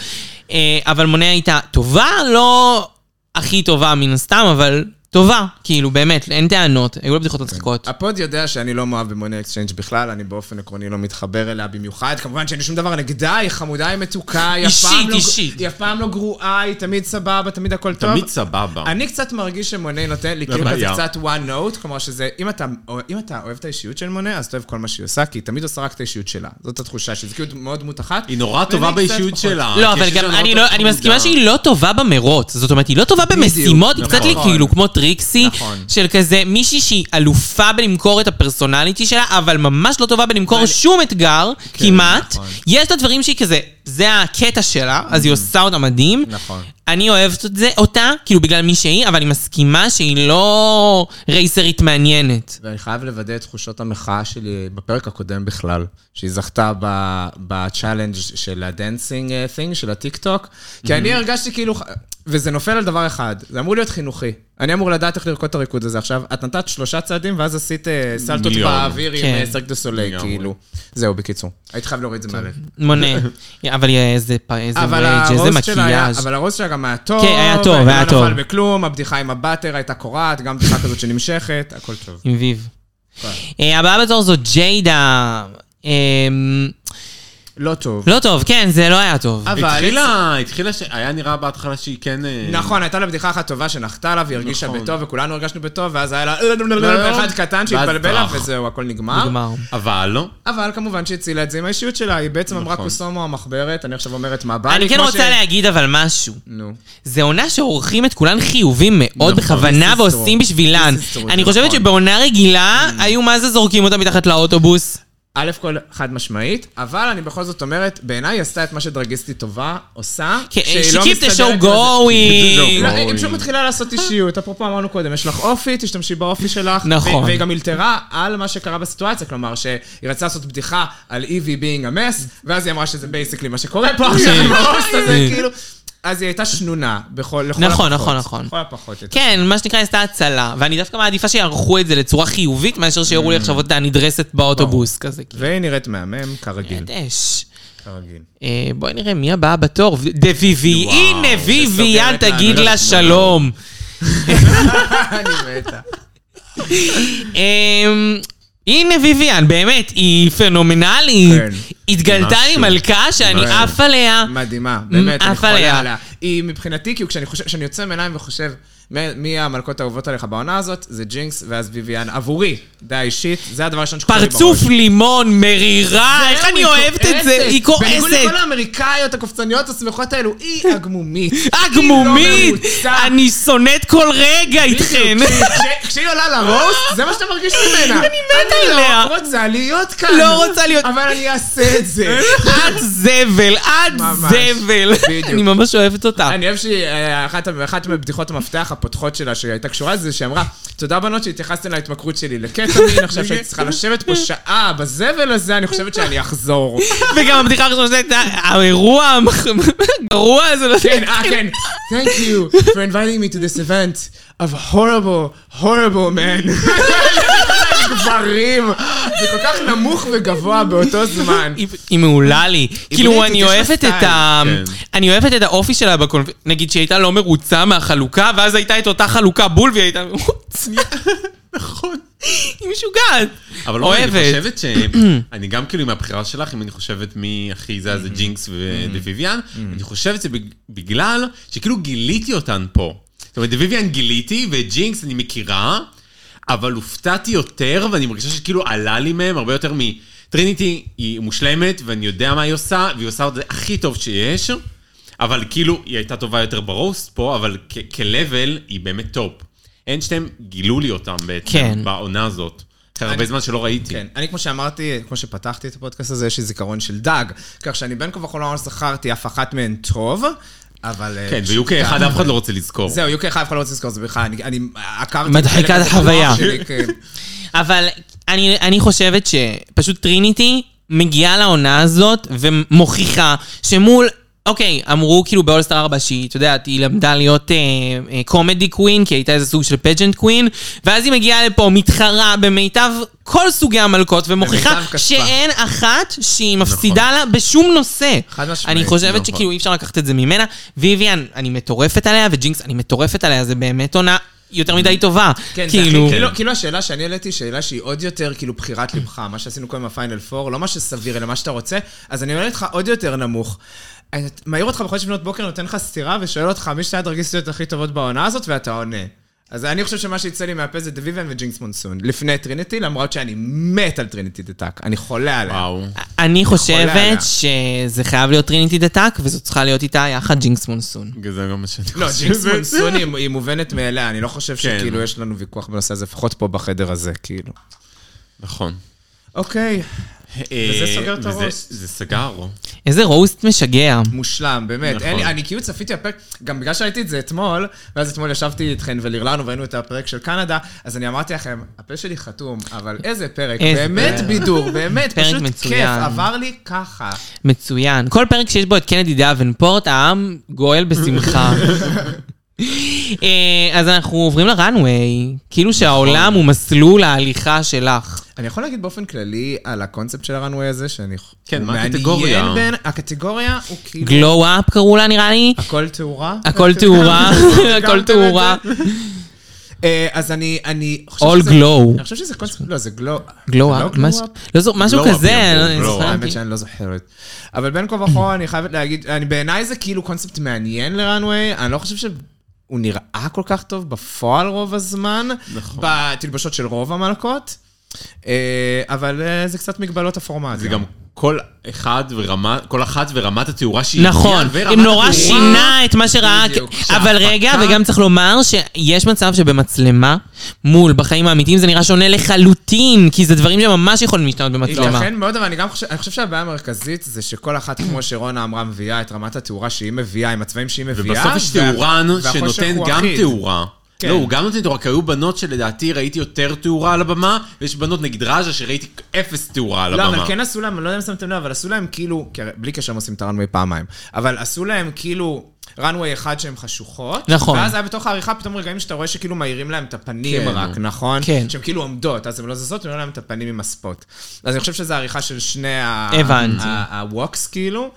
Speaker 2: אה, אבל מונה הייתה טובה, לא הכי טובה מן הסתם, אבל טובה, כאילו, באמת, אין טענות, היו לה בדיחות מצחיקות.
Speaker 4: הפוד יודע שאני לא מאוהב במוני אקסצ'יינג' בכלל, אני באופן עקרוני לא מתחבר אליה במיוחד. כמובן שאין לי שום דבר נגדה, היא חמודה, היא מתוקה, היא אף פעם
Speaker 2: אישית,
Speaker 4: לא-
Speaker 2: אישית.
Speaker 4: היא אף פעם לא גרועה, היא תמיד סבבה, תמיד הכל טוב.
Speaker 3: תמיד סבבה.
Speaker 4: אני קצת מרגיש שמונה נותן לי
Speaker 3: זה
Speaker 4: כאילו כזה
Speaker 3: בעיה.
Speaker 4: קצת one note, כלומר שזה, אם אתה, אם אתה אוהב את האישיות של מונה, אז אתה אוהב כל מה שהיא עושה, כי היא תמיד עושה רק את האישיות שלה. זאת התחושה שלי, זה כאילו מאוד דמות אחת.
Speaker 3: היא נורא
Speaker 4: ואני
Speaker 3: טובה
Speaker 4: קצת
Speaker 3: באישיות
Speaker 4: פחות.
Speaker 3: שלה.
Speaker 2: לא,
Speaker 3: כי
Speaker 2: אבל
Speaker 3: יש
Speaker 2: גם
Speaker 3: לנו
Speaker 2: אני
Speaker 3: אותו
Speaker 2: לא, אני
Speaker 3: חמודה.
Speaker 2: מסכימה שהיא לא טובה במרוץ. זאת אומרת, היא לא טובה במשימות, היא
Speaker 4: נכון.
Speaker 2: קצת לי כאילו כמו טריקסי,
Speaker 4: נכון.
Speaker 2: של כזה מישהי שהיא אלופה בלמכור את הפרסונליטי שלה, אבל ממש לא טובה בלמכור שום אתגר, כמעט.
Speaker 4: נכון. Mm-hmm.
Speaker 2: יש את הדברים שהיא כזה, זה הקטע שלה, אז היא עושה אותה מדהים.
Speaker 4: נכון.
Speaker 2: אני אוהבת את זה, אותה, כאילו בגלל מי שהיא, אבל אני מסכימה שהיא לא רייסרית מעניינת.
Speaker 4: ואני חייב לוודא את תחושות המחאה שלי בפרק הקודם בכלל, שהיא זכתה ב- בצ'אלנג' של הדנסינג thing, של הטיקטוק, כי אני הרגשתי כאילו, וזה נופל על דבר אחד, זה אמור להיות חינוכי. אני אמור לדעת איך לרקוד את הריקוד הזה עכשיו. את נתת שלושה צעדים ואז עשית אה, סלטות
Speaker 3: מיליון.
Speaker 4: באוויר
Speaker 2: כן.
Speaker 4: עם סרק דה סולי,
Speaker 3: לגמרי.
Speaker 4: כאילו. זהו, בקיצור. הייתי חייב להוריד את זה מהלב.
Speaker 2: מונה. אבל היא איזה פ- איזה
Speaker 4: אבל
Speaker 2: רייג', איזה
Speaker 4: הרוז שלה היה,
Speaker 2: מקיאז'.
Speaker 4: אבל הרוז שלה גם היה טוב.
Speaker 2: כן, היה טוב,
Speaker 4: היא
Speaker 2: היה
Speaker 4: לא
Speaker 2: טוב.
Speaker 4: נפל בכלום, הבדיחה עם הבאטר הייתה קורעת, גם בדיחה כזאת שנמשכת, הכל טוב.
Speaker 2: עם ויב.
Speaker 4: כן.
Speaker 2: אה, הבאה בתור זו ג'יידה. אמ,
Speaker 4: לא טוב.
Speaker 2: לא טוב, כן, זה לא היה טוב.
Speaker 4: אבל-
Speaker 3: התחילה, התחילה, ש- היה נראה בהתחלה שהיא כן... אה,
Speaker 4: נכון, הייתה לה בדיחה אחת טובה שנחתה עליו, היא הרגישה
Speaker 3: נכון.
Speaker 4: בטוב, וכולנו הרגשנו בטוב, ואז היה לה אחד קטן שהתבלבל לה,
Speaker 3: ואז ברח.
Speaker 4: וזהו, הכל נגמר.
Speaker 2: לא, נגמר.
Speaker 3: אבל לא.
Speaker 4: אבל כמובן שהצילה את זה עם האישיות שלה, היא בעצם אמרה
Speaker 3: נכון.
Speaker 4: קוסומו המחברת, אני עכשיו אומרת מה בא לי,
Speaker 2: אני כן
Speaker 4: כמו
Speaker 2: רוצה
Speaker 4: ש-
Speaker 2: להגיד אבל משהו.
Speaker 4: נו.
Speaker 2: זה עונה שעורכים את כולן חיובים מאוד בכוונה
Speaker 4: נכון, This is
Speaker 2: ועושים
Speaker 4: true.
Speaker 2: בשבילן.
Speaker 4: This is true,
Speaker 2: אני
Speaker 4: זה
Speaker 2: חושבת
Speaker 4: נכון. Mm.
Speaker 2: שבעונה רגילה היו מה זה זורקים אותה מתחת לאוטובוס.
Speaker 4: א' כל חד משמעית, אבל אני בכל זאת אומרת, בעיניי היא עשתה את מה שדרגיסטית טובה עושה,
Speaker 2: כן,
Speaker 4: שהיא
Speaker 2: She
Speaker 4: לא
Speaker 2: keeps the
Speaker 4: מסתדרת
Speaker 2: show
Speaker 4: בזה.
Speaker 2: going.
Speaker 4: לא,
Speaker 3: אוי.
Speaker 4: היא פשוט מתחילה לעשות אישיות. אפרופו אמרנו קודם, יש לך אופי, תשתמשי באופי שלך.
Speaker 2: נכון.
Speaker 4: ו- והיא גם אלתרה על מה שקרה בסיטואציה, כלומר שהיא רצתה לעשות בדיחה על איבי being a mess, ואז היא אמרה שזה בייסיקלי מה שקורה פה עכשיו
Speaker 2: כן.
Speaker 4: עם הרוסט הזה, כאילו. אז היא הייתה שנונה, בכל, לכל
Speaker 2: נכון,
Speaker 4: הפחות.
Speaker 2: נכון, נכון.
Speaker 4: לכל הפחות. היא הייתה-
Speaker 2: כן, מה שנקרא, עשתה הצלה. ואני דווקא מעדיפה שיערכו את זה לצורה חיובית, מאשר שיראו
Speaker 4: Mm.
Speaker 2: לי עכשיו אותה נדרסת באוטובוס כזה. כאילו.
Speaker 4: והיא נראית מהמם, כרגיל.
Speaker 2: את אש.
Speaker 4: כרגיל.
Speaker 2: אה, בואי נראה מי הבאה בתור. דה ויבי,
Speaker 3: וואו,
Speaker 2: הנה
Speaker 3: זה
Speaker 2: ויביאן,
Speaker 4: סוגרת לנו
Speaker 2: תגיד
Speaker 4: את
Speaker 2: לה שלום.
Speaker 4: אני מתה.
Speaker 2: אמ, הנה ויביאן, באמת, היא פנומנלית.
Speaker 4: כן.
Speaker 2: התגלתה לי
Speaker 3: משהו.
Speaker 2: מלכה שאני
Speaker 4: כן.
Speaker 2: עף עליה.
Speaker 4: מדהימה, באמת, אני
Speaker 2: עפה
Speaker 4: חולה
Speaker 2: עליה.
Speaker 4: עליה. היא מבחינתי, כאילו כשאני חושב, כשאני יוצא מעיניים וחושב מ- מי המלכות האהובות עליך בעונה הזאת, זה ג'ינקס ואז ביביאן. עבורי, דעה אישית, זה הדבר הראשון שקורה לי בראש.
Speaker 2: פרצוף לימון, מרירה, אה, איך אני
Speaker 4: היא
Speaker 2: אוהבת את זה,
Speaker 4: כועסת.
Speaker 2: היא
Speaker 4: לא בניגוד
Speaker 2: כועסת.
Speaker 4: לכל האמריקאיות הקופצניות השמחות האלו, היא הגמומית. היא לא
Speaker 2: הגמומית,
Speaker 4: מרוצה.
Speaker 2: אני שונאת כל רגע איתכן.
Speaker 4: בדיוק, כש- כשהיא עולה לרוסט, זה מה שאתה מרגיש ממנה. אני
Speaker 2: מתה עליה.
Speaker 4: אני לא רוצה להיות כאן.
Speaker 2: לא רוצה להיות-
Speaker 4: אבל אני אעשה את זה.
Speaker 2: את זבל, את
Speaker 4: ממש,
Speaker 2: זבל.
Speaker 4: בדיוק.
Speaker 2: אני ממש אוהבת אותה.
Speaker 4: אני אוהב שאחת אחת מבדיחות המפתח הפותחות שלה שהייתה קשורה לזה, שהיא אמרה, תודה בנות שהתייחסתן להתמכרות שלי לקטמין, עכשיו שהייתי צריכה לשבת פה שעה בזבל הזה, אני חושבת שאני אחזור.
Speaker 2: וגם הבדיחה הראשונה שלה הייתה, האירוע המח- הגרוע הזה. לא
Speaker 4: כן, אה, כן. Thank you for inviting me to this event of horrible, horrible man. גברים. זה כל כך נמוך וגבוה באותו זמן.
Speaker 2: היא- היא מעולה לי. כאילו,
Speaker 4: בריטית,
Speaker 2: אני
Speaker 4: יש לה
Speaker 2: אוהבת את
Speaker 4: סטייל.
Speaker 2: ה...
Speaker 3: כן.
Speaker 2: אני אוהבת את האופי שלה בקונפ... נגיד שהיא הייתה לא מרוצה מהחלוקה, ואז הייתה את אותה חלוקה בול, והיא הייתה מרוצה.
Speaker 3: נכון.
Speaker 2: היא משוגעת.
Speaker 3: אבל לא, אני
Speaker 2: אוהבת.
Speaker 3: חושבת ש... אני גם כאילו עם הבחירה שלך, אם אני חושבת מי הכי זה, אז
Speaker 2: Mm-hmm.
Speaker 3: זה ג'ינקס ודוויביאן, אני חושבת שבגלל שכאילו גיליתי אותן פה. זאת אומרת, דוויביאן גיליתי, ואת ג'ינקס אני מכירה, אבל הופתעתי יותר, ואני מרגישה שכאילו עלה לי מהם הרבה יותר מ... טריניטי היא מושלמת, ואני יודע מה היא עושה, והיא עושה את זה הכי טוב שיש, אבל כאילו, היא הייתה טובה יותר ברוסט פה, אבל כ- כ-level היא באמת טופ. אין שתיהם גילו לי אותם בעצם,
Speaker 2: כן.
Speaker 3: בעונה הזאת. אחרי הרבה זמן שלא ראיתי.
Speaker 4: כן, אני כמו שאמרתי, כמו שפתחתי את הפודקאסט הזה, יש לי זיכרון של דג. כך שאני בין כה וכה לא ממש זכרתי אף אחת מהן טוב, אבל... אה,
Speaker 3: כן, ויהיו כאחד, אף אחד לא רוצה לזכור.
Speaker 4: זהו, יוקי אחד אף אחד לא רוצה לזכור את זה בכלל, אני- אני עקרתי...
Speaker 2: מדחיקת
Speaker 4: חלק מהפיתוח
Speaker 2: החוויה.
Speaker 4: שלי, כן.
Speaker 2: אבל אני, אני חושבת שפשוט טריניטי מגיעה לעונה הזאת ומוכיחה שמול... אוקיי, אמרו כאילו באולסטאר 4 שהיא, את יודעת, היא למדה להיות אה, קומדי קווין, כי היא הייתה איזה סוג של פג'נט קווין, ואז היא מגיעה לפה, מתחרה במיטב כל סוגי המלכות, ומוכיחה
Speaker 4: במיטב כספה. נכון.
Speaker 2: שאין אחת שהיא מפסידה לה בשום נושא.
Speaker 4: חד משמעית,
Speaker 2: אני חושבת
Speaker 3: נכון.
Speaker 2: שכאילו אי אפשר לקחת את זה ממנה. ויביאן, אני מטורפת עליה, וג'ינקס, אני מטורפת עליה, זה באמת עונה יותר מדי טובה.
Speaker 4: כן, זה הכי-
Speaker 2: כאילו...
Speaker 4: כאילו- כאילו השאלה שאני העליתי, שאלה שהיא עוד יותר כאילו בחירת לבך, מה שעשינו קודם בפיינל 4, לא מה שסביר, אלא מה שאתה רוצה, אז אני אומר לך עוד יותר נמוך. אני מעיר אותך בחודש לפנות בוקר, נותן לך סטירה ושואל אותך מי שתי הדרגיסטיות הכי טובות בעונה הזאת, ואתה עונה. אז אני חושב שמה שיצא לי מהפה זה דוויבן וג'ינקס מונסון, לפני טריניטי, למרות שאני מת על טריניטי דה טאק, אני חולה עליה.
Speaker 3: וואו.
Speaker 2: אני
Speaker 4: עליה.
Speaker 2: חושבת שזה חייב להיות טריניטי דה טאק, וזו צריכה להיות איתה יחד ג'ינקס מונסון.
Speaker 3: זה גם מה שאני
Speaker 4: לא,
Speaker 3: חושב.
Speaker 4: ג'ינקס מונסון היא- היא מובנת מאליה, אני לא חושב
Speaker 3: כן.
Speaker 4: שכאילו יש לנו ויכוח בנושא הזה, לפחות פה בחדר הזה, כאילו.
Speaker 3: נכון.
Speaker 4: אוקיי, וזה סוגר את
Speaker 3: וזה-
Speaker 4: הרוסט.
Speaker 3: זה סגר.
Speaker 2: איזה רוסט משגע.
Speaker 4: מושלם, באמת.
Speaker 3: נכון.
Speaker 4: אין לי, אני כאילו צפיתי הפרק, גם בגלל שראיתי את זה אתמול, ואז אתמול ישבתי איתכן ולרלנו וראינו את הפרק של קנדה, אז אני אמרתי לכם, הפה שלי חתום, אבל איזה פרק,
Speaker 2: איזה
Speaker 4: באמת
Speaker 2: פרק.
Speaker 4: בידור, באמת,
Speaker 2: פרק
Speaker 4: פשוט
Speaker 2: מצוין.
Speaker 4: כיף, עבר לי ככה.
Speaker 2: מצוין. כל פרק שיש בו את קנדי דאבנפורט, העם גואל בשמחה. אה, אז אנחנו עוברים לראנוויי. כאילו שהעולם הוא מסלול ההליכה שלך.
Speaker 4: אני יכול להגיד באופן כללי על הקונספט של הראנווי הזה, שאני...
Speaker 3: כן,
Speaker 4: הוא
Speaker 3: מה
Speaker 4: מעניין
Speaker 3: הקטגוריה?
Speaker 4: בין- הקטגוריה הוא כאילו...
Speaker 2: גלו אפ קראו לה נראה לי.
Speaker 4: הכל תאורה.
Speaker 2: הכל תאורה,
Speaker 4: גם
Speaker 2: הכל
Speaker 4: את זה.
Speaker 2: תאורה.
Speaker 4: אה, אז אני, אני חושב
Speaker 2: All glow.
Speaker 4: אני חושב שזה קונספט, לא, זה גלו.
Speaker 2: גלו
Speaker 4: לא
Speaker 2: אפ, מש-
Speaker 4: glow up?
Speaker 2: לא זו- משהו
Speaker 3: glow up,
Speaker 2: כזה.
Speaker 3: אמרו,
Speaker 2: אני
Speaker 3: glow up.
Speaker 2: זוכרת.
Speaker 4: האמת שאני לא זוכרת. אבל בין כה וכה, אני חייבת להגיד, אני- בעיניי זה כאילו קונספט מעניין לראנוויי, אני לא חושב שהוא נראה כל כך טוב בפועל רוב הזמן,
Speaker 3: נכון.
Speaker 4: בתלבשות של רוב המלכות, אה, אבל אה, זה קצת מגבלות הפורמט.
Speaker 3: זה גם כל אחד ורמה, כל אחת ורמת התאורה שהיא
Speaker 2: נכון,
Speaker 3: הגיעה,
Speaker 2: אם
Speaker 3: ורמת
Speaker 2: נורא
Speaker 3: התאורה-
Speaker 2: שינה את מה שראה,
Speaker 4: בדיוק.
Speaker 2: כ- אבל רגע, וגם צריך לומר שיש מצב שבמצלמה, מול, בחיים האמיתיים זה נראה שונה לחלוטין, כי זה דברים שממש יכולים להשתנות במצלמה.
Speaker 4: ייתכן מאוד, אבל אני גם חושב, אני חושב שהבעיה המרכזית זה שכל אחת, כמו שרונה אמרה, מביאה את רמת התאורה שהיא מביאה, עם הצבעים שהיא מביאה.
Speaker 3: ובסוף יש
Speaker 4: כן, וה-
Speaker 3: תאורן
Speaker 4: והחושך
Speaker 3: שנותן
Speaker 4: הוא
Speaker 3: גם
Speaker 4: אחיד.
Speaker 3: תאורה.
Speaker 4: כן.
Speaker 3: לא, הוא גם נותן תאורה, כי היו בנות שלדעתי ראיתי יותר תאורה על הבמה, ויש בנות נגיד ראז'ה שראיתי אפס תאורה על
Speaker 4: לא,
Speaker 3: הבמה.
Speaker 4: אבל כן עשו להם, אני לא יודע אם שמתם לב, אבל עשו להם כאילו, כי הרי בלי קשר הם עושים את הראנווי פעמיים, אבל עשו להם כאילו ראנווי אחד שהן חשוכות.
Speaker 2: נכון.
Speaker 4: ואז היה בתוך העריכה פתאום רגעים שאתה רואה שכאילו מאירים להם את הפנים
Speaker 3: כן.
Speaker 4: רק, נכון?
Speaker 2: כן.
Speaker 4: שהן כאילו עומדות, אז הן לא זזות, ומאירים להם את הפנים עם הספוט. אז אני חושב שזו עריכה של שני ה...
Speaker 2: הבנתי.
Speaker 4: הווקס כאילו.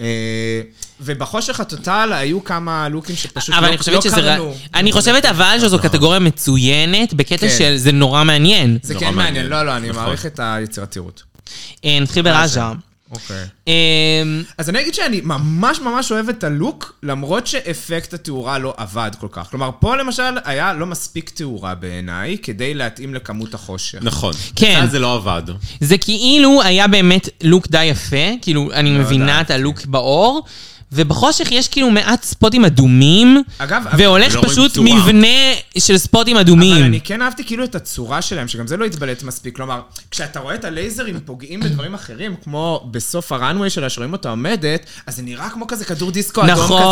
Speaker 4: אה, ובחושך הטוטל היו כמה לוקים שפשוט
Speaker 2: אבל
Speaker 4: לא
Speaker 2: אני
Speaker 4: לא
Speaker 2: חושבת שזה...
Speaker 4: קרנו.
Speaker 2: ר- אני חושבת אבל שזו קטגוריה מצוינת, בקטע
Speaker 4: כן.
Speaker 2: של זה נורא מעניין.
Speaker 4: זה
Speaker 3: נורא
Speaker 4: כן מעניין,
Speaker 3: מעניין.
Speaker 4: לא, לא, אני
Speaker 3: נכון.
Speaker 4: מעריך את היצירתיות.
Speaker 2: אה, נתחיל בראז'ה.
Speaker 4: אוקיי.
Speaker 2: אה,
Speaker 4: אז אני אגיד שאני ממש ממש אוהב את הלוק, למרות שאפקט התאורה לא עבד כל כך. כלומר, פה למשל היה לא מספיק תאורה בעיניי, כדי להתאים לכמות החושך.
Speaker 3: נכון.
Speaker 2: כן.
Speaker 3: זה לא עבד.
Speaker 2: זה כאילו היה באמת לוק די יפה, כאילו,
Speaker 4: לא
Speaker 2: אני מבינה את הלוק באור. ובחושך יש כאילו מעט ספוטים אדומים,
Speaker 4: אגב,
Speaker 2: והולך
Speaker 3: לא רואים
Speaker 2: פשוט
Speaker 3: צורה.
Speaker 2: מבנה של ספוטים
Speaker 4: אבל
Speaker 2: אדומים.
Speaker 4: אני כן אהבתי כאילו את הצורה שלהם, שגם זה לא התבלט מספיק. כלומר, כשאתה רואה את הלייזרים פוגעים בדברים אחרים, כמו בסוף הראנווי שלה, שרואים אותה עומדת, אז זה נראה כמו כזה כדור דיסקו אדום
Speaker 2: נכון.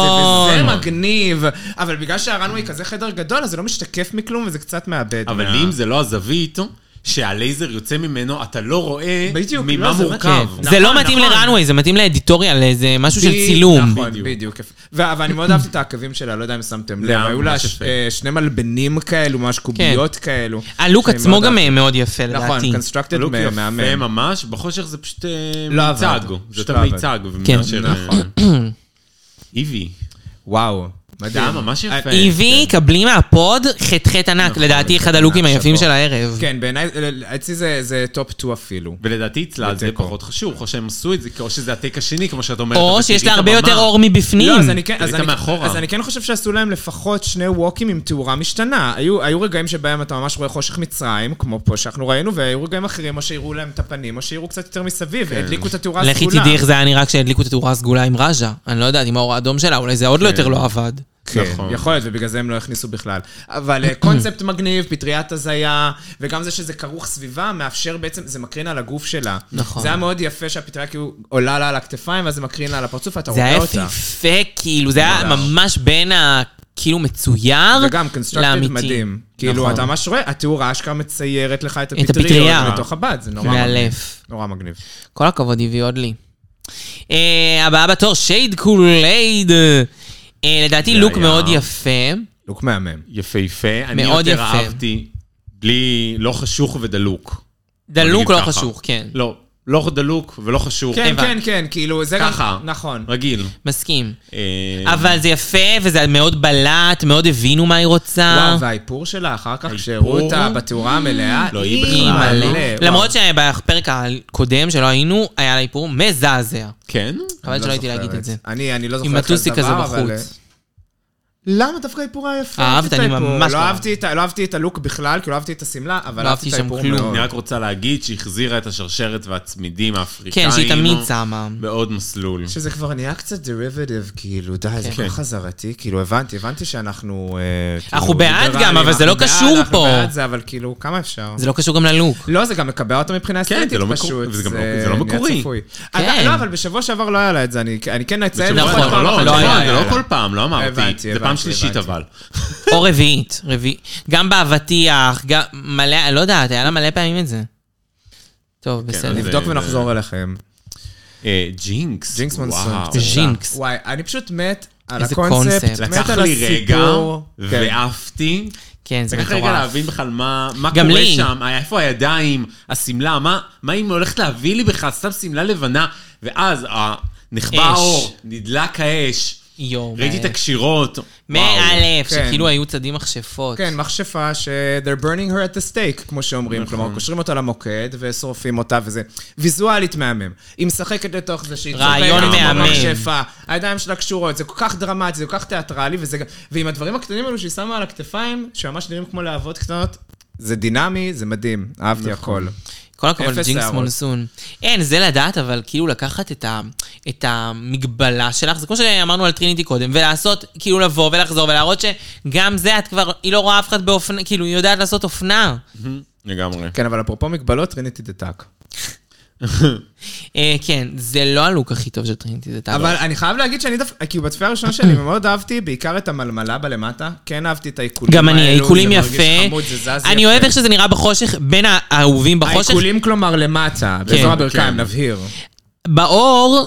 Speaker 4: כזה, וזה מגניב. אבל בגלל שהראנווי כזה חדר גדול, אז זה לא משתקף מכלום, וזה קצת מאבד.
Speaker 3: אבל
Speaker 4: מה-
Speaker 3: אם זה לא הזווית, שהלייזר יוצא ממנו, אתה לא רואה
Speaker 4: בדיוק, לא,
Speaker 3: ממה
Speaker 4: זה-
Speaker 3: מורכב.
Speaker 2: כן. זה לא מתאים לראנווי, זה מתאים לאדיטוריה, לאיזה משהו של
Speaker 4: נכון, בדיוק,
Speaker 2: צילום.
Speaker 4: נכון,
Speaker 3: בדיוק.
Speaker 4: בדיוק. ו- אבל אני מאוד אהבתי את העקבים שלה, לא יודע אם שמתם לב.
Speaker 3: זה היה
Speaker 4: היו לה
Speaker 3: ממש
Speaker 4: ש-
Speaker 3: יפה.
Speaker 4: אה, שני מלבנים כאלו, ממש קוביות כאלו.
Speaker 2: הלוק
Speaker 4: שאני
Speaker 2: כן. עצמו
Speaker 4: מאוד
Speaker 2: גם
Speaker 4: אהבתי.
Speaker 2: מאוד יפה,
Speaker 4: נכון,
Speaker 2: לדעתי.
Speaker 4: קונסטרקטד
Speaker 3: לוק יפה
Speaker 4: מהמם.
Speaker 3: ממש, בחושך זה פשוט אה,
Speaker 4: לא עבד.
Speaker 3: מיצג.
Speaker 4: פשוט
Speaker 3: זה יותר
Speaker 4: לא עבד. נכון.
Speaker 3: מיצג.
Speaker 2: כן.
Speaker 3: מאשר, אה, איבי.
Speaker 4: וואו, מדהים.
Speaker 3: זה היה ממש
Speaker 4: אה,
Speaker 3: יפה.
Speaker 2: איבי, E קבלי מהפוד, חטחט ענק, לדעתי אחד הלוקים
Speaker 4: נכון, ענק,
Speaker 2: היפים
Speaker 4: שאפו.
Speaker 2: של הערב.
Speaker 4: כן, בעיניי, אה, אצלי זה- זה טופ 2 אפילו.
Speaker 3: ולדעתי אצלה זה
Speaker 4: בתיקו.
Speaker 3: פחות חשוב, או שהם עשו את זה, או שזה הטייק השני, כמו שאת אומרת.
Speaker 2: או
Speaker 3: אבל
Speaker 2: שיש
Speaker 3: תראי
Speaker 2: לה
Speaker 3: את
Speaker 2: הרבה
Speaker 3: הבמה.
Speaker 2: יותר אור מבפנים.
Speaker 4: לא, אז אני כן, אז
Speaker 3: ראית
Speaker 4: אני-
Speaker 3: מאחורה.
Speaker 4: אז אני כן חושב שעשו להם לפחות שני ווקים עם תאורה משתנה. היו היו רגעים שבהם אתה ממש רואה חושך מצרים, כמו פה שאנחנו ראינו, והיו רגעים אחרים, או שהראו להם את הפנים, או שהראו קצת יותר מסביב,
Speaker 3: כן.
Speaker 4: הדליקו את התאורה הסגולה.
Speaker 2: לכי תדעי איך זה היה נראה כשהדליקו את התאורה הסגולה עם ראז'ה. אני לא יודעת, עם האור האדום שלה, אולי זה עוד לא יותר לא עבד.
Speaker 4: כן,
Speaker 3: נכון.
Speaker 4: יכול להיות, ובגלל זה הם לא הכניסו בכלל. אבל אה, קונספט מגניב, פטריית הזיה, וגם זה שזה כרוך סביבה, מאפשר בעצם, זה מקרין על הגוף שלה.
Speaker 2: נכון.
Speaker 4: זה היה מאוד יפה שהפטריה כאילו עולה לה על הכתפיים, ואז זה מקרין לה על הפרצוף, ואתה
Speaker 2: זה
Speaker 4: רואה
Speaker 2: היה
Speaker 4: אותה. לא
Speaker 2: יפהפה, כאילו, זה היה ממש בין ה... כאילו מצויר
Speaker 4: וגם קונסטרקטד
Speaker 2: לאמיתי.
Speaker 4: מדהים. כאילו,
Speaker 2: נכון.
Speaker 4: אתה ממש רואה, התיאור אשכרה מציירת לך את
Speaker 2: הפטריה.
Speaker 4: הפטריות מתוך הבד, זה נורא מגניב.
Speaker 2: מאלף.
Speaker 4: נורא מגניב.
Speaker 2: כל הכבוד, הביא עוד לי. אה, הבאה בתור, שייד קולייד. אה, לדעתי לוק
Speaker 3: היה.
Speaker 2: מאוד יפה.
Speaker 4: לוק מהמם.
Speaker 3: יפהפה. אני
Speaker 2: מאוד
Speaker 3: יותר
Speaker 2: יפה.
Speaker 3: אהבתי, בלי, לא חשוך ודלוק. אני
Speaker 2: דלוק
Speaker 3: אגיד
Speaker 2: לא
Speaker 3: ככה.
Speaker 2: חשוך, כן.
Speaker 3: לא, לא דלוק ולא חשוך.
Speaker 4: כן,
Speaker 2: הבנתי. אה.
Speaker 4: כן, כן, כאילו, זה גם...
Speaker 3: ככה.
Speaker 4: נכון.
Speaker 3: רגיל.
Speaker 2: מסכים.
Speaker 3: אה,
Speaker 2: אבל זה יפה, וזה מאוד בלט, מאוד הבינו מה היא רוצה.
Speaker 4: וואו, והאיפור שלה אחר כך,
Speaker 3: האיפור?
Speaker 4: שהראו אותה בתאורה המלאה,
Speaker 3: לא, היא
Speaker 2: היא
Speaker 3: בכלל
Speaker 2: מלא.
Speaker 3: לא.
Speaker 4: אה, וואו.
Speaker 2: למרות שבפרק הקודם שלא היינו, היה לה איפור מזעזע.
Speaker 3: כן?
Speaker 4: אני
Speaker 2: חבל
Speaker 4: לא
Speaker 2: שלא הייתי
Speaker 4: זוכרת.
Speaker 2: להגיד את זה.
Speaker 4: אני, אני לא זוכר
Speaker 2: עם הטוסיק הזה בחוץ.
Speaker 4: אה, למה דווקא האיפור היה יפה?
Speaker 2: אהבת,
Speaker 4: אהבתי את
Speaker 2: אני
Speaker 4: האיפור.
Speaker 2: ממש
Speaker 4: לא
Speaker 2: לא
Speaker 4: אהבתי את ה- לא אהבתי את הלוק בכלל, כאילו אהבתי את השמלה, אבל
Speaker 2: לא
Speaker 4: אהבתי את
Speaker 2: אהבתי שם
Speaker 4: האיפור
Speaker 2: כלום.
Speaker 4: מאוד.
Speaker 3: אני רק רוצה להגיד שהיא החזירה את השרשרת והצמידים האפריקאים.
Speaker 2: כן, שהיא תמיד שמה.
Speaker 3: בעוד מסלול.
Speaker 4: שזה כבר נהיה קצת דריבטיב, כאילו, די, זה
Speaker 3: כן.
Speaker 4: כבר חזרתי, כאילו, הבנתי, הבנתי שאנחנו... אה, כאילו,
Speaker 2: אנחנו בעד
Speaker 4: ליברלים,
Speaker 2: גם, אבל זה לא
Speaker 4: אנחנו בעד,
Speaker 2: קשור
Speaker 4: אנחנו
Speaker 2: פה.
Speaker 4: בעד זה, אבל כאילו, כמה אפשר?
Speaker 2: זה לא קשור גם ללוק.
Speaker 4: לא, זה גם מקבע אותה מבחינה
Speaker 3: כן,
Speaker 4: אסתטית
Speaker 3: זה לא מקור-
Speaker 4: פשוט.
Speaker 3: וזה גם לא- זה לא
Speaker 4: נהיה
Speaker 3: מקורי.
Speaker 4: צפוי.
Speaker 2: כן.
Speaker 4: אתה- לא, אבל בשבוע שעבר לא היה לה את זה, אני אני כן אציין.
Speaker 3: בשבוע
Speaker 2: נכון,
Speaker 3: שעבר
Speaker 2: נכון,
Speaker 3: לא,
Speaker 2: נכון,
Speaker 3: נכון,
Speaker 2: היה,
Speaker 3: זה
Speaker 2: היה.
Speaker 3: לא כל פעם, לא אמרתי.
Speaker 4: הבנתי,
Speaker 3: זה פעם
Speaker 4: הבנתי,
Speaker 3: שלישית
Speaker 4: הבנתי.
Speaker 3: אבל.
Speaker 2: או רביעית, רביעית. גם באבטיח, גם מלא, אני לא יודעת, היה לה מלא פעמים את זה. טוב, בסדר.
Speaker 3: אז-
Speaker 4: נבדוק
Speaker 3: זה-
Speaker 4: ונחזור אליכם.
Speaker 3: אה, ג'ינקס.
Speaker 4: ג'ינקס מונסון.
Speaker 3: וואו.
Speaker 4: קצת.
Speaker 2: ג'ינקס.
Speaker 4: וואי, אני פשוט מת על
Speaker 2: איזה
Speaker 4: הקונספט,
Speaker 2: קונספט.
Speaker 4: מת
Speaker 3: לקח
Speaker 4: על
Speaker 3: לי רגע,
Speaker 4: הסיפור. כן.
Speaker 3: ועפתי.
Speaker 2: כן, זה
Speaker 3: לקח לי רגע
Speaker 2: מטורף.
Speaker 3: להבין בכלל מה מה
Speaker 2: גם
Speaker 3: קורה
Speaker 2: לי.
Speaker 3: שם, היה- איפה הידיים, השמלה, מה- מה היא הולכת להביא לי בכלל, סתם שמלה לבנה. ואז אה, נכבה
Speaker 2: אש. אוקיי.
Speaker 3: האור, נדלק האש,
Speaker 2: יואו,
Speaker 3: ראיתי את הקשירות. וואו.
Speaker 2: מאלף,
Speaker 4: כן.
Speaker 2: שכאילו היו צדים מכשפות.
Speaker 4: כן, מכשפה ש- they're burning her at the stake, כמו שאומרים.
Speaker 3: נכון.
Speaker 4: כלומר, קושרים אותה למוקד ושורפים אותה וזה. ויזואלית מהמם. היא משחקת לתוך זה שהיא
Speaker 2: רעיון
Speaker 4: צוחקת כמו
Speaker 2: מהמם.
Speaker 4: מכשפה. הידיים שלה קשורות, זה כל כך דרמטי, זה כל כך תיאטרלי, וזה גם... ועם הדברים הקטנים האלו שהיא שמה על הכתפיים, שממש נראים כמו להבות קטנות, זה דינמי, זה מדהים. אהבתי
Speaker 3: נכון.
Speaker 4: הכל.
Speaker 2: כל הכבוד
Speaker 4: אפס
Speaker 2: לג'ינקס
Speaker 4: שערות.
Speaker 2: מונסון. אין, זה לדעת, אבל כאילו לקחת את, ה, את המגבלה שלך, זה כמו שאמרנו על טריניטי קודם, ולעשות, כאילו לבוא ולחזור ולהראות שגם זה את כבר, היא לא רואה אף אחד באופנה, כאילו, היא יודעת לעשות אופנה.
Speaker 3: לגמרי.
Speaker 4: כן, אבל אפרופו מגבלות, טריניטי דה טאק.
Speaker 2: אה, כן, זה לא הלוק הכי טוב של טריניטי, זה טענות.
Speaker 4: אבל אני חייב להגיד שאני דווקא, כאילו בצפייה הראשונה שלי מאוד אהבתי, בעיקר את המלמלה בלמטה. כן אהבתי את העיקולים
Speaker 2: גם אני,
Speaker 4: האלו,
Speaker 2: העיקולים
Speaker 4: זה מרגיש
Speaker 2: יפה.
Speaker 4: חמוד, זה זז יפה.
Speaker 2: אני אוהב איך שזה נראה בחושך, בין האהובים בחושך.
Speaker 4: העיקולים כלומר למטה,
Speaker 2: כן,
Speaker 4: באזור הברכיים, נבהיר.
Speaker 2: באור,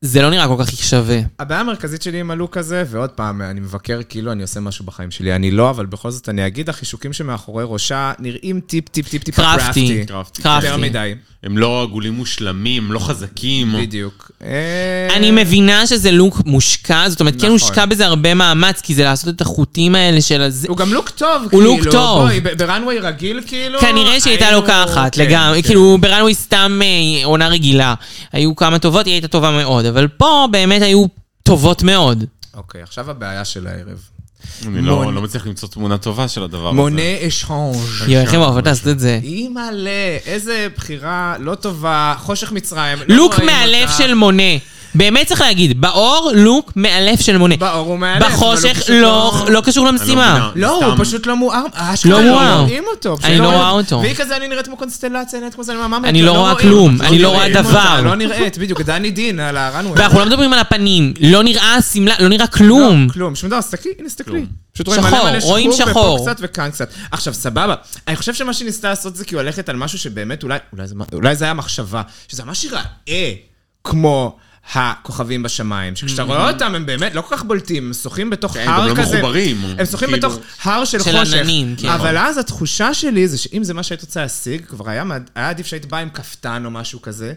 Speaker 2: זה לא נראה כל כך שווה.
Speaker 4: הבעיה המרכזית שלי עם הלוק הזה, ועוד פעם, אני מבקר כאילו אני עושה משהו בחיים שלי, אני לא, אבל בכל זאת אני אגיד, החישוקים שמאחורי ראשה נראים טיפ טיפ טיפ טיפ
Speaker 2: קרפטי. כן.
Speaker 3: קרפטי.
Speaker 4: יותר
Speaker 2: קרפטי.
Speaker 4: מדי,
Speaker 3: הם לא עגולים מושלמים, לא חזקים.
Speaker 4: בדיוק. אה,
Speaker 2: אני מבינה שזה לוק מושקע, זאת אומרת, כן
Speaker 4: נכון.
Speaker 2: הושקע בזה הרבה מאמץ, כי זה לעשות את החוטים האלה של הזה.
Speaker 4: הוא גם לוק טוב,
Speaker 2: הוא
Speaker 4: כאילו.
Speaker 2: לוק טוב.
Speaker 4: בואי, ב- בראנוויי רגיל, כאילו...
Speaker 2: כנראה שהיא הייתה
Speaker 4: היינו-
Speaker 2: לוקחת
Speaker 4: כן,
Speaker 2: לגמרי,
Speaker 4: כן.
Speaker 2: כאילו ברנוי סתם אה, עונה רגילה. היו כמה טובות, היא הייתה טובה מאוד, אבל פה באמת היו טובות מאוד.
Speaker 4: אוקיי, עכשיו הבעיה של הערב.
Speaker 3: אני לא-
Speaker 4: מון-
Speaker 3: לא מצליח למצוא תמונה טובה של הדבר הזה.
Speaker 4: מונה אשהונג'.
Speaker 2: יואו, איך הם אוהבות לעשות את זה.
Speaker 4: אימא'לה, איזה בחירה לא טובה, חושך מצרים. לא
Speaker 2: לוק
Speaker 4: רואים
Speaker 2: מאלף
Speaker 4: אותה.
Speaker 2: של מונה. באמת צריך להגיד, באור לוק מאלף של מונה.
Speaker 4: באור הוא מאלף. אבל הוא
Speaker 2: בחושך
Speaker 4: פשוט
Speaker 2: לא לא קשור למשימה.
Speaker 3: מבינה.
Speaker 4: לא, הוא
Speaker 3: סתם.
Speaker 4: פשוט לא מואר, אשכרה
Speaker 2: לא מואר.
Speaker 4: רואים אותו. פשוט
Speaker 2: אני לא
Speaker 4: רואים
Speaker 2: רואה אותו.
Speaker 4: והיא כזה, אני נראית כמו קונסטלציה, נראית כמו זה, אני אומר, מה,
Speaker 2: אני
Speaker 4: מה,
Speaker 2: לא רואה
Speaker 4: רואים
Speaker 2: כלום,
Speaker 4: אותה,
Speaker 2: אני לא רואה
Speaker 4: רואים אותה,
Speaker 2: דבר.
Speaker 4: לא נראית, בדיוק, דני דין על הראנווי.
Speaker 2: ואנחנו לא מדברים על הפנים, לא נראה שמלה, לא נראה
Speaker 4: לא,
Speaker 2: כלום.
Speaker 4: כלום, שום דבר, תסתכלי, הנה, תסתכלי.
Speaker 3: כלום.
Speaker 4: פשוט רואים
Speaker 2: שחור,
Speaker 4: מלא מלא
Speaker 2: רואים שחור.
Speaker 4: ופה קצת וכאן קצת. עכשיו, סבבה. אני חושב שמה שהיא ניסתה לעשות זה כאילו ללכת על משהו שבאמת, אולי- אולי זה- אולי זה היה מחשבה, שזה ממש ייראה כמו... הכוכבים בשמיים, שכשאתה רואה אותם הם באמת לא כל כך בולטים, הם שוחים בתוך
Speaker 3: הם גם
Speaker 4: הר
Speaker 3: לא
Speaker 4: כזה.
Speaker 3: מחוברים,
Speaker 4: הם שוחים
Speaker 3: כאילו-
Speaker 4: בתוך הר של
Speaker 2: של
Speaker 4: חושך.
Speaker 2: עננים, כן.
Speaker 4: אבל אז התחושה שלי זה שאם זה מה שהיית רוצה להשיג, כבר היה מעד- היה עדיף שהיית באה עם כפתן או משהו כזה.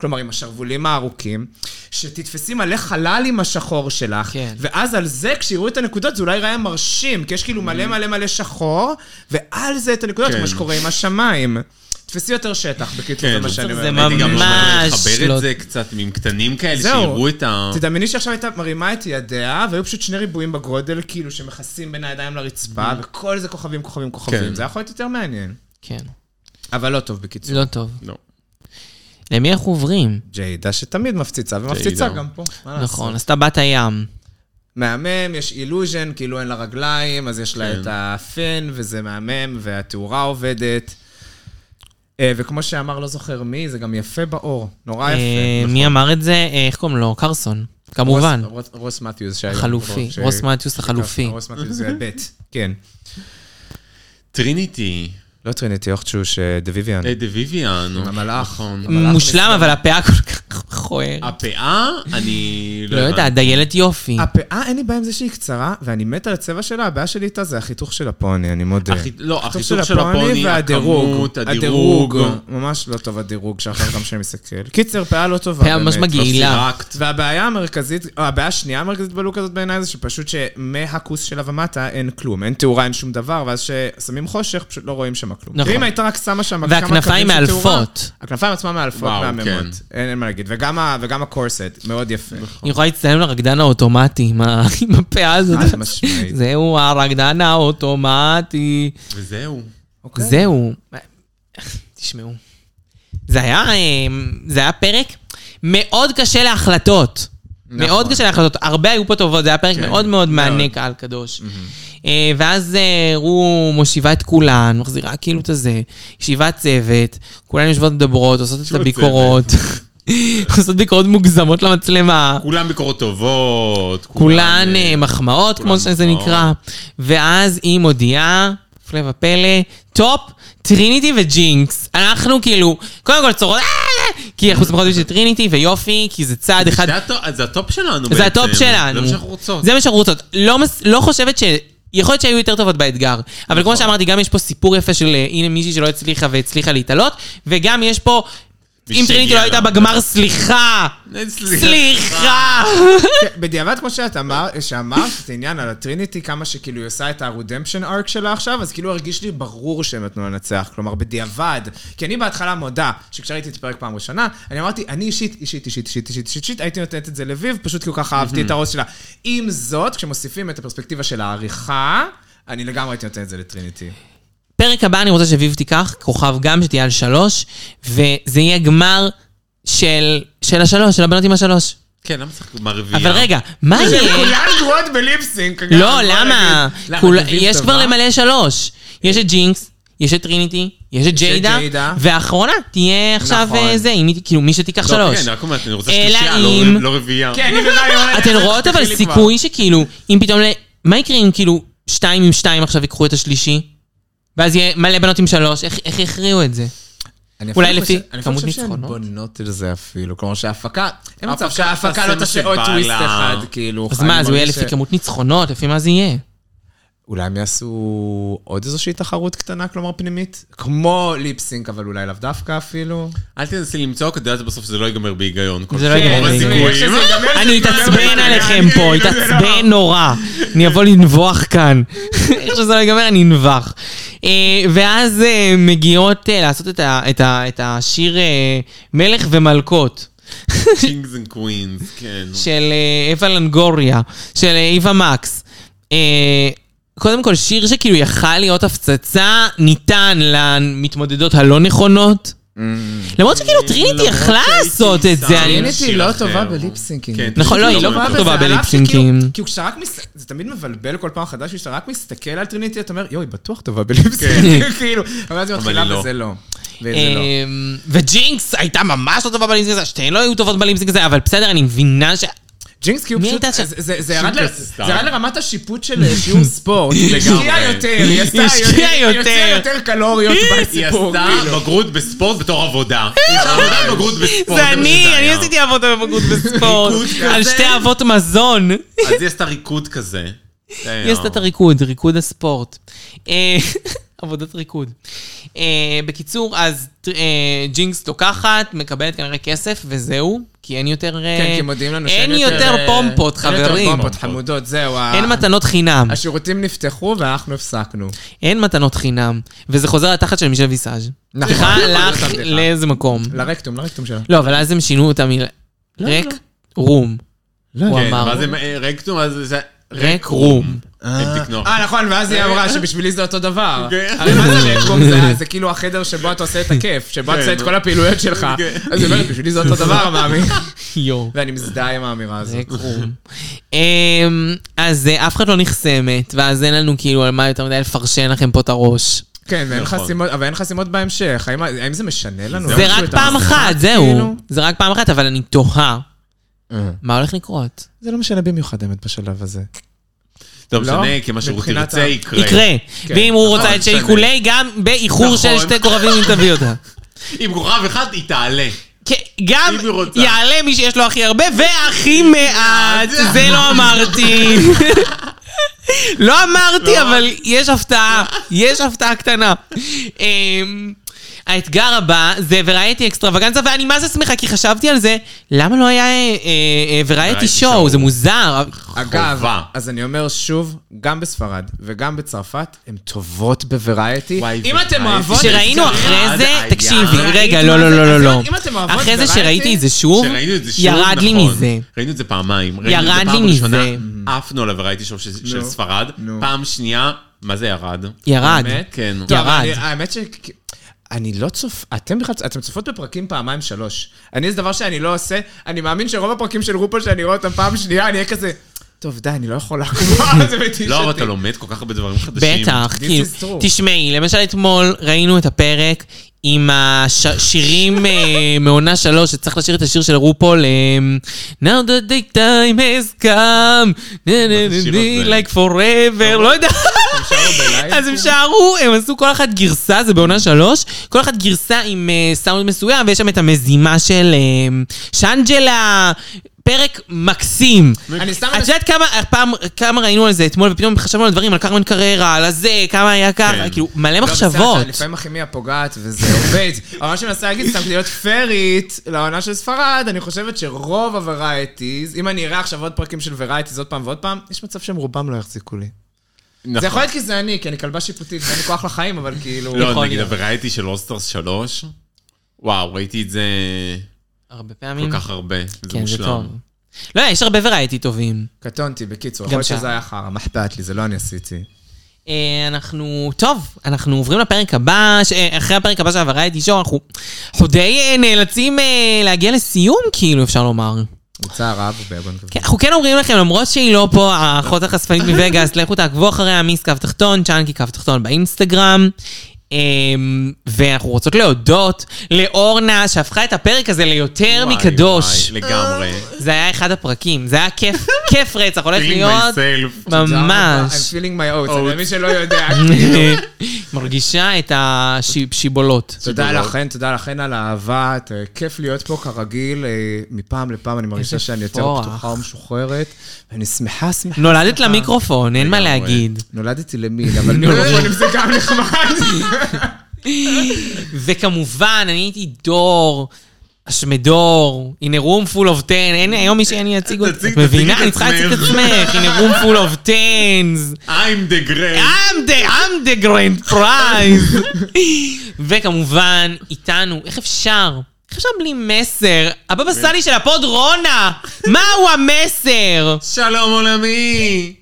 Speaker 4: כלומר, עם השרוולים הארוכים, שתתפסי מלא חלל עם השחור שלך,
Speaker 2: כן.
Speaker 4: ואז על זה, כשיראו את הנקודות, זה אולי ייראה מרשים, כי יש כאילו מלא מלא מלא שחור, ועל זה את הנקודות,
Speaker 3: Mm. כן.
Speaker 4: כמו שקורה עם השמיים. תפסי יותר שטח, בקיצור, זה
Speaker 3: כן,
Speaker 4: מה שאני
Speaker 2: זה
Speaker 4: אומר.
Speaker 3: הייתי גם
Speaker 2: ממש
Speaker 3: מחבר
Speaker 2: לא.
Speaker 3: את זה קצת עם קטנים כאלה,
Speaker 4: זהו.
Speaker 3: שיראו את ה...
Speaker 4: תדמייני שעכשיו הייתה מרימה את ידיה, והיו פשוט שני ריבועים בגודל, כאילו, שמכסים בין הידיים לרצפה, וכל זה כוכבים, כוכבים, כוכבים.
Speaker 3: Mm. כן.
Speaker 4: זה היה יכול להיות יותר מעניין.
Speaker 2: כן,
Speaker 4: אבל לא טוב, בקיצור.
Speaker 2: לא טוב.
Speaker 3: לא.
Speaker 2: למי אנחנו עוברים?
Speaker 4: ג'יידה שתמיד מפציצה, ומפציצה
Speaker 3: ג'יידה.
Speaker 4: אה, גם פה. מה לעשות?
Speaker 2: נכון, עשתה בת הים.
Speaker 4: מהמם, יש אילוז'ן, כאילו אין לה רגליים, אז יש לה
Speaker 3: כן.
Speaker 4: את הפן, וזה מהמם, והתאורה עובדת. אה, וכמו שאמר, לא זוכר מי, זה גם יפה באור, נורא יפה.
Speaker 2: אה,
Speaker 4: נכון.
Speaker 2: מי אמר את זה? אה, איך קוראים לו? קרסון. כמובן.
Speaker 4: רוס- רוס- רוס מתיוס שהיה.
Speaker 2: החלופי,
Speaker 4: ש-
Speaker 2: רוס מתיוס החלופי.
Speaker 4: רוס מתיוס זה בית, כן.
Speaker 3: טריניטי,
Speaker 4: לא טריניטי אוכצ'וש, דה ויויאן.
Speaker 3: אה, דה ויויאן.
Speaker 4: עם המלאך.
Speaker 3: נכון.
Speaker 4: אנחנו
Speaker 2: מושלם, אבל הפאה כל כך מכוערת.
Speaker 3: הפאה, אני
Speaker 2: לא יודעת, דיילת יופי.
Speaker 4: הפאה, אין לי בעיה עם זה שהיא קצרה, ואני מת על הצבע שלה, הבעיה שלי איתה זה החיתוך של הפוני, אני מודה.
Speaker 3: החיתוך- לא, החיתוך של הפוני, הכמות, הדירוג.
Speaker 4: הדירוג. ממש לא טוב הדירוג, שאחר כך שם מסתכל. קיצר, פאה לא טובה.
Speaker 2: פאה ממש
Speaker 4: באמת.
Speaker 2: מגעילה. עילה.
Speaker 3: סירקת.
Speaker 4: והבעיה המרכזית, או הבעיה השנייה המרכזית בלוק הזאת בעיניי זה שפשוט שמהכוס שלה ומטה אין כלום, אין תאורה, אין שום דבר, ואז כששמים חושך, פשוט לא רואים שם כלום.
Speaker 2: נכון.
Speaker 4: ואם הייתה רק שמה שם כמה
Speaker 2: והכנפיים
Speaker 4: קווים של תאורה,
Speaker 2: מאלפות.
Speaker 4: הכנפיים עצמן מאלפות,
Speaker 3: וואו,
Speaker 4: מהממות.
Speaker 3: כן.
Speaker 4: אין אין מה להגיד. וגם ה- וגם הקורסט, מאוד יפה.
Speaker 3: נכון.
Speaker 2: היא יכולה להצטלם לרקדן האוטומטי עם ה- עם הפאה הזאת.
Speaker 4: חד משמעית.
Speaker 2: זהו הרקדן האוטומטי.
Speaker 3: וזהו.
Speaker 4: אוקיי.
Speaker 2: זהו. תשמעו. זה היה, אה, זה היה פרק מאוד קשה להחלטות. מאוד קשה להחלטות. הרבה היו פה טובות, זה היה פרק מאוד מאוד מענה קהל קדוש. אה, ואז אה, רו מושיבה את כולן, מחזירה כאילו את הזה, ישיבת צוות, כולן יושבות מדברות, עושות את
Speaker 3: ישיבת
Speaker 2: הביקורות, עושות ביקורות מוגזמות למצלמה.
Speaker 3: כולם ביקורות טובות.
Speaker 2: כולן אה, מחמאות, כמו
Speaker 3: כולן
Speaker 2: שזה
Speaker 3: מחמאות.
Speaker 2: נקרא. ואז היא מודיעה, הפלא ופלא, טופ, טריניטי וג'ינקס. אנחנו כאילו, קודם כל צורות, "אה!" כי אנחנו שמחות שטריניטי ויופי, כי זה צעד אה, אחד.
Speaker 3: זה הטו- אז זה הטופ שלנו בעצם.
Speaker 2: זה הטופ שלנו.
Speaker 3: זה מה שאנחנו רוצות.
Speaker 2: זה מה שאנחנו רוצות. לא מס- לא חושבת ש... יכול להיות שהיו יותר טובות באתגר, אבל
Speaker 3: נכון.
Speaker 2: כמו שאמרתי, גם יש פה סיפור יפה של אה, הנה מישהי שלא הצליחה והצליחה להתעלות, וגם יש פה, אם
Speaker 3: ושהגיע
Speaker 2: טריניטי לא
Speaker 3: לה.
Speaker 2: הייתה בגמר, סליחה!
Speaker 3: אה, סליחה.
Speaker 2: סליחה!
Speaker 4: כן, בדיעבד, כמו שאת אמר- שאמרת, את העניין על הטריניטי, כמה שכאילו היא עושה את הרודמפשן ארק שלה עכשיו, אז כאילו הרגיש לי ברור שהם נתנו לה לנצח. כלומר, בדיעבד. כי אני בהתחלה מודה, שכשראיתי את הפרק פעם ראשונה, אני אמרתי, אני אישית, אישית, אישית, אישית, אישית, אישית, אישית, הייתי נותנת את זה לביב, פשוט כי הוא ככה אהבתי את הראש שלה. עם זאת, כשמוסיפים את הפרספקטיבה של העריכה, אני לגמרי הייתי נותן את זה לטריניטי.
Speaker 2: כן. פרק הבא אני רוצה שביב תיקח, כוכב גם, שתהיה על שלוש, וזה יהיה גמר של, של השלוש, של הבנות עם השלוש.
Speaker 3: כן, למה צריך מהרביעייה?
Speaker 2: אבל רגע, מה יהיה?
Speaker 4: כולן גרועות בליפסינק. אגב, בוא
Speaker 2: לא, למה?
Speaker 4: נגיד.
Speaker 2: כול-
Speaker 4: למה, תביב
Speaker 2: יש
Speaker 4: טובה?
Speaker 2: כבר למלא שלוש. יש את ג'ינקס, יש את טריניטי, יש את ג'יידה,
Speaker 4: ג'יידה. והאחרונה
Speaker 2: והאחרונה תהיה עכשיו
Speaker 4: נכון.
Speaker 2: אה, זה, אם היא- כאילו מי שתיקח
Speaker 3: לא,
Speaker 2: שלוש. אה,
Speaker 3: כן, רק אומרת, אני רוצה
Speaker 2: אלא
Speaker 3: שלישייה,
Speaker 2: אם-
Speaker 3: לא- לא רביעייה.
Speaker 4: כן, אני ברעיון.
Speaker 2: אתן רואות אבל
Speaker 4: תתחילי כבר.
Speaker 2: סיכוי שכאילו, אם פתאום, ל- מה יקרה אם כאילו שתיים עם שתיים עכשיו ייקחו את השלישי? ואז יהיה מלא בנות עם שלוש, איך איך יכריעו את זה?
Speaker 4: אני
Speaker 2: אולי
Speaker 4: אפילו
Speaker 2: לפי
Speaker 4: חושב-
Speaker 2: כמות
Speaker 4: אני
Speaker 2: ניצחונות?
Speaker 4: חושב שהן בונות על זה אפילו, כלומר שההפקה, אין מצב
Speaker 3: ההפקה
Speaker 4: שההפקה
Speaker 3: תעשה
Speaker 4: לא
Speaker 3: מה
Speaker 4: תעשה
Speaker 3: שבא
Speaker 4: עוד
Speaker 3: לה.
Speaker 4: טוויסט אחד, כאילו.
Speaker 2: אז
Speaker 4: אני
Speaker 2: מה, אז הוא יהיה
Speaker 4: מרגיש
Speaker 2: לפי
Speaker 4: ש-
Speaker 2: כמות ניצחונות, לפי מה זה יהיה?
Speaker 4: אולי הם יעשו עוד איזושהי תחרות קטנה, כלומר פנימית? כמו ליפסינק, אבל אולי לאו דווקא אפילו.
Speaker 3: אל תנסי למצוא, כי את יודעת בסוף זה לא ייגמר בהיגיון.
Speaker 2: זה לא ייגמר
Speaker 3: רוב
Speaker 2: בהיגיון.
Speaker 3: הסיכויים.
Speaker 4: שזה ייגמר, זה
Speaker 2: אני
Speaker 4: ייגמר
Speaker 2: אתעצבן
Speaker 4: בבלגן.
Speaker 2: עליכם פה, אתעצבן נורא. אני אבוא לנבוח כאן. איך שזה לא ייגמר, אני אנבח. אה, ואז אה, מגיעות אה, לעשות את ה- את ה- את השיר אה, מלך ומלכות.
Speaker 3: קינגס אנד קווינס, כן.
Speaker 2: של אה, אווה לנגוריה, של אה, איווה מקס. אה, קודם כל, שיר שכאילו יכל להיות הפצצה, ניתן למתמודדות הלא נכונות. למרות שכאילו טריניטי
Speaker 3: למרות
Speaker 2: יכלה
Speaker 3: שהייתי
Speaker 2: לעשות את זה.
Speaker 3: שם.
Speaker 2: אני-
Speaker 4: טריניטי
Speaker 3: שיר
Speaker 4: לא
Speaker 3: אחר.
Speaker 4: טובה בליפסינקים.
Speaker 3: כן,
Speaker 2: נכון, לא,
Speaker 3: טריניטי
Speaker 2: היא לא
Speaker 3: מאוד
Speaker 2: כל כך
Speaker 4: וזה
Speaker 2: טובה
Speaker 4: על אף
Speaker 2: בליפסינקים.
Speaker 4: שכאילו- כי כשאתה רק מס... זה תמיד מבלבל כל פעם חדש, כשאתה רק מסתכל על טריניטי, אתה אומר, יואי, בטוח טובה בליפסינק, כאילו, אבל אז היא
Speaker 3: כן. אבל
Speaker 4: מתחילה
Speaker 3: היא לא.
Speaker 4: וזה לא. וזה לא.
Speaker 2: אמ, וג'ינקס הייתה ממש לא טובה בלימסינג הזה, שתיהן לא היו טובות בלימסינג הזה, אבל בסדר, אני מבינה ש...
Speaker 4: ג'ינקס קיוב
Speaker 2: מי
Speaker 4: פשוט,
Speaker 2: הייתה שם?
Speaker 4: זה- זה- זה ירד ל-
Speaker 3: שינקס
Speaker 4: זה
Speaker 3: סטאר.
Speaker 4: ירד לרמת השיפוט של אה, שיעור ספורט, היא השקיעה יותר, היא עשתה-
Speaker 2: השקיעה
Speaker 4: היא
Speaker 2: יותר.
Speaker 4: הוציאה יותר קלוריות
Speaker 3: היא
Speaker 4: בסיפור.
Speaker 3: עשתה
Speaker 2: כאילו.
Speaker 3: בגרות בספורט בתור עבודה. היא עשתה עבודה בבגרות בספורט.
Speaker 2: זה
Speaker 3: מה
Speaker 2: אני,
Speaker 3: שזה
Speaker 2: אני
Speaker 3: היה.
Speaker 2: עשיתי אבות בבגרות בספורט,
Speaker 3: ריקוד
Speaker 2: על
Speaker 3: כזה.
Speaker 2: שתי אבות מזון.
Speaker 3: אז היא עשתה ריקוד כזה. אה, כן,
Speaker 2: היא עשתה את הריקוד, ריקוד הספורט. אה, עבודת ריקוד. אה, בקיצור, אז אה, ג'ינקס לוקחת, מקבלת כנראה כסף, וזהו, כי אין יותר... אה,
Speaker 4: כן, כי מודיעים לנו אה,
Speaker 2: אין יותר פומפות,
Speaker 4: אין יותר
Speaker 2: חברים.
Speaker 4: פומפות חמודות, זהו. ה-
Speaker 2: אין מתנות חינם.
Speaker 4: השירותים נפתחו ואנחנו הפסקנו.
Speaker 2: אין מתנות חינם. וזה חוזר לתחת של מישל ויסאז'.
Speaker 4: נכון.
Speaker 2: צריכה
Speaker 4: זאת
Speaker 2: לך
Speaker 4: הבדיחה.
Speaker 2: לאיזה מקום.
Speaker 4: לרקטום, לרקטום שלה.
Speaker 2: לא, אבל אז הם שינו אותה מ... רק רום. הוא
Speaker 3: כן,
Speaker 2: אמר.
Speaker 3: ואז הם אה, רקטום, אז זה...
Speaker 2: רק רום.
Speaker 3: הם תקנו.
Speaker 4: אה, נכון, ואז היא אמרה שבשבילי זה אותו דבר.
Speaker 3: כן.
Speaker 4: הרי מה זה רקום? זה- זה כאילו החדר שבו אתה עושה את הכיף, שבו אתה עושה את
Speaker 3: כן.
Speaker 4: כל הפעילויות שלך.
Speaker 3: כן.
Speaker 4: אז היא אומרת, בשבילי זה אותו דבר, מאמי.
Speaker 2: יואו.
Speaker 4: ואני מזדהה עם האמירה
Speaker 2: זה
Speaker 4: הזאת.
Speaker 2: קרום. אמ, אז אה, אף אחת לא נחסמת, ואז אין לנו כאילו על מה יותר מדי לפרשן לכם פה את הראש.
Speaker 4: כן, ואין
Speaker 3: נכון.
Speaker 4: חסימות, אבל אין חסימות בהמשך. האם- האם זה משנה לנו?
Speaker 2: זה
Speaker 4: משהו
Speaker 2: רק
Speaker 4: לא, את
Speaker 2: פעם
Speaker 4: המשחק,
Speaker 2: אחת,
Speaker 4: כאילו?
Speaker 2: זהו. זה רק פעם אחת, אבל אני תוהה. מה הולך לקרות?
Speaker 4: זה לא משנה במיוחד האמת בשלב הזה.
Speaker 3: לא
Speaker 4: לא,
Speaker 3: משנה, כי מה שהוא
Speaker 4: מבחינת
Speaker 3: תרצה
Speaker 4: ה-
Speaker 3: יקרה.
Speaker 2: יקרה.
Speaker 4: כן.
Speaker 2: ואם הוא
Speaker 4: נכון,
Speaker 2: רוצה את
Speaker 3: בסדר.
Speaker 2: שיקולי, גם באיחור של
Speaker 3: נכון.
Speaker 2: שתי כוכבים אם תביא אותה.
Speaker 3: עם כוכב אחד היא תעלה.
Speaker 2: כן, גם
Speaker 3: אם היא רוצה.
Speaker 2: יעלה מי שיש לו הכי הרבה, והכי מעט, זה לא אמרתי. לא אמרתי, אבל יש הפתעה, יש הפתעה קטנה. אמ, האתגר הבא זה וראיתי אקסטרווגנצה, ואני מה זה שמחה, כי חשבתי על זה, למה לא היה אה, אה, וראיתי
Speaker 3: וראייטי
Speaker 2: שואו,
Speaker 3: שואו.
Speaker 2: זה מוזר.
Speaker 4: אגב,
Speaker 3: חובה.
Speaker 4: אז אני אומר שוב, גם בספרד וגם בצרפת, הן טובות בוורייטי.
Speaker 3: וואי,
Speaker 4: אם
Speaker 3: וורייטי.
Speaker 4: אתם אוהבות... אה,
Speaker 2: שראינו
Speaker 3: אחד
Speaker 2: אחרי זה,
Speaker 3: היה.
Speaker 2: תקשיבי,
Speaker 4: ראית
Speaker 2: רגע,
Speaker 4: מה
Speaker 2: לא,
Speaker 4: זה?
Speaker 2: לא, לא,
Speaker 4: אז
Speaker 2: לא, לא.
Speaker 4: אם אתם אוהבות
Speaker 2: אחרי זה
Speaker 4: וראייטי-
Speaker 2: שראיתי את זה שוב,
Speaker 3: שראינו את זה שוב,
Speaker 2: ירד לי
Speaker 3: נכון.
Speaker 2: מזה.
Speaker 3: ראינו את זה פעמיים. ראינו את
Speaker 2: ירד
Speaker 3: זה
Speaker 2: לי
Speaker 3: פעם
Speaker 2: מזה.
Speaker 3: ראשונה, עפנו עליו וראיתי שוב של של
Speaker 4: נו.
Speaker 3: ספרד.
Speaker 4: נו.
Speaker 3: פעם שנייה, מה זה ירד?
Speaker 2: ירד.
Speaker 4: באמת?
Speaker 3: כן.
Speaker 4: טוב,
Speaker 2: ירד.
Speaker 4: אני- האמת ש... אני לא צופ... אתם בכלל... אתם צופות בפרקים פעמיים שלוש. אני, זה דבר שאני לא עושה. אני מאמין שרוב הפרקים של רופול שאני רואה אותם פעם שנייה, אני אהיה כזה... טוב, די, אני לא יכול לעקוב. זה מתיש אותי.
Speaker 3: לא, אבל אתה לומד כל כך הרבה דברים חדשים.
Speaker 2: בטח,
Speaker 4: This
Speaker 2: כאילו,
Speaker 4: is true.
Speaker 2: תשמעי, למשל אתמול ראינו את הפרק עם השירים אה, מעונה שלוש, שצריך לשיר את השיר של רופול, אה, Now the day time has come, na, na, na,
Speaker 3: השיר
Speaker 2: na,
Speaker 3: הזה?
Speaker 2: like forever, לא יודע. אז הם שרו, הם עשו כל אחת גרסה, זה בעונה שלוש, כל אחת גרסה עם אה, סאונד מסוים, ויש שם את המזימה של אה, שאנג'לה, פרק מקסים.
Speaker 4: אני סתם...
Speaker 2: את יודעת כמה, פעם, כמה ראינו על זה אתמול, ופתאום חשבנו על דברים, על קרמן קררה, על הזה, כמה היה ככה,
Speaker 3: כן.
Speaker 2: כאילו, מלא
Speaker 4: לא, בסדר,
Speaker 2: מחשבות.
Speaker 4: לפעמים הכימיה פוגעת וזה עובד. אבל מה שאני מנסה להגיד, סתם כדי להיות פיירית לעונה של ספרד, אני חושבת שרוב הוורייטיז, אם אני אראה עכשיו עוד פרקים של וורייטיז עוד פעם ועוד פעם, יש מצב שהם רובם לא יחזיקו לי. זה יכול
Speaker 3: נכון.
Speaker 4: להיות כי זה אני, כי אני כלבה שיפוטית, ואין לי כוח לחיים, אבל כאילו...
Speaker 3: לא,
Speaker 2: יכול
Speaker 3: נגיד
Speaker 2: להיות.
Speaker 3: הוורייטי של אוסטרס 3. וואו, ראיתי את זה
Speaker 2: הרבה פעמים.
Speaker 3: כל כך הרבה. זה
Speaker 2: כן, זה טוב.
Speaker 3: מושלם.
Speaker 2: לא, יש הרבה וראייטי טובים.
Speaker 4: קטונתי, בקיצור, יכול להיות
Speaker 2: שם.
Speaker 4: שזה היה חרא, מה אכפת לי, זה לא אני עשיתי.
Speaker 2: אה, אנחנו, טוב, אנחנו עוברים לפרק הבא, ש- אה, אחרי הפרק הבא של הוורייטי שואו, אנחנו אנחנו די אה, נאלצים אה, להגיע לסיום, כאילו, אפשר לומר.
Speaker 4: בצער רב וביגון כזה.
Speaker 2: כן, אנחנו כן אומרים לכם, למרות שהיא לא פה, האחות החשפנית מווגאס, לכו תעקבו אחריה, מיס קו תחתון, צ'אנקי קו תחתון באינסטגרם. אמ, ואנחנו רוצות להודות לאורנה, שהפכה את הפרק הזה ליותר
Speaker 3: וואי,
Speaker 2: מקדוש.
Speaker 3: וואי, לגמרי.
Speaker 2: זה היה אחד הפרקים, זה היה כיף, כיף רצח, הולך להיות
Speaker 3: myself.
Speaker 4: תודה רבה, I'm
Speaker 2: ממש.
Speaker 4: feeling my oats, אני
Speaker 3: Oats.
Speaker 4: למי שלא יודע.
Speaker 2: מרגישה את השיבולות.
Speaker 4: תודה
Speaker 3: סיבולות.
Speaker 4: לכן, תודה לכן על האהבה, את- אה, כיף להיות פה כרגיל, אה, מפעם לפעם אני מרגישה
Speaker 2: איזה
Speaker 4: שאני יותר
Speaker 2: פורח. לא.
Speaker 4: פתוחה ומשוחררת, ואני שמחה, שמחה.
Speaker 2: נולדת
Speaker 4: שמחה.
Speaker 2: למיקרופון, אין מה
Speaker 3: אה, לגמרי.
Speaker 2: להגיד.
Speaker 4: נולדתי למין, אבל לא.
Speaker 2: לא,
Speaker 4: מיקרופונים אה, זה גם נחמד.
Speaker 2: וכמובן, אני הייתי דור, השמדור, in a room full of ten, אין היום מי שאני אציג אותי.
Speaker 3: תציג-
Speaker 2: את מבינה?
Speaker 3: תציגי
Speaker 2: אני
Speaker 3: את
Speaker 2: צריכה להציג את
Speaker 3: עצמך.
Speaker 2: עצמך, in a room full of tens.
Speaker 3: I'm the great.
Speaker 2: I'm the, I'm the grand prize. וכמובן, איתנו, איך אפשר? איך אפשר בלי מסר? הבבא סאלי של הפוד רונה! מהו המסר?
Speaker 3: שלום עולמי.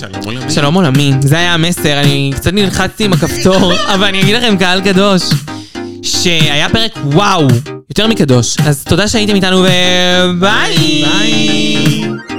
Speaker 3: שלום עולמי.
Speaker 2: שלום עולמי, זה היה המסר, אני קצת נלחצתי עם הכפתור, אבל אני אגיד לכם, קהל קדוש, שהיה פרק וואו, יותר מקדוש. אז תודה שהייתם איתנו, וביי!
Speaker 3: עולמי.